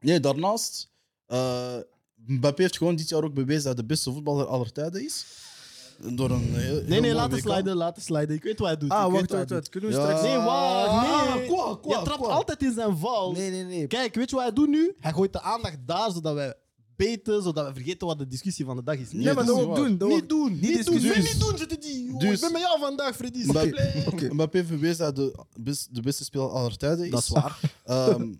Speaker 2: nee, daarnaast, eh Mbappé heeft gewoon dit jaar ook bewezen dat hij de beste voetballer aller tijden is. Door een heel,
Speaker 3: Nee, nee, laat het sliden, laat het sliden. Ik weet wat hij doet.
Speaker 2: Oh Ah,
Speaker 3: ik
Speaker 2: wacht,
Speaker 3: weet wat
Speaker 2: wacht,
Speaker 3: hij
Speaker 2: wacht.
Speaker 3: doet.
Speaker 2: Kunnen we straks-
Speaker 3: Nee, wacht, nee.
Speaker 2: Ah, kwa, kwa,
Speaker 3: Je trapt
Speaker 2: kwa.
Speaker 3: altijd in zijn val.
Speaker 5: Nee, nee, nee.
Speaker 3: Kijk, weet je wat hij doet nu? Hij gooit de aandacht daar, zodat wij beten, zodat we vergeten wat de discussie van de dag is.
Speaker 2: Nee, maar dat ook doen,
Speaker 3: Niet doen, niet, doen.
Speaker 2: discussiëren.
Speaker 3: Nee, niet doen, je te die. Yo, Ik
Speaker 2: Dus-
Speaker 3: ben met jou vandaag, Freddy.
Speaker 2: Mbappé,
Speaker 3: Please.
Speaker 2: *laughs* Mbappé heeft bewezen dat hij de, best- de beste speler aller tijden is.
Speaker 3: Dat is waar.
Speaker 2: *laughs* Ehm,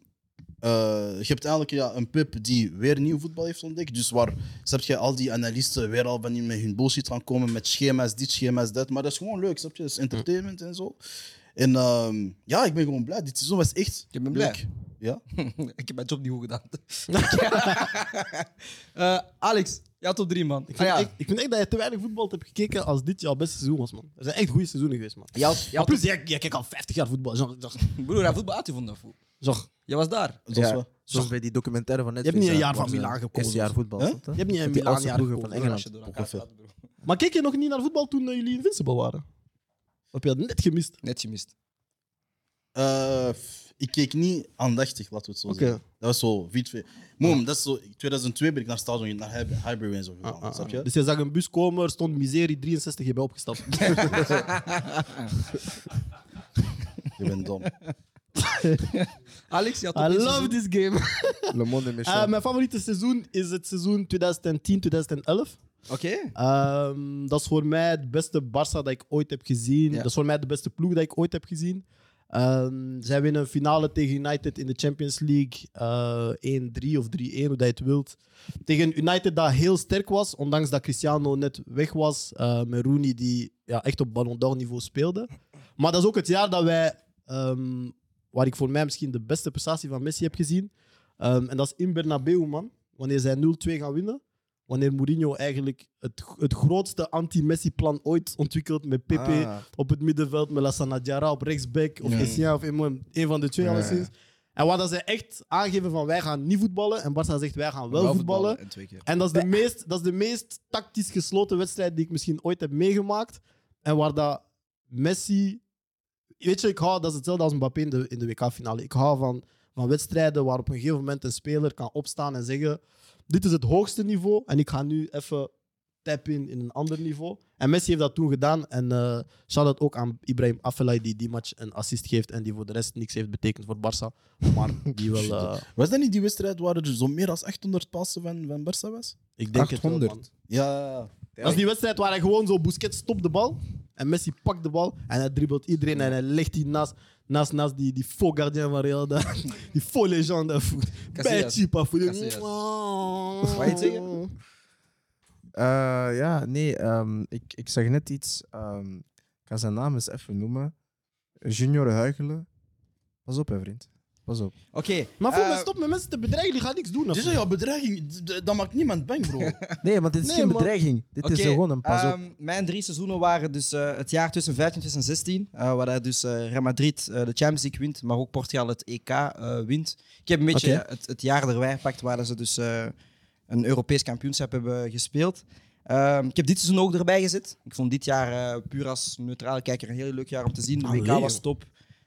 Speaker 2: eh, je hebt eigenlijk ja, een pub die weer nieuw voetbal heeft ontdekt. Dus waar snap je, al die analisten weer al van die met hun bullshit gaan komen met schema's, dit, schema's, dat. Maar dat is gewoon leuk, snap je? Dat is entertainment en zo. En ehm, ja, ik ben gewoon blij. Dit seizoen was echt
Speaker 6: Je bent blij?
Speaker 2: leuk. Ja?
Speaker 6: ik heb mijn job niet goed *laughs* gedaan. Eh, Alex, jouw top 3, man.
Speaker 3: Ik
Speaker 6: Ah,
Speaker 3: vind,
Speaker 6: ja.
Speaker 3: echt, ik vind echt dat je te weinig voetbal hebt gekeken als dit jouw beste seizoen was, man. Er zijn echt goede seizoenen geweest, man.
Speaker 6: Jouw- jouw
Speaker 3: Maar plus, jij, jij kijkt al 50 jaar voetbal. Zo, zo,
Speaker 6: Broer, hij voetbal uitgevonden. fool.
Speaker 3: zo.
Speaker 6: Jij was daar.
Speaker 2: Dat is
Speaker 5: Ja.
Speaker 2: wel-
Speaker 5: Zoals bij die documentaire van Netflix.
Speaker 3: niet een
Speaker 5: hè,
Speaker 3: jaar van
Speaker 5: waar ze
Speaker 3: Milaan gekozen.
Speaker 5: Eerste jaar voetbal.
Speaker 2: Hè?
Speaker 5: snap
Speaker 3: Je hebt niet een
Speaker 5: Die
Speaker 3: Milan
Speaker 5: oudste
Speaker 3: jaar
Speaker 5: ploegen
Speaker 3: gekozen.
Speaker 5: van Engeland.
Speaker 6: Als je door
Speaker 2: Ook
Speaker 6: elkaar
Speaker 2: wel
Speaker 6: gaat, broer.
Speaker 3: Maar keek je nog niet naar voetbal toen eh, jullie invincible waren? Heb je dat net gemist?
Speaker 6: Net gemist.
Speaker 2: Eh, f- ik keek niet aandachtig, laten we het zo
Speaker 3: Oké.
Speaker 2: zeggen. Dat was zo, V2. Moem, dat is zo, 2002 ben ik naar Stadion, naar Hib- Highbury en zo gegaan,
Speaker 3: Ah, ah,
Speaker 2: snap
Speaker 3: ah.
Speaker 2: je?
Speaker 3: Dus je zag een bus komen, er stond miserie 63, je bent opgestapt.
Speaker 2: Je bent dom.
Speaker 6: Alex, jouw top
Speaker 3: I
Speaker 6: drie
Speaker 3: love
Speaker 6: seizoen?
Speaker 3: this game.
Speaker 5: je? Le Monde
Speaker 3: Eh, mijn favoriete seizoen is het seizoen 2010-2011.
Speaker 6: Oké.
Speaker 3: Ehm, dat is voor mij het beste Barça dat ik ooit heb gezien.
Speaker 6: Ja.
Speaker 3: Dat is voor mij de beste ploeg dat ik ooit heb gezien. Ehm, zij winnen een finale tegen United in de Champions League. eh, 1-3 of 3-1, hoe dat je het wilt. Tegen United dat heel sterk was, ondanks dat Cristiano net weg was. eh, met Rooney die ja, echt op Ballon d'Or niveau speelde. Maar dat is ook het jaar dat wij, ehm, waar ik voor mij misschien de beste prestatie van Messi heb gezien. Ehm, en dat is in Bernabeu, man. Wanneer zij 0-2 gaan winnen wanneer Mourinho eigenlijk het, het grootste anti-Messi-plan ooit ontwikkelt met Pepe
Speaker 5: Ah.
Speaker 3: op het middenveld, met Lassana Diarra op rechtsback of
Speaker 2: Ja.
Speaker 3: Essien of een, een van de twee alleszins. En wat dat ze echt aangeven van wij gaan niet voetballen en Barca zegt wij gaan wel, voetballen.
Speaker 6: En twee keer.
Speaker 3: En dat is, de meest, dat is de meest tactisch gesloten wedstrijd die ik misschien ooit heb meegemaakt. En waar dat Messi. Weet je, ik hou, dat is hetzelfde als Mbappé in de, in de WK-finale. Ik hou van, van wedstrijden waar op een gegeven moment een speler kan opstaan en zeggen: Dit is het hoogste niveau en ik ga nu even tap in in een ander niveau. En Messi heeft dat toen gedaan. En eh shout-out ook aan Ibrahim Afellay, die die match een assist geeft en die voor de rest niks heeft betekend voor Barça. Maar die wel. eh,
Speaker 2: Was dat niet die wedstrijd waar er zo meer dan 800 passen van, van Barça was?
Speaker 3: ik denk het wel,
Speaker 5: 800.
Speaker 3: man.
Speaker 2: Ja,
Speaker 3: Dat is die wedstrijd waar hij gewoon zo Busquets stopt de bal. En Messi pakt de bal en hij dribbelt iedereen en hij legt die naast, naast, naast die, die faux gardien van Real. daar. *laughs* Die faux legende. Bij
Speaker 6: Casillas.
Speaker 3: Chipa.
Speaker 6: Casillas. Wou je iets zeggen?
Speaker 5: Eh, ja, nee, ehm, ik, ik zag net iets. ehm, ik ga zijn naam eens even noemen. Junior huichelen. Pas op, hè, vriend.
Speaker 3: *laughs*
Speaker 5: Pas op.
Speaker 6: Oké.
Speaker 3: Maar voor
Speaker 6: eh,
Speaker 3: me stop met mensen te bedreigen, die gaan niks doen.
Speaker 2: Dit is jouw bedreiging. D- d- Dat maakt niemand bang, *laughs* bro.
Speaker 5: Nee, want dit is
Speaker 3: Nee,
Speaker 5: geen
Speaker 3: man.
Speaker 5: bedreiging. Dit is
Speaker 6: Oké,
Speaker 5: gewoon een pas op.
Speaker 6: ehm, mijn drie seizoenen waren dus eh, het jaar tussen 15 en 2016, eh, waar hij dus eh, Real Madrid eh, de Champions League wint, maar ook Portugal het EK eh, wint. Ik heb een beetje
Speaker 5: Oké.
Speaker 6: het, het jaar erbij gepakt waar ze dus eh, een Europees kampioenschap hebben gespeeld. Ehm, ik heb dit seizoen ook erbij gezet. Ik vond dit jaar eh, puur als neutrale kijker een heel leuk jaar om te zien. De WK
Speaker 3: Allee,
Speaker 6: was
Speaker 3: joh.
Speaker 6: top.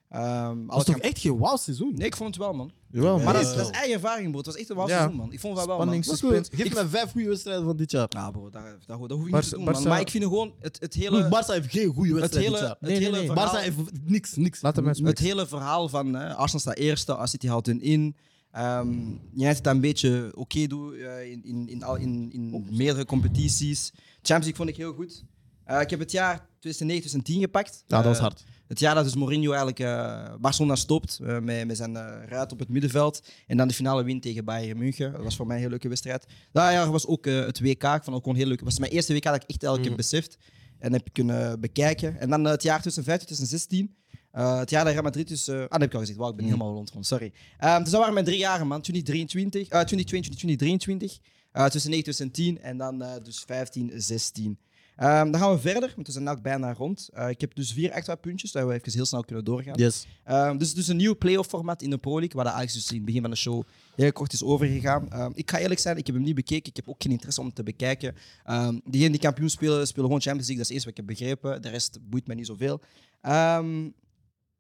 Speaker 6: Ehm,
Speaker 3: Dat is
Speaker 6: alle
Speaker 3: toch
Speaker 6: kamp-
Speaker 3: echt geen wauw seizoen?
Speaker 6: Nee, ik vond het wel, man.
Speaker 5: Jawel,
Speaker 6: Maar dat
Speaker 3: Ja.
Speaker 6: is, dat is eigen ervaring, bro. Het was echt een wauw
Speaker 5: Ja.
Speaker 6: seizoen, man. Ik vond het wel, man.
Speaker 5: Spanning,
Speaker 3: Dat is
Speaker 5: suspense.
Speaker 3: goed. Geef me vijf goede wedstrijden van dit jaar.
Speaker 6: Ja, bro, dat, dat, dat hoef ik niet
Speaker 5: Barca-
Speaker 6: te doen, man.
Speaker 5: Barca-
Speaker 6: Maar ik vind gewoon het, het hele...
Speaker 3: Hm, Barça heeft geen goede
Speaker 6: het
Speaker 3: wedstrijd
Speaker 6: hele,
Speaker 3: dit jaar.
Speaker 6: het
Speaker 5: Nee, nee,
Speaker 6: hele
Speaker 5: nee.
Speaker 6: verhaal.
Speaker 3: Barça heeft niks, niks.
Speaker 5: Laat hem
Speaker 6: het
Speaker 5: uitspreken.
Speaker 6: hele verhaal van hè, Arsenal staat eerste, City houdt hun in. Ehm United dat een beetje oké doet eh, in, in, in, al- in, in meerdere competities. Champions League vond ik heel goed. Eh, ik heb het jaar 2009-2010 gepakt.
Speaker 3: Ja, dat was
Speaker 6: Eh,
Speaker 3: hard.
Speaker 6: het jaar dat dus Mourinho eigenlijk eh, Barcelona stopt eh, met, met zijn eh, ruit op het middenveld. En dan de finale win tegen Bayern München. Dat was voor mij een heel leuke wedstrijd. Dat jaar was ook eh, het WK. Ik vond het ook een heel leuk. Het was mijn eerste WK dat ik echt elke
Speaker 3: Mm.
Speaker 6: heb beseft. En heb kunnen bekijken. En dan eh, het jaar 2015, 2016. Eh, het jaar dat Real Madrid dus... eh, ah, dat heb ik al gezegd. Wauw, ik
Speaker 3: Mm.
Speaker 6: ben helemaal rond, rond, sorry. Ehm, dus dat waren mijn drie jaren, man. 2023, eh 2022, 2023. eh tussen 9 en 10. En dan eh, dus 15, 16. Ehm, dan gaan we verder, want we zijn ook bijna rond. Eh, ik heb dus vier extra puntjes, dat we even heel snel kunnen doorgaan.
Speaker 3: Yes.
Speaker 6: Ehm, dus, dus een nieuw playoff format in de Pro League, waar dat Alex dus in het begin van de show heel kort is overgegaan. Ehm, ik ga eerlijk zijn, ik heb hem niet bekeken. Ik heb ook geen interesse om hem te bekijken. Ehm diegenen die kampioen spelen, spelen gewoon Champions League. Dat is eerst wat ik heb begrepen. De rest boeit me niet zoveel. Ehm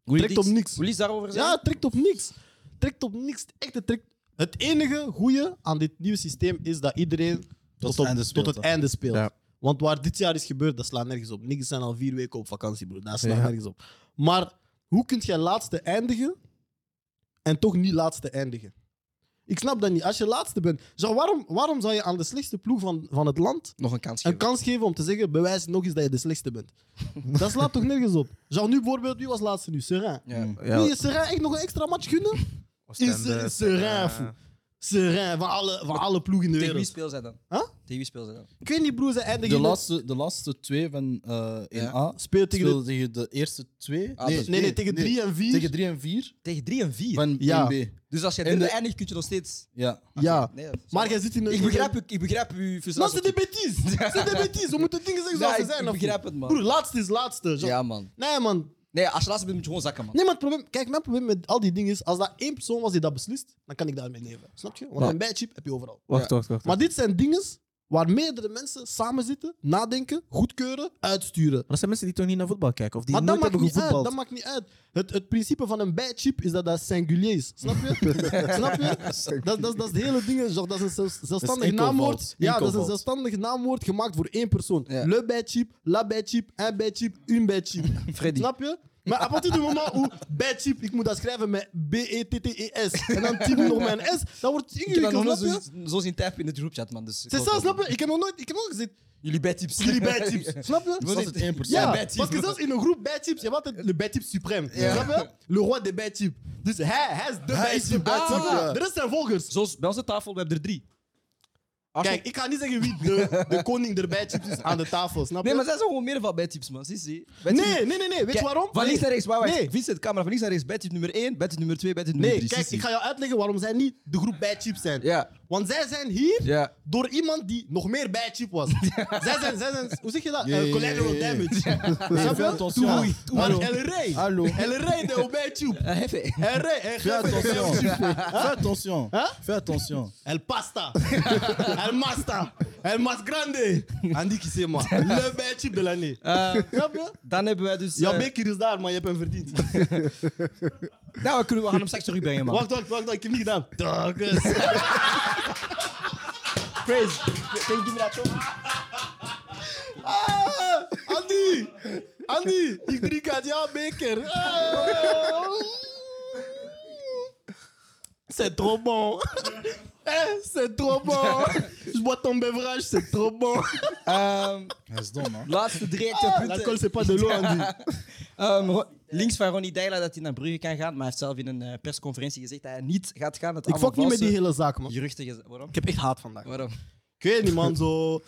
Speaker 6: wil je
Speaker 3: Trekt
Speaker 6: iets-
Speaker 3: op niks.
Speaker 6: Wil je iets daarover zeggen?
Speaker 3: Ja, het trekt op niks. Het Trekt op niks. Het Echte trekt. Het enige goede aan dit nieuwe systeem is dat iedereen tot,
Speaker 2: het
Speaker 3: op-
Speaker 2: einde speelt,
Speaker 3: tot het
Speaker 2: hè?
Speaker 3: einde speelt.
Speaker 5: Ja.
Speaker 3: Want waar dit jaar is gebeurd, dat slaat nergens op. Niks zijn al vier weken op vakantie, broer. Dat slaat
Speaker 5: Ja.
Speaker 3: nergens op. Maar hoe kun jij laatste eindigen en toch niet laatste eindigen? Ik snap dat niet. Als je laatste bent, zo waarom, waarom zou je aan de slechtste ploeg van, van het land
Speaker 6: Nog een kans
Speaker 3: een
Speaker 6: geven.
Speaker 3: kans geven om te zeggen: bewijs nog eens dat je de slechtste
Speaker 2: *laughs*
Speaker 3: bent? dat slaat toch nergens op? Zou nu bijvoorbeeld, wie was laatste nu? Serain.
Speaker 6: Ja.
Speaker 3: Wil
Speaker 5: Ja,
Speaker 3: je Serain echt nog een extra match gunnen?
Speaker 5: Oostende,
Speaker 3: Is Serain,
Speaker 5: eh,
Speaker 3: foe. Serain, van alle, van alle ploegen in de
Speaker 6: Tegen wie
Speaker 3: wereld.
Speaker 6: speel zij dan?
Speaker 3: Huh?
Speaker 6: Tegen wie speel zij dan?
Speaker 3: Ik weet niet, broer, ze eindigen
Speaker 2: De
Speaker 3: in-
Speaker 2: laatste, de laatste twee van eh 1A
Speaker 6: Ja.
Speaker 3: Speel tegen de...
Speaker 2: speelden tegen de eerste twee.
Speaker 6: Ah, dat is-
Speaker 3: Nee, nee, tegen 3 en 4.
Speaker 2: Tegen drie en vier
Speaker 6: Tegen 3 en 4.
Speaker 2: van
Speaker 3: Ja.
Speaker 2: 1B.
Speaker 6: Dus als je
Speaker 2: En
Speaker 6: derde
Speaker 2: de-
Speaker 6: eindigt, kun je nog steeds...
Speaker 2: Ja.
Speaker 3: Ja.
Speaker 6: Nee, dat is-
Speaker 3: Maar jij zit in een...
Speaker 6: Ik begrijp, u- ik begrijp uw
Speaker 3: Dat
Speaker 6: frustratie.
Speaker 3: zijn de
Speaker 6: *laughs*
Speaker 3: bêtises. Dat zijn de bêtises. We moeten dingen zeggen zoals
Speaker 6: Ja,
Speaker 3: ze
Speaker 6: ik-
Speaker 3: zijn.
Speaker 6: ik
Speaker 3: of niet?
Speaker 6: begrijp het, man.
Speaker 3: Broer, laatste is laatste. Zo-
Speaker 6: Ja, man.
Speaker 3: Nee, man.
Speaker 6: Nee, als je laatste bent, moet je gewoon zakken, man.
Speaker 3: Nee, maar het probleem... Kijk, mijn probleem met al die dingen is... Als dat één persoon was die dat beslist, dan kan ik daarmee leven. Snap je? Want
Speaker 5: Ja.
Speaker 3: een bijchip heb je overal.
Speaker 5: Wacht, wacht, wacht.
Speaker 3: Maar dit zijn dingen waar meerdere mensen samen zitten, nadenken, goedkeuren, uitsturen.
Speaker 5: Maar dat zijn mensen die toch niet naar voetbal kijken? Of die
Speaker 3: maar dat
Speaker 5: nooit
Speaker 3: maakt,
Speaker 5: hebben
Speaker 3: niet ah, uit,
Speaker 5: gevoetbald?
Speaker 3: dat maakt niet uit. Het, het principe van een bad chip is dat dat singulier is. Snap je? Snap je? Dat, dat, dat is het hele ding. zo, Dat is een zelfs- zelfstandig
Speaker 2: enkelvoud.
Speaker 3: naamwoord. Ja, dat is een
Speaker 2: Enkelvoud.
Speaker 3: zelfstandig naamwoord gemaakt voor één persoon.
Speaker 6: Ja.
Speaker 3: Le bad chip, la bad chip, un bad chip, une bad chip.
Speaker 6: Freddy.
Speaker 3: Snap je? Maar à partir du moment hoe bad chip, ik moet dat schrijven met E B-E-T-T-E-S en dan typ ik nog mijn S, dan wordt het
Speaker 6: Ik heb dat
Speaker 3: ingewikkeld.
Speaker 6: nog nooit
Speaker 3: snap je?
Speaker 6: zo, zo zien typen in de groupchat, man. Dus
Speaker 3: C'est ça, snap je? Ik heb nog nooit, ik heb nog nooit gezegd,
Speaker 6: Jullie bedtips.
Speaker 3: jullie bad chips. Snap je?
Speaker 6: Vous
Speaker 2: Dat is
Speaker 6: êtes-
Speaker 2: het 1%.
Speaker 3: Ja,
Speaker 6: bad
Speaker 3: parce que
Speaker 6: type.
Speaker 3: zelfs in een groep bad chips, je hebt altijd de bad type supreme. Snap je? Le roi des bad types. Dus hij, hij is de
Speaker 2: Hij
Speaker 3: bad Ah,
Speaker 2: is de
Speaker 3: type.
Speaker 2: bad
Speaker 3: Snap je?
Speaker 2: type, ja.
Speaker 3: De rest zijn volgers.
Speaker 6: Zoals bij onze tafel, we hebben er drie. Arsenal-
Speaker 3: Kijk, ik ga niet zeggen wie de, de koning der bad chips is aan de tafel, snap je?
Speaker 6: nee, maar zij zijn gewoon meer van bedtips, man. Zie, zie. Bedtips-
Speaker 3: nee, nee, nee, nee, weet je
Speaker 6: Kijk,
Speaker 3: waarom?
Speaker 6: Van links
Speaker 3: nee.
Speaker 6: naar rechts, wacht, wacht.
Speaker 3: Nee.
Speaker 6: Vincent, camera, van links naar rechts. Bedtip nummer 1, bedtip nummer 2, bedtip nummer
Speaker 3: Nee,
Speaker 6: 3.
Speaker 3: kijk, ik ga jou uitleggen waarom zij niet de groep bad chips zijn.
Speaker 6: Ja,
Speaker 3: Want zij zijn hier
Speaker 6: ja.
Speaker 3: door iemand die nog meer bad chip
Speaker 2: *laughs*
Speaker 3: was. zij, zijn, zij zijn, hoe zeg je dat?
Speaker 2: Ja,
Speaker 3: Eh,
Speaker 2: ja, ja,
Speaker 3: collateral
Speaker 2: ja, ja.
Speaker 3: damage. Snap
Speaker 2: fais
Speaker 3: je?
Speaker 2: attention.
Speaker 3: Toe- toe-
Speaker 2: Hallo.
Speaker 3: Want El Rey,
Speaker 2: Hallo.
Speaker 3: El Rey de bad chip.
Speaker 6: Eh, Hefe.
Speaker 3: El Rey, El
Speaker 2: Fais
Speaker 3: Jefe de bad
Speaker 2: attention.
Speaker 3: chip.
Speaker 2: Fais attention.
Speaker 3: Hein
Speaker 2: Fais attention.
Speaker 3: El *laughs* Pasta, El Master, El Mas Grande. Andy qui c'est moi. Euh, Le bel type de l'année.
Speaker 6: Eh,
Speaker 3: Snap je?
Speaker 6: Dan hebben wij dus... eh,
Speaker 3: Jouw beker is daar, maar je hebt hem verdiend.
Speaker 6: nou, we, kunnen, we gaan hem straks terugbrengen, man.
Speaker 3: Wacht, wacht, wacht, wacht, ik heb niet gedaan. *laughs* Douglas.
Speaker 6: Praise. Can you give me that trophy?
Speaker 3: Ah, Andy! Andy, ik drink uit jouw beker. Ah. C'est trop bon. Eh, c'est trop bon. Je bois ton beverage, c'est trop bon.
Speaker 6: Ehm,
Speaker 2: Hij is dom, man.
Speaker 6: laatste drie extra punten.
Speaker 3: L'alcool, c'est pas de l'eau, Andy. Ah,
Speaker 6: Ehm, Ro- links van Ronnie Deila dat hij naar Brugge kan gaan, maar hij heeft zelf in een eh, persconferentie gezegd dat hij niet gaat gaan. Dat
Speaker 3: Ik
Speaker 6: allemaal
Speaker 3: fuck niet met die
Speaker 6: valse
Speaker 3: hele zaak, man.
Speaker 6: geruchten. gez- Waarom?
Speaker 3: Ik heb echt haat vandaag.
Speaker 6: Waarom?
Speaker 3: Ik weet niet, man. Zo...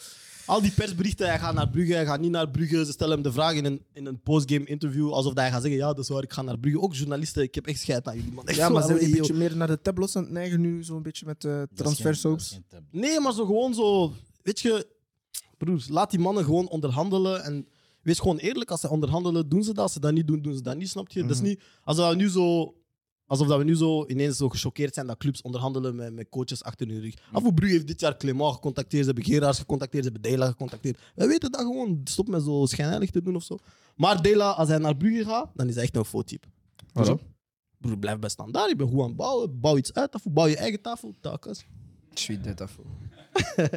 Speaker 3: Al die persberichten, hij gaat naar Brugge, hij gaat niet naar Brugge. Ze stellen hem de vraag in een, in een postgame interview, alsof hij gaat zeggen, ja, dat is waar, ik ga naar Brugge. Ook journalisten, ik heb echt scheid aan jullie, man. Echt
Speaker 5: Ja,
Speaker 3: zo,
Speaker 5: maar ze zijn
Speaker 3: allee,
Speaker 5: een
Speaker 3: joh.
Speaker 5: beetje meer naar de tableaux aan het neigen nu, zo'n beetje met eh transfersoaps.
Speaker 3: Nee, maar zo gewoon zo. Weet je, broers, laat die mannen gewoon onderhandelen. En wees gewoon eerlijk. Als ze onderhandelen, doen ze dat. Als ze dat niet doen, doen ze dat niet. Snap je? Dat is niet. Als we nu zo. Alsof dat we nu zo ineens zo gechoqueerd zijn dat clubs onderhandelen met, met coaches achter hun rug. Af en heeft dit jaar Clément gecontacteerd, ze hebben Geraars gecontacteerd, ze hebben Dela gecontacteerd. We weten dat gewoon. Stop met zo schijnheilig te doen of zo. Maar Dela, als hij naar Brugge gaat, dan is hij echt een faux-type.
Speaker 5: Waarom?
Speaker 3: Broer, blijf bij standaard. Je bent goed aan het bouwen. Bouw iets uit, of bouw je eigen tafel. Takas.
Speaker 6: Sweet
Speaker 3: *laughs*
Speaker 6: dit af. Ehm,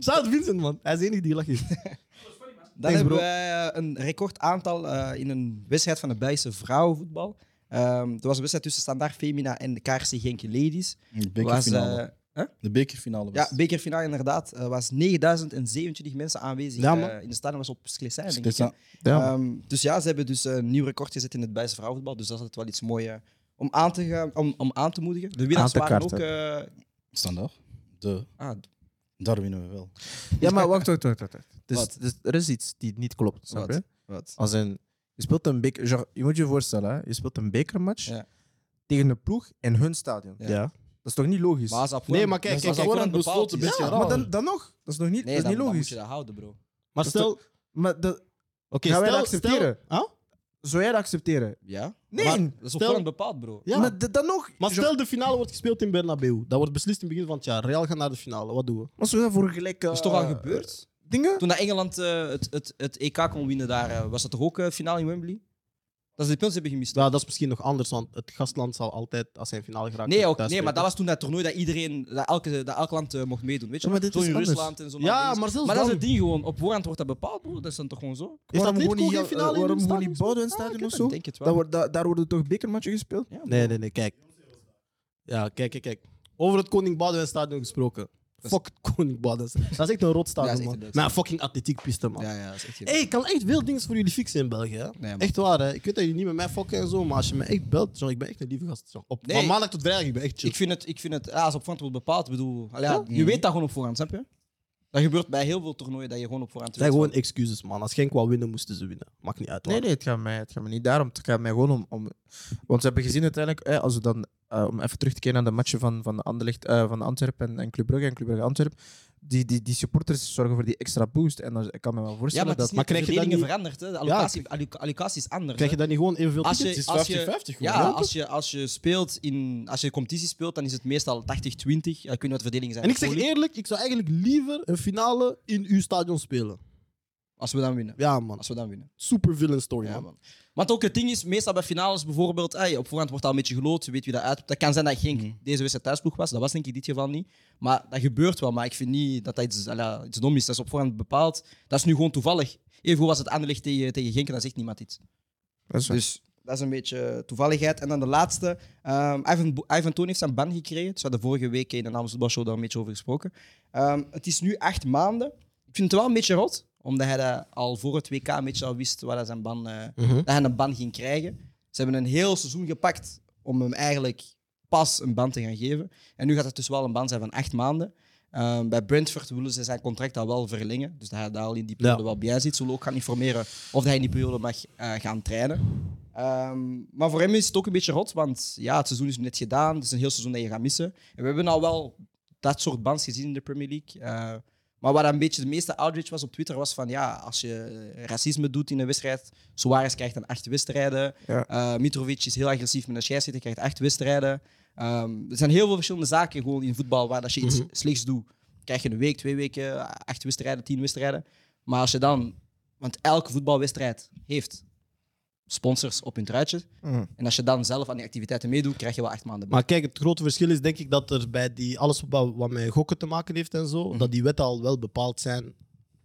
Speaker 3: Shout Vincent, man. Hij is de enige die *laughs* lacht.
Speaker 6: Dan
Speaker 3: Thanks,
Speaker 6: hebben
Speaker 3: bro.
Speaker 6: wij eh, een record aantal eh, in een wedstrijd van de Belgische vrouwenvoetbal. Ehm er was een wedstrijd tussen Standaard Femina en de KRC Genk Ladies.
Speaker 2: De
Speaker 6: Was,
Speaker 2: bekerfinale.
Speaker 6: eh, hè?
Speaker 2: de bekerfinale was
Speaker 6: ja, bekerfinale inderdaad. Er was 9027 mensen aanwezig
Speaker 3: Ja, man.
Speaker 6: eh, in de stadion. was op Sclessin, denk ik.
Speaker 2: Sclessin.
Speaker 6: hè.
Speaker 5: Ja.
Speaker 6: Ehm, dus ja, ze hebben dus een nieuw record gezet in het Belgische vrouwenvoetbal. Dus dat is altijd wel iets moois eh, om, aan te gaan, om, om aan te moedigen. De winnaars
Speaker 5: te
Speaker 6: waren ook...
Speaker 5: kaarten.
Speaker 6: eh,
Speaker 2: standaard. De,
Speaker 6: ah,
Speaker 2: daar winnen we wel.
Speaker 5: Ja, maar wacht, wacht, wacht. wacht. wacht. Dus,
Speaker 6: Wat?
Speaker 5: dus er is iets die niet klopt, snap
Speaker 6: Wat?
Speaker 5: je?
Speaker 6: wat?
Speaker 5: Als een, je speelt een beker, genre, je moet je voorstellen, hè? je speelt een bekermatch
Speaker 6: Ja.
Speaker 5: tegen een ploeg in hun stadion.
Speaker 6: Ja.
Speaker 5: Dat is toch niet logisch?
Speaker 6: Maar als dat
Speaker 3: Nee,
Speaker 6: voor-
Speaker 3: maar kijk,
Speaker 6: als
Speaker 3: kijk,
Speaker 6: Dus dat
Speaker 3: kijk,
Speaker 6: voor
Speaker 3: Goran
Speaker 6: een bepaald
Speaker 3: besloot een
Speaker 6: is,
Speaker 3: beetje
Speaker 6: ja.
Speaker 3: raar.
Speaker 5: maar dan, dan nog, dat is nog niet,
Speaker 6: Nee,
Speaker 5: dat is
Speaker 6: dan,
Speaker 5: niet
Speaker 6: dan moet
Speaker 5: logisch.
Speaker 6: je dat houden, bro.
Speaker 3: Maar
Speaker 5: Dat
Speaker 3: stel, oké,
Speaker 5: Maar dat,
Speaker 3: stel,
Speaker 5: gaan wij dat
Speaker 3: stel-
Speaker 5: accepteren?
Speaker 3: Huh?
Speaker 5: zou jij dat accepteren?
Speaker 6: Ja?
Speaker 5: Nee,
Speaker 3: Maar-
Speaker 6: Dat is op
Speaker 3: Stel-
Speaker 6: voorhand bepaald, bro.
Speaker 3: Ja.
Speaker 5: maar d- dan nog.
Speaker 3: Maar
Speaker 5: Zo-
Speaker 3: stel, de finale wordt gespeeld in Bernabeu. Dat wordt beslist in het begin van het jaar. Real gaat naar de finale. Wat doen we?
Speaker 5: Wat zou dat voor gelijke
Speaker 6: Dat is toch al
Speaker 5: eh,
Speaker 6: gebeurd?
Speaker 5: Dingen?
Speaker 6: Toen dat Engeland eh, het, het, het EK kon winnen, daar eh, was dat toch ook eh, finale in Wembley? Dat ze de punten hebben gemist.
Speaker 3: Nou, dat is misschien nog anders, want het gastland zal altijd, als hij in finale geraakt
Speaker 6: Nee,
Speaker 3: thuis
Speaker 6: ook, nee,
Speaker 3: spelen.
Speaker 6: maar dat was toen dat toernooi dat iedereen, dat elke, dat elk land eh, mocht meedoen. Weet je?
Speaker 5: Ja, maar dit
Speaker 6: Zo
Speaker 5: is
Speaker 6: in
Speaker 5: anders.
Speaker 6: Rusland en zo.
Speaker 3: Ja,
Speaker 6: dingen.
Speaker 3: maar zelfs
Speaker 6: dat is
Speaker 3: dan-
Speaker 6: het ding gewoon. Op voorhand wordt dat bepaald, bro. Dat is dan toch gewoon zo?
Speaker 3: Heeft
Speaker 5: waarom
Speaker 3: dat
Speaker 5: gewoon
Speaker 3: Lidkoek
Speaker 5: niet,
Speaker 3: geen finale in
Speaker 5: waarom
Speaker 3: hun
Speaker 5: gewoon
Speaker 3: stadion
Speaker 5: niet Boudewijn Stadion
Speaker 6: ik
Speaker 5: of zo?
Speaker 6: denk het wel.
Speaker 5: Dat wordt, da- daar worden toch bekermatchen gespeeld?
Speaker 6: Ja,
Speaker 3: Nee, nee, nee, kijk. Ja, kijk, kijk, kijk. Over het Koning Baudewijn Stadion gesproken.
Speaker 6: is-
Speaker 3: Fuck het Koning Baudewijn Stadion. Dat is echt een rot
Speaker 6: Ja,
Speaker 3: stadion,
Speaker 6: dat is echt
Speaker 3: man.
Speaker 6: een dood
Speaker 3: Met een fucking atletiekpiste, man.
Speaker 6: Ja, ja, dat is echt geen-
Speaker 3: Hey, ik kan echt veel dingen voor jullie fixen in België. Hè?
Speaker 6: man.
Speaker 3: echt waar, hè? Ik weet dat jullie niet met mij fokken en zo, maar als je me echt belt, zo, ik ben echt een lieve gast. Zo. Op,
Speaker 6: Nee.
Speaker 3: Van maandag tot vrijdag, ik ben echt chill.
Speaker 6: Ik vind het, ik vind het ja, als op voorhand wordt bepaald, bedoel, allee, ja, je weet dat gewoon op voorhand, snap je? Dat gebeurt bij heel veel toernooien dat je gewoon op voorhand
Speaker 3: Het zijn
Speaker 6: weet
Speaker 3: gewoon excuses, man. Als Genk wou winnen, moesten ze winnen. Maakt niet uit.
Speaker 5: Nee, nee, het gaat mij, het gaat mij niet daarom. Het gaat mij gewoon om. om want ze hebben gezien uiteindelijk, eh, als we dan, eh, om even terug te keren naar de matchen van, van, Anderlecht, eh, van Antwerpen en, en Club Brugge en Club Brugge Antwerpen, die, die, die supporters zorgen voor die extra boost. En dan, ik kan me wel
Speaker 6: Ja,
Speaker 5: voorstellen
Speaker 6: maar, het is
Speaker 5: dat.
Speaker 6: niet,
Speaker 3: maar
Speaker 6: de
Speaker 3: krijg je dat
Speaker 6: verdelingen
Speaker 3: niet-
Speaker 6: verandert. Hè. De allocatie, allo- allocatie is anders.
Speaker 3: Krijg je
Speaker 6: hè.
Speaker 3: dan niet gewoon evenveel
Speaker 6: als
Speaker 3: tickets?
Speaker 6: je,
Speaker 2: is
Speaker 6: als je-
Speaker 2: 50-50 gewoon,
Speaker 6: ja,
Speaker 2: hè,
Speaker 6: als je, als je speelt in... Als je competitie speelt, dan is het meestal 80-20. Ja, Ik weet niet wat de verdelingen zijn.
Speaker 3: En ik zeg
Speaker 6: Voor-
Speaker 3: eerlijk, ik zou eigenlijk liever een finale in uw stadion spelen.
Speaker 6: Als we dan winnen.
Speaker 3: Ja, man.
Speaker 6: Als we dan winnen.
Speaker 3: Super villain story,
Speaker 6: Ja,
Speaker 3: man.
Speaker 6: man. Want ook het ding is, meestal bij finales bijvoorbeeld, ey, op voorhand wordt al een beetje geloot, je weet wie dat uit. Dat kan zijn dat Genk deze wedstrijd thuisploeg was, dat was denk ik in dit geval niet. Maar dat gebeurt wel, maar ik vind niet dat dat iets, à la, iets dom is. Dat is op voorhand bepaald. Dat is nu gewoon toevallig. Even hoe was het Anderlecht tegen, tegen Genk, en daar zegt niemand iets.
Speaker 5: Dat is waar.
Speaker 6: Dus dat is een beetje toevalligheid. En dan de laatste. ehm, Ivan, Bo- Ivan Toon heeft zijn ban gekregen. Dus we hadden vorige week in de Namens Voetbalshow daar een beetje over gesproken. Ehm, het is nu acht maanden. Ik vind het wel een beetje rot. Omdat hij dat al voor het WK een beetje al wist waar hij zijn ban, eh, dat hij een ban ging krijgen. Ze hebben een heel seizoen gepakt om hem eigenlijk pas een ban te gaan geven. En nu gaat het dus wel een ban zijn van acht maanden. Ehm, bij Brentford willen ze zijn contract al wel verlengen. Dus dat hij daar al in die periode
Speaker 3: Ja.
Speaker 6: wel bij zit. Ze willen ook gaan informeren of hij in die periode mag eh, gaan trainen. Ehm, maar voor hem is het ook een beetje rot, want ja, het seizoen is net gedaan. Het is een heel seizoen dat je gaat missen. En we hebben al wel dat soort bands gezien in de Premier League. Eh, maar wat een beetje de meeste outrage was op Twitter, was van ja, als je racisme doet in een wedstrijd, Suarez krijgt dan acht wedstrijden.
Speaker 5: Ja.
Speaker 6: Eh, Mitrovic is heel agressief met een scheidsrechter, krijgt acht wedstrijden. Ehm, er zijn heel veel verschillende zaken gewoon in voetbal waar als je
Speaker 5: Mhm.
Speaker 6: iets slechts doet, krijg je een week, twee weken, acht wedstrijden, tien wedstrijden. Maar als je dan, want elke voetbalwedstrijd heeft sponsors op hun truitje.
Speaker 5: Mhm.
Speaker 6: En als je dan zelf aan die activiteiten meedoet, krijg je wel acht maanden.
Speaker 3: Maar kijk, het grote verschil is denk ik dat er bij die, alles wat, wat met gokken te maken heeft en zo, dat die wetten al wel bepaald zijn.
Speaker 6: Mhm.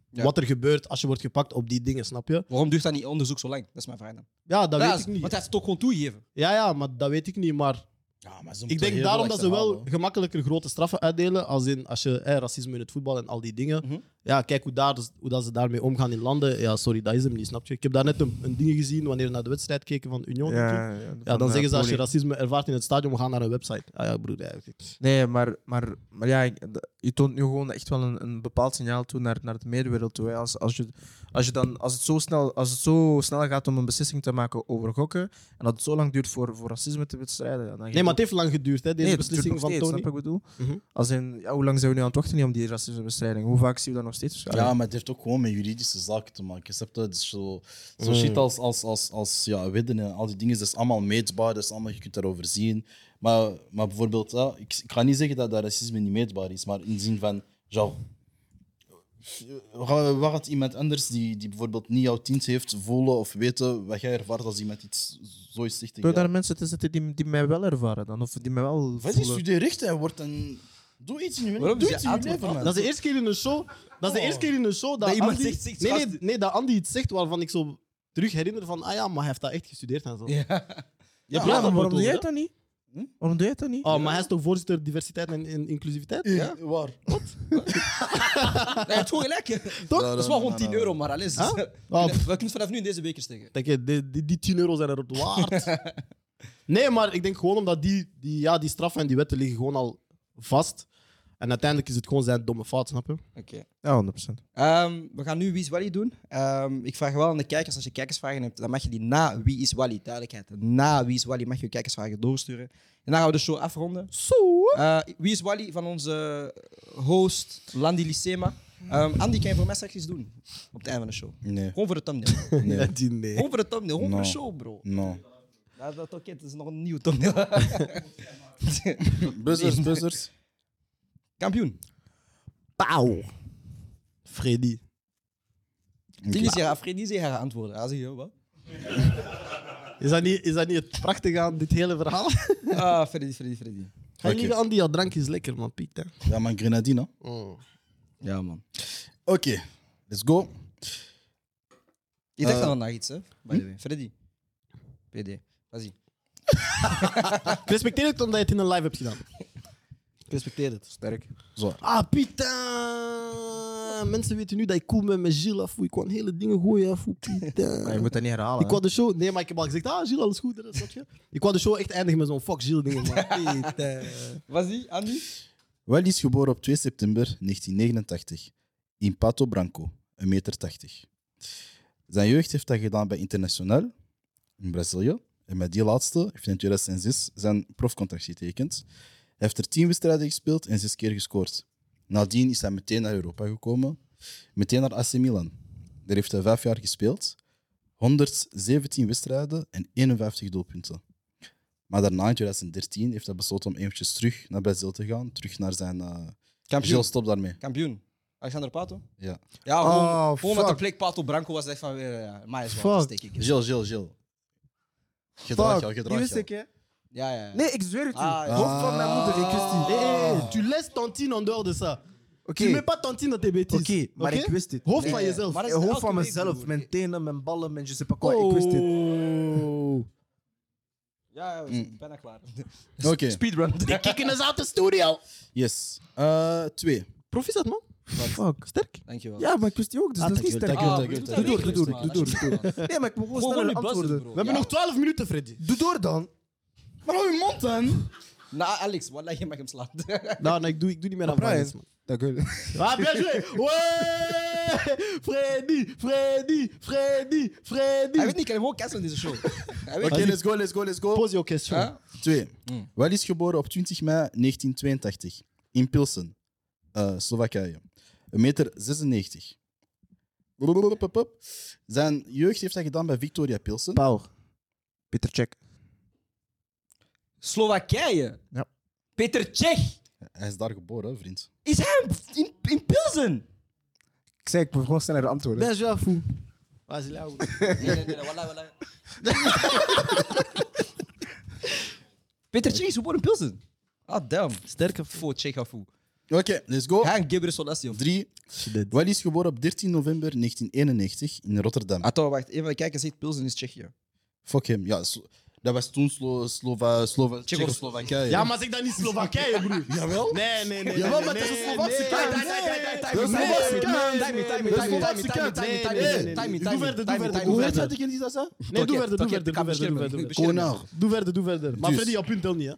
Speaker 6: Ja.
Speaker 3: Wat er gebeurt als je wordt gepakt op die dingen, snap je?
Speaker 6: Waarom duurt dat niet onderzoek zo lang? Dat is mijn vraag dan.
Speaker 3: Ja, dat
Speaker 6: Ja,
Speaker 3: weet ik niet.
Speaker 6: Want hij heeft het toch gewoon
Speaker 3: *laughs*
Speaker 6: toegegeven.
Speaker 3: Ja, ja, maar dat weet ik niet. Maar
Speaker 2: Ja, maar ze
Speaker 3: ik
Speaker 2: moeten
Speaker 3: denk
Speaker 2: heel
Speaker 3: daarom
Speaker 2: veel
Speaker 3: dat ze wel
Speaker 2: achterhalen,
Speaker 3: gemakkelijker grote straffen uitdelen. Als in als je eh, racisme in het voetbal en al die dingen.
Speaker 6: Mhm.
Speaker 3: ja, kijk hoe, daar, dus- hoe dat ze daarmee omgaan in landen. Ja, sorry, dat is hem niet, snap je? Ik heb daar net een, een ding gezien wanneer we naar de wedstrijd keken van Union. natuurlijk.
Speaker 5: Ja, eh,
Speaker 3: Ja, dan zeggen ze als je racisme ervaart in het stadion, we gaan naar een website. Ah ja, broer, ja, ik-
Speaker 5: Nee, maar, maar, maar ja, ik- d- je toont nu gewoon echt wel een, een bepaald signaal toe naar, naar de medewereld toe. hè. Als, als, je, als, je dan, als, het zo snel, als het zo snel gaat om een beslissing te maken over gokken en dat het zo lang duurt voor, voor racisme te bestrijden. ja, Dan
Speaker 3: Nee, maar het heeft lang geduurd, hè, deze
Speaker 5: Nee, het duurt
Speaker 3: beslissing
Speaker 5: nog
Speaker 3: van
Speaker 5: steeds,
Speaker 3: Tony.
Speaker 5: Snap je wat ik bedoel?
Speaker 3: Mhm.
Speaker 5: Als in, ja, hoe lang zijn we nu aan het wachten om die racismebestrijding? Hoe vaak zien we dat nog steeds?
Speaker 2: Ja, maar het heeft ook gewoon met juridische zaken te maken. Snap je? Het is zo, zo shit als, als, als, als ja, wedden en al die dingen. Dat is allemaal meetbaar, dat is allemaal, je kunt daarover zien. Maar, maar bijvoorbeeld, ja, ik, ik ga niet zeggen dat, dat racisme niet meetbaar is, maar in de zin van, ja, Wa- waar gaat iemand anders die, die bijvoorbeeld niet jouw tint heeft voelen of weten wat jij ervaart als iemand iets zoiets zegt tegen
Speaker 5: Door daar
Speaker 2: jou?
Speaker 5: mensen te zetten die, die mij wel ervaren dan, of die mij wel
Speaker 2: Wat is
Speaker 5: voelen.
Speaker 2: studeer rechten en wordt een... Doe iets in je leven.
Speaker 6: Waarom
Speaker 2: Doe
Speaker 6: is
Speaker 2: iets
Speaker 6: je
Speaker 2: in je
Speaker 6: antwoord
Speaker 2: leven, man.
Speaker 3: Dat is de eerste keer in een show. Dat is de eerste keer in een show dat,
Speaker 6: Dat iemand
Speaker 3: Andy-
Speaker 6: zegt, zegt,
Speaker 3: nee, nee,
Speaker 6: gast-
Speaker 3: nee, dat Andy iets zegt waarvan ik zo terug herinner van, ah ja, maar hij heeft dat echt gestudeerd en zo.
Speaker 6: Ja.
Speaker 3: Ja,
Speaker 5: Ja,
Speaker 3: praat
Speaker 5: maar
Speaker 3: daar
Speaker 5: waarom
Speaker 3: over,
Speaker 5: doe jij
Speaker 3: hè?
Speaker 5: dat niet?
Speaker 2: Hm?
Speaker 5: Waarom doe jij dat niet?
Speaker 3: Oh, maar hij is toch voorzitter diversiteit en, en inclusiviteit?
Speaker 2: Ja, waar?
Speaker 6: Hij heeft gewoon gelijk. hè. Toch?
Speaker 2: Ja,
Speaker 6: Dat is
Speaker 2: ja,
Speaker 6: wel
Speaker 2: ja,
Speaker 6: gewoon 10
Speaker 2: ja.
Speaker 6: euro, maar alles.
Speaker 3: Huh?
Speaker 6: We
Speaker 3: Ah,
Speaker 6: kunnen
Speaker 3: pff.
Speaker 6: we kunnen vanaf nu in deze beker steken.
Speaker 3: Denk je, die, die, die 10 euro zijn erop waard. nee, maar ik denk gewoon omdat die, die, ja, die straffen en die wetten liggen gewoon al vast. En uiteindelijk is het gewoon zijn domme fout, snap je?
Speaker 6: Oké.
Speaker 5: Ja, 100%.
Speaker 6: Ehm, we gaan nu Wie is Wally doen. Ehm, ik vraag wel aan de kijkers, als je kijkersvragen hebt, dan mag je die na Wie is Wally, duidelijkheid. Na Wie is Wally mag je je kijkersvragen doorsturen. En dan gaan we de show afronden. Eh, wie is Wally van onze host Landy Lissema. Ehm Andy, kan je voor mij straks iets doen op het einde van de show?
Speaker 2: Nee,
Speaker 6: Gewoon voor de thumbnail.
Speaker 3: *laughs* Ja,
Speaker 2: nee,
Speaker 3: die nee.
Speaker 6: Gewoon voor de thumbnail, gewoon voor de
Speaker 2: No.
Speaker 6: show, bro.
Speaker 2: no.
Speaker 6: Dat, dat, oké, het is nog een nieuw thumbnail.
Speaker 2: *laughs*
Speaker 6: *laughs*
Speaker 2: Buzzers, buzzers.
Speaker 6: Kampioen,
Speaker 3: Pauw. Freddy.
Speaker 6: ding is, je gaat Freddy zeggen, hij gaat antwoorden. Hij zegt, "Yo, wat?
Speaker 3: Is dat, niet, is dat niet het prachtige aan dit hele verhaal?
Speaker 6: Ah, Freddy, Freddy, Freddy.
Speaker 3: Ga je niet, Andy, jouw drank is lekker, man. Piet, hè.
Speaker 2: Ja, maar Grenadine.
Speaker 5: Oh.
Speaker 6: Ja, man.
Speaker 2: Oké, let's go.
Speaker 6: Je dacht
Speaker 2: Eh.
Speaker 6: al naar iets, hè? By the way. Freddy. PD. Vas-y.
Speaker 3: Ik respecteer het omdat je het in een live hebt gedaan. Ik respecteer het.
Speaker 5: Sterk.
Speaker 2: Zo.
Speaker 3: Ah, Pieter! Mensen weten nu dat ik cool ben met Gilles af. Ik kon hele dingen gooien af.
Speaker 5: *laughs* Maar
Speaker 3: Pieter.
Speaker 5: je moet dat niet herhalen.
Speaker 3: Ik wou de show... Nee, maar ik heb al gezegd, ah, Gilles, alles goed. hè, snap je? Ik wou de show echt eindigen met zo'n fuck Gilles ding.
Speaker 5: *laughs*
Speaker 3: man.
Speaker 5: Ah.
Speaker 3: Pieter.
Speaker 6: Vas-y, Andy.
Speaker 2: Wel is geboren op 2 september 1989 in Pato Branco, 1,80 meter. Zijn jeugd heeft hij gedaan bij Internacional in Brazilië. En met die laatste heeft hij in 2006 zijn profcontract getekend. Hij heeft er 10 wedstrijden gespeeld en 6 keer gescoord. Nadien is hij meteen naar Europa gekomen, meteen naar AC Milan. Daar heeft hij 5 jaar gespeeld, 117 wedstrijden en 51 doelpunten. Maar daarna, in 2013, heeft hij besloten om eventjes terug naar Brazil te gaan. Terug naar zijn... eh Gilles, stop daarmee.
Speaker 6: Kampioen. Alexander Pato?
Speaker 2: Ja.
Speaker 6: Ja,
Speaker 5: Oh,
Speaker 6: gewoon, gewoon met de
Speaker 5: fuck.
Speaker 6: plek Pato Branco was echt van weer. Ja, maar is
Speaker 5: Fuck.
Speaker 6: wel steek ik.
Speaker 2: Gilles, Gilles, Gilles. Gedraag jou,
Speaker 5: Fuck, die
Speaker 2: gedraag
Speaker 5: wist
Speaker 2: jou.
Speaker 5: ik, hè.
Speaker 6: Ja, ja. ja.
Speaker 5: Nee, ik zweer het u.
Speaker 6: Ah, ja.
Speaker 5: Hoofd van mijn moeder, ik wist die.
Speaker 3: Hey, hey, tu laisses Tantine en dehors de ça.
Speaker 5: Oké,
Speaker 3: Tu mets pas Tantine dans tes bêtises.
Speaker 5: Oké, maar ik wist dit.
Speaker 3: Hoofd van
Speaker 6: Nee,
Speaker 3: jezelf.
Speaker 6: maar dat
Speaker 5: Ik
Speaker 6: is
Speaker 5: hoofd
Speaker 6: elke
Speaker 5: van
Speaker 6: week,
Speaker 5: mezelf,
Speaker 6: broer.
Speaker 5: mijn tenen, mijn ballen, mijn je sais pas quoi. Oh. Ik wist dit.
Speaker 3: Oh.
Speaker 6: Ja, ja, we zijn bijna klaar.
Speaker 2: Oké,
Speaker 6: Speedrun.
Speaker 3: Kikken is uit de studio.
Speaker 2: yes. Eh, twee.
Speaker 3: Proficiat, man. Dus
Speaker 5: Fuck. Sterk.
Speaker 6: Dankjewel.
Speaker 5: Ja, maar ik wist die ook, dus
Speaker 3: Ah,
Speaker 5: dat is niet
Speaker 2: dankjewel,
Speaker 5: sterk.
Speaker 2: dankjewel.
Speaker 6: Ah,
Speaker 2: Doe
Speaker 6: we
Speaker 2: door,
Speaker 6: doen
Speaker 5: doe
Speaker 6: dat
Speaker 5: door,
Speaker 6: niet,
Speaker 5: doe door,
Speaker 6: man.
Speaker 5: doe door. Nee, maar ik moet gewoon
Speaker 6: Gewoon
Speaker 5: sneller
Speaker 6: die buzzer,
Speaker 5: antwoorden.
Speaker 6: bro.
Speaker 3: We hebben
Speaker 6: Ja.
Speaker 3: nog 12 minuten, Freddy.
Speaker 5: Doe door dan.
Speaker 2: Maar hou je mond dan!
Speaker 6: Nou, Alex, wat je mag hem slaan.
Speaker 3: Nou, nee, ik doe, ik doe niet meer aan
Speaker 5: Brian.
Speaker 3: Brian.
Speaker 5: Dank u.
Speaker 3: Ah, bien joué! Ouais! Freddy, Freddy, Freddy,
Speaker 6: Hij
Speaker 3: Freddy!
Speaker 6: weet niet, ik kan hem gewoon cancelen deze show. Hij weet
Speaker 2: Oké,
Speaker 6: niet.
Speaker 2: let's go, let's go, let's go.
Speaker 3: Pose your question.
Speaker 6: Huh?
Speaker 2: Twee. Wel is geboren op 20 mei 1982 in Pilsen, eh, Slowakije. 1,96 meter. 96. Blablabla. Zijn jeugd heeft hij gedaan bij Victoria Pilsen.
Speaker 5: Pauw. Peter check.
Speaker 6: Slowakije.
Speaker 5: Ja.
Speaker 6: Peter Tsjech.
Speaker 2: Hij is daar geboren, hè, vriend.
Speaker 6: Is hij in, in Pilsen?
Speaker 5: Ik zei, ik moet gewoon sneller antwoorden.
Speaker 3: Bien joué, fou. Vas-y, là.
Speaker 6: Nee, nee, nee, wallah, wallah. Peter Tsjech is geboren in Pilsen. Ah, damn. Sterke voor Tsjechafu.
Speaker 2: Oké, let's go.
Speaker 6: Hij en Gabriel Solasio.
Speaker 2: Drie. Wel is geboren op 13 november 1991 in Rotterdam. Ah,
Speaker 6: Ah, Atto, wacht. Een van de kijkers zegt Pilsen is Tsjechië.
Speaker 2: Fuck hem. Ja, Slo- Dat was toen Slo Slova Slova Tsjechoslowakije.
Speaker 3: Ja, maar zeg dan niet Slowakije, broer.
Speaker 2: Jawel.
Speaker 3: Nee, nee, nee.
Speaker 2: Jawel,
Speaker 3: nee,
Speaker 2: maar het is
Speaker 3: nee,
Speaker 2: een Slovaakse
Speaker 3: nee,
Speaker 2: kijk.
Speaker 3: nee,
Speaker 2: Nee,
Speaker 3: nee, nee, nee,
Speaker 2: is een
Speaker 3: nee,
Speaker 2: Slovaakse
Speaker 3: nee,
Speaker 2: kijk.
Speaker 3: nee, nee, nee, nee, nee, nee, nee, nee, nee, nee. Doe verder, doe verder. Hoe heet dat again, is dat zo? Nee, doe verder, doe verder, doe verder, doe verder. doe verder.
Speaker 2: Konar.
Speaker 3: Doe verder, doe verder. Maar
Speaker 2: Dus.
Speaker 3: Freddy, jouw punt telt niet, hè?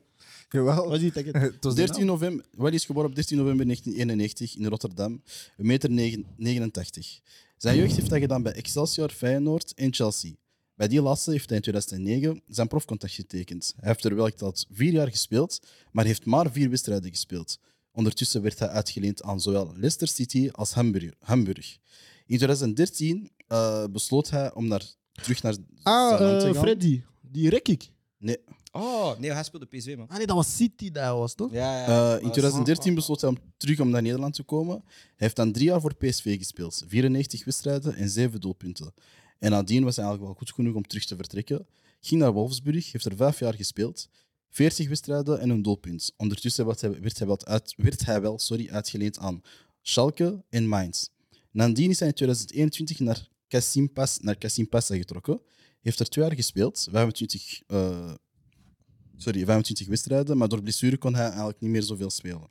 Speaker 5: Jawel.
Speaker 3: Was niet, denk ik.
Speaker 5: *laughs* Het was
Speaker 2: 13 november, Wally is geboren op 13 november 1991 in Rotterdam, 1,89 meter. 89. Zijn jeugd heeft hij gedaan bij Excelsior, Feyenoord en Chelsea. Bij die laatste heeft hij in 2009 zijn profcontact getekend. Hij heeft er wel dat vier jaar gespeeld, maar heeft maar vier wedstrijden gespeeld. Ondertussen werd hij uitgeleend aan zowel Leicester City als Hamburg. Hamburg. In 2013 eh, besloot hij om naar, terug naar
Speaker 3: Ah,
Speaker 2: zijn land te
Speaker 3: eh,
Speaker 2: gaan.
Speaker 3: Freddy. Die rek ik.
Speaker 2: Nee,
Speaker 6: Oh, nee, hij speelde PSV, man.
Speaker 3: Ah nee, dat was City daar was, toch?
Speaker 6: Ja, ja,
Speaker 2: Eh,
Speaker 6: ja.
Speaker 2: in 2013 besloot hij om terug om naar Nederland te komen. Hij heeft dan drie jaar voor PSV gespeeld. 94 wedstrijden en 7 doelpunten. En nadien was hij eigenlijk wel goed genoeg om terug te vertrekken. Ging naar Wolfsburg, heeft er vijf jaar gespeeld. 40 wedstrijden en een doelpunt. Ondertussen werd hij, werd hij, wel, uit, werd hij wel sorry, uitgeleend aan Schalke en Mainz. Nadien is hij in 2021 naar Casimpas, naar Kasimpasa getrokken. Heeft er twee jaar gespeeld, 25 eh, sorry, 25 wedstrijden, maar door blessure kon hij eigenlijk niet meer zoveel spelen.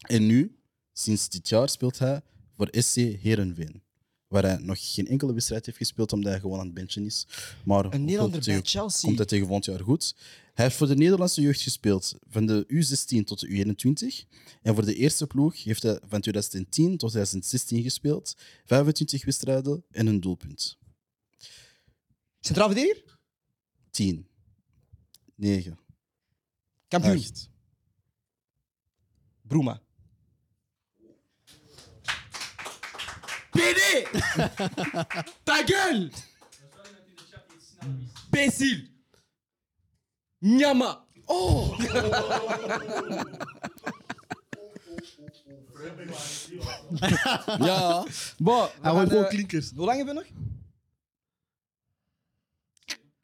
Speaker 2: En nu, sinds dit jaar, speelt hij voor SC Herenveen. Waar hij nog geen enkele wedstrijd heeft gespeeld, omdat hij gewoon aan het benchen is. Maar
Speaker 6: Een Nederlander
Speaker 2: hopelijk
Speaker 6: bij
Speaker 2: tegen-
Speaker 6: Chelsea.
Speaker 2: komt hij tegen volgend jaar goed. Hij heeft voor de Nederlandse jeugd gespeeld van de U16 tot de U21. En voor de eerste ploeg heeft hij van 2010 tot 2016 gespeeld. 25 wedstrijden en een doelpunt.
Speaker 6: Centraal verdediger?
Speaker 2: 10, 9,
Speaker 6: Kampioen.
Speaker 2: 8,
Speaker 6: Broema. PD! Ta gueule! Bécile! Nyama!
Speaker 2: Ja.
Speaker 6: Bon, we
Speaker 3: Hij
Speaker 6: gaan,
Speaker 3: hoort gewoon
Speaker 6: eh,
Speaker 3: klinkers.
Speaker 6: Hoe lang hebben we nog?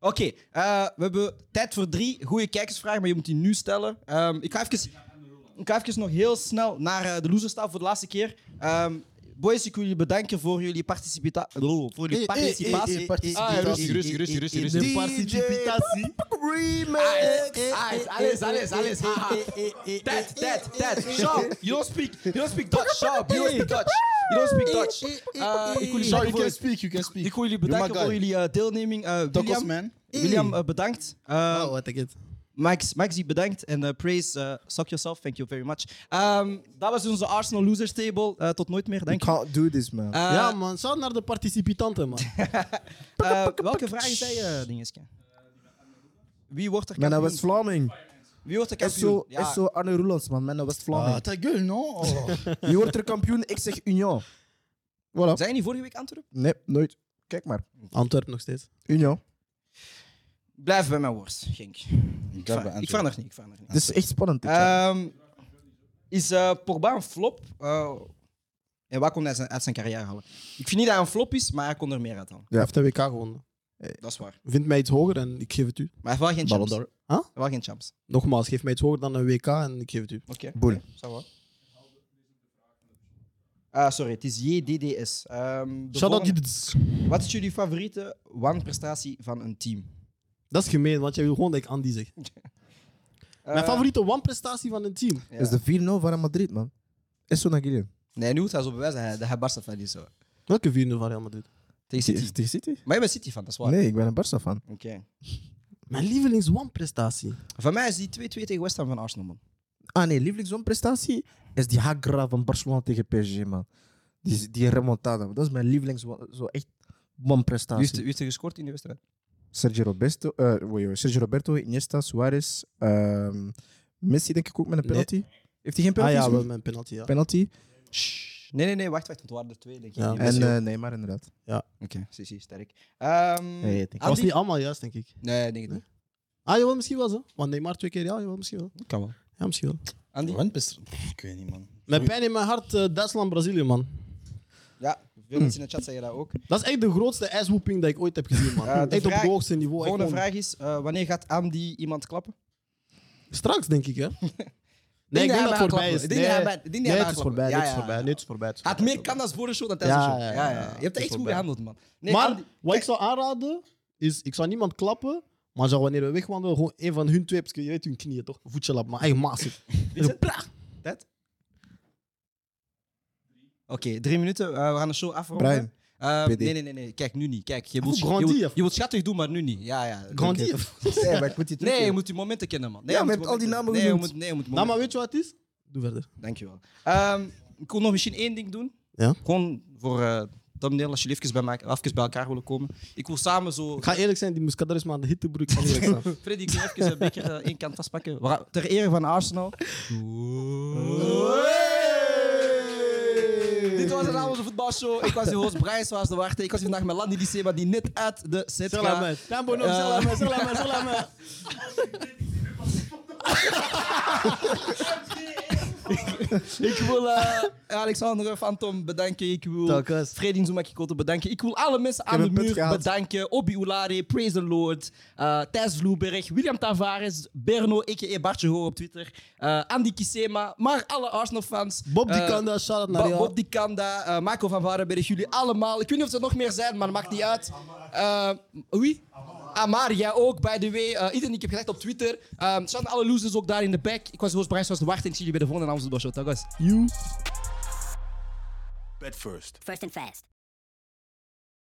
Speaker 6: Oké, eh, we hebben tijd voor drie goede kijkersvragen, maar je moet die nu stellen. Ehm, ik, ga even, ik ga even nog heel snel naar eh, de loserstafel voor de laatste keer. Ehm, boys, ik wil jullie bedanken voor jullie, participatie. voor jullie
Speaker 3: Eh,
Speaker 6: participatie.
Speaker 2: participatie.
Speaker 6: rustig, rustig, rustig, rustig.
Speaker 3: De participatie.
Speaker 6: Ah,
Speaker 3: eh,
Speaker 6: Eyes, alles, alles, alles. ha, ha.
Speaker 3: eh,
Speaker 6: Tijd, tijd, tijd. Sharp, you don't speak, you don't speak Dutch. Sharp, you don't speak Dutch. You don't speak Dutch. Eh, ik wil
Speaker 2: Sorry,
Speaker 6: jullie
Speaker 2: you
Speaker 6: bedanken
Speaker 2: can
Speaker 6: voor-
Speaker 2: speak, you can speak.
Speaker 6: ik wil
Speaker 2: You're my
Speaker 6: jullie bedanken voor
Speaker 2: guy.
Speaker 6: jullie eh, deelneming. Eh,
Speaker 2: Tacos,
Speaker 6: William,
Speaker 2: man.
Speaker 6: William eh, bedankt. Eh,
Speaker 3: Oh, wat ik het.
Speaker 6: Max, Maxi, bedankt. En eh, Praise, eh, suck yourself. Thank you very much. Ehm, dat was onze Arsenal Losers Table. Eh, tot nooit meer,
Speaker 5: You
Speaker 6: denk ik.
Speaker 5: can't do this, man.
Speaker 6: Eh,
Speaker 3: Ja, man. Shout naar de participanten,
Speaker 6: *laughs*
Speaker 3: man.
Speaker 6: eh, welke vraag is hij, eh, dingeske? Wie wordt er
Speaker 5: Man, dat
Speaker 6: kampioen?
Speaker 5: was Vlaming.
Speaker 6: Wie wordt er
Speaker 5: Is
Speaker 6: kampioen?
Speaker 5: zo, is zo Arne Roelands, man. Man, dat was
Speaker 2: Ah,
Speaker 5: Vlaming.
Speaker 2: ta gueule, non?
Speaker 6: *laughs*
Speaker 2: Oh.
Speaker 5: Je wordt er kampioen, ik zeg Union. Voilà.
Speaker 6: Zijn jullie vorige week Antwerpen?
Speaker 5: Nee, nooit. Kijk maar.
Speaker 3: Antwerpen nog steeds.
Speaker 5: Union.
Speaker 6: Blijf bij mijn worst, Genk.
Speaker 2: Ik
Speaker 6: Ik,
Speaker 2: heb
Speaker 6: ver- ik
Speaker 2: beantwoord.
Speaker 6: verander niet, ik verander niet.
Speaker 5: Dit is echt spannend. dit jaar.
Speaker 6: Ehm, is eh Pogba een flop? Eh, en waar kon hij zijn, uit zijn carrière halen? Ik vind niet dat hij een flop is, maar hij kon er meer uit halen.
Speaker 5: Ja.
Speaker 3: Hij heeft de WK gewonnen.
Speaker 6: Dat is waar.
Speaker 3: Vind mij iets hoger en ik geef het u.
Speaker 6: Maar hij heeft wel geen
Speaker 2: Ballon
Speaker 6: champs.
Speaker 2: d'Or.
Speaker 6: Hij
Speaker 3: Huh?
Speaker 6: heeft wel geen champs.
Speaker 3: Nogmaals, geef mij iets hoger dan een WK en ik geef het u.
Speaker 6: Oké.
Speaker 5: Boel.
Speaker 6: Zou wel. Ah, sorry, het is JDDS. Ehm, de
Speaker 3: Shout-out
Speaker 6: volgende.
Speaker 3: Jidits.
Speaker 6: Wat is jullie favoriete wanprestatie van een team?
Speaker 3: Dat is gemeen, want jij wil gewoon dat ik Andy zeg. Mijn
Speaker 6: Eh,
Speaker 3: favoriete one-prestatie van een team.
Speaker 6: ja.
Speaker 5: Dat is de 4-0 van Real Madrid, man. Is zo naar Guilherme.
Speaker 6: Nee, nu moet hij zo bewijzen dat hij- dat hij Barca fan is. hoor.
Speaker 3: Welke 4-0 van Real Madrid?
Speaker 6: Tegen City.
Speaker 5: Tegen City?
Speaker 6: Maar je bent City fan, dat is waar.
Speaker 5: Nee, ik ben een Barca fan.
Speaker 6: Oké.
Speaker 3: Mijn Ah, lievelings one-prestatie.
Speaker 6: Van mij is die 2-2 tegen West Ham van Arsenal, man.
Speaker 5: Ah nee, lievelings zo'n prestatie is die Hagra van Barcelona tegen PSG, man. Die, die remontada. Dat is mijn lievelings zo echt man
Speaker 6: Wie heeft,
Speaker 5: prestatie.
Speaker 6: wie heeft er gescoord in de wedstrijd?
Speaker 5: Sergio Roberto, eh, oei, oei, Sergio Roberto, Iniesta, Suarez, ehm, Messi denk ik ook met een penalty. Heeft hij
Speaker 3: Ah
Speaker 5: geen penalty?
Speaker 3: ja, wel
Speaker 5: gezien?
Speaker 3: mijn penalty, ja.
Speaker 5: penalty.
Speaker 6: Shh. Nee, nee, nee, wacht, wacht, want het waren er twee, denk ik.
Speaker 3: Ja.
Speaker 6: Die
Speaker 5: En
Speaker 6: Messi ook.
Speaker 5: eh, Neymar inderdaad.
Speaker 6: Oké, zie, zie, sterk. Ehm
Speaker 5: Nee, ik denk-
Speaker 3: Dat was
Speaker 6: Andy?
Speaker 3: niet allemaal juist, denk ik.
Speaker 6: Nee, ik denk het niet.
Speaker 3: Ah, jawel, misschien wel zo. Want Neymar twee keer, ja, jawel, misschien wel.
Speaker 6: Kan wel.
Speaker 3: Ja, misschien wel.
Speaker 6: Andy?
Speaker 2: Wat best- Ik weet niet, man.
Speaker 3: Met pijn in mijn hart, eh, Duitsland-Brazilië, man.
Speaker 6: Ja, veel mensen in de chat zeggen dat ook.
Speaker 3: Dat is echt de grootste ijswoeping dat ik ooit heb gezien, man.
Speaker 6: Ja, de
Speaker 3: echt op
Speaker 6: vraag-
Speaker 3: het hoogste niveau. echt
Speaker 6: Volgende
Speaker 3: gewoon-
Speaker 6: vraag is, eh, wanneer gaat Andy iemand klappen?
Speaker 3: Straks, denk ik, hè?
Speaker 6: *laughs*
Speaker 3: Nee,
Speaker 6: hij
Speaker 3: ik denk
Speaker 6: bij
Speaker 3: dat het
Speaker 6: haar
Speaker 3: voorbij
Speaker 6: klapt.
Speaker 3: is.
Speaker 6: Ik
Speaker 3: Nee,
Speaker 6: denk dat hij bij- ik denk dat hij
Speaker 3: nee,
Speaker 6: bij
Speaker 3: het
Speaker 6: haar
Speaker 3: is
Speaker 6: klapt.
Speaker 3: voorbij.
Speaker 6: Ja,
Speaker 3: Nee, het is
Speaker 6: ja,
Speaker 3: voorbij.
Speaker 6: ja.
Speaker 3: Nee, het is voorbij. het is
Speaker 6: Hij had
Speaker 3: voorbij.
Speaker 6: meer kans voor de show dan tijdens
Speaker 3: Ja,
Speaker 6: de show.
Speaker 3: ja,
Speaker 6: Ja, ja,
Speaker 3: ja,
Speaker 6: ja. Je hebt
Speaker 3: het
Speaker 6: echt
Speaker 3: is
Speaker 6: goed
Speaker 3: voorbij.
Speaker 6: gehandeld, man. Nee,
Speaker 3: maar
Speaker 6: Andy-
Speaker 3: wat ik zou aanraden is: ik zou niemand klappen Maar zo, wanneer we wegwandelen, gewoon een van hun twee, heb je je weet hun knieën toch? Voetje lap, maar eigen maas.
Speaker 6: *laughs* Oké, drie minuten. eh, we gaan de show afronden. *laughs*
Speaker 5: Brian.
Speaker 6: Eh,
Speaker 5: PD.
Speaker 6: nee, nee, nee, nee. Kijk, nu niet. Kijk, je
Speaker 3: Hoe
Speaker 6: moet, je,
Speaker 3: Grandi
Speaker 6: moet,
Speaker 3: of-
Speaker 6: je moet schattig doen, maar nu niet. Ja, ja.
Speaker 3: Grandi.
Speaker 6: Oké.
Speaker 5: Nee, maar ik moet die
Speaker 6: Nee, je
Speaker 5: teruggeven.
Speaker 6: moet die momenten kennen, man. Nee,
Speaker 5: Ja,
Speaker 6: je
Speaker 5: maar
Speaker 6: moet
Speaker 5: je hebt al die
Speaker 6: momenten-
Speaker 5: namen
Speaker 6: nee, je
Speaker 5: genoemd.
Speaker 6: moet, nee, je moet
Speaker 3: Nou,
Speaker 6: momenten-
Speaker 3: maar weet je wat het is? Doe verder.
Speaker 6: Dankjewel. Ehm ik wil nog misschien één ding doen.
Speaker 3: Ja?
Speaker 6: Gewoon voor eh thumbnail, als jullie even bij, mij, even bij elkaar willen komen. Ik wil samen zo...
Speaker 3: Ik ga eerlijk zijn, die Muscadar is maar aan de hittebroek. Ik ga eerlijk zijn.
Speaker 6: Freddy, ik wil even een beetje eh, één kant vastpakken. We gaan- Ter ere van Arsenal. Dit was een avondse voetbalshow. Ik was uw host Brian Swaas de Warte. Ik was hier vandaag met Landy Dissema, die net uit de set
Speaker 3: Zeg laat
Speaker 6: gaat.
Speaker 3: mij. Tambo, no,
Speaker 6: Eh.
Speaker 3: zeg laat mij, zeg laat mij, zeg laat mij.
Speaker 6: Ik wil eh, *laughs* Alexander Phantom bedanken. Ik wil
Speaker 3: Telkens.
Speaker 6: Freddy Zoumakikoto bedanken. Ik wil alle mensen aan de
Speaker 5: heb een
Speaker 6: muur
Speaker 5: punt gehaald.
Speaker 6: bedanken. Obi Oulari, Praise the Lord, eh, Thijs Vloeberg, William Tavares, Berno, a.k.a. Bartje Hoor op Twitter, eh, Andy Kisema, maar alle Arsenal-fans.
Speaker 3: Bob die
Speaker 6: Eh,
Speaker 3: kan daar, shout-out naar
Speaker 6: Ba- Bob
Speaker 3: jou.
Speaker 6: die Kanda, eh, Marco van Varenberg, jullie allemaal. Ik weet niet of er nog meer zijn, maar maakt niet uit. Eh, wie? Amar, jij ook, by the way. Eh, iedereen, ik heb gezegd op Twitter. Ehm er staan alle losers ook daar in de back. Ik was Roos Brian, zoals de wacht. En ik zie jullie bij de volgende Amsterdam Show. Dag, guys.
Speaker 3: You.
Speaker 4: First and fast.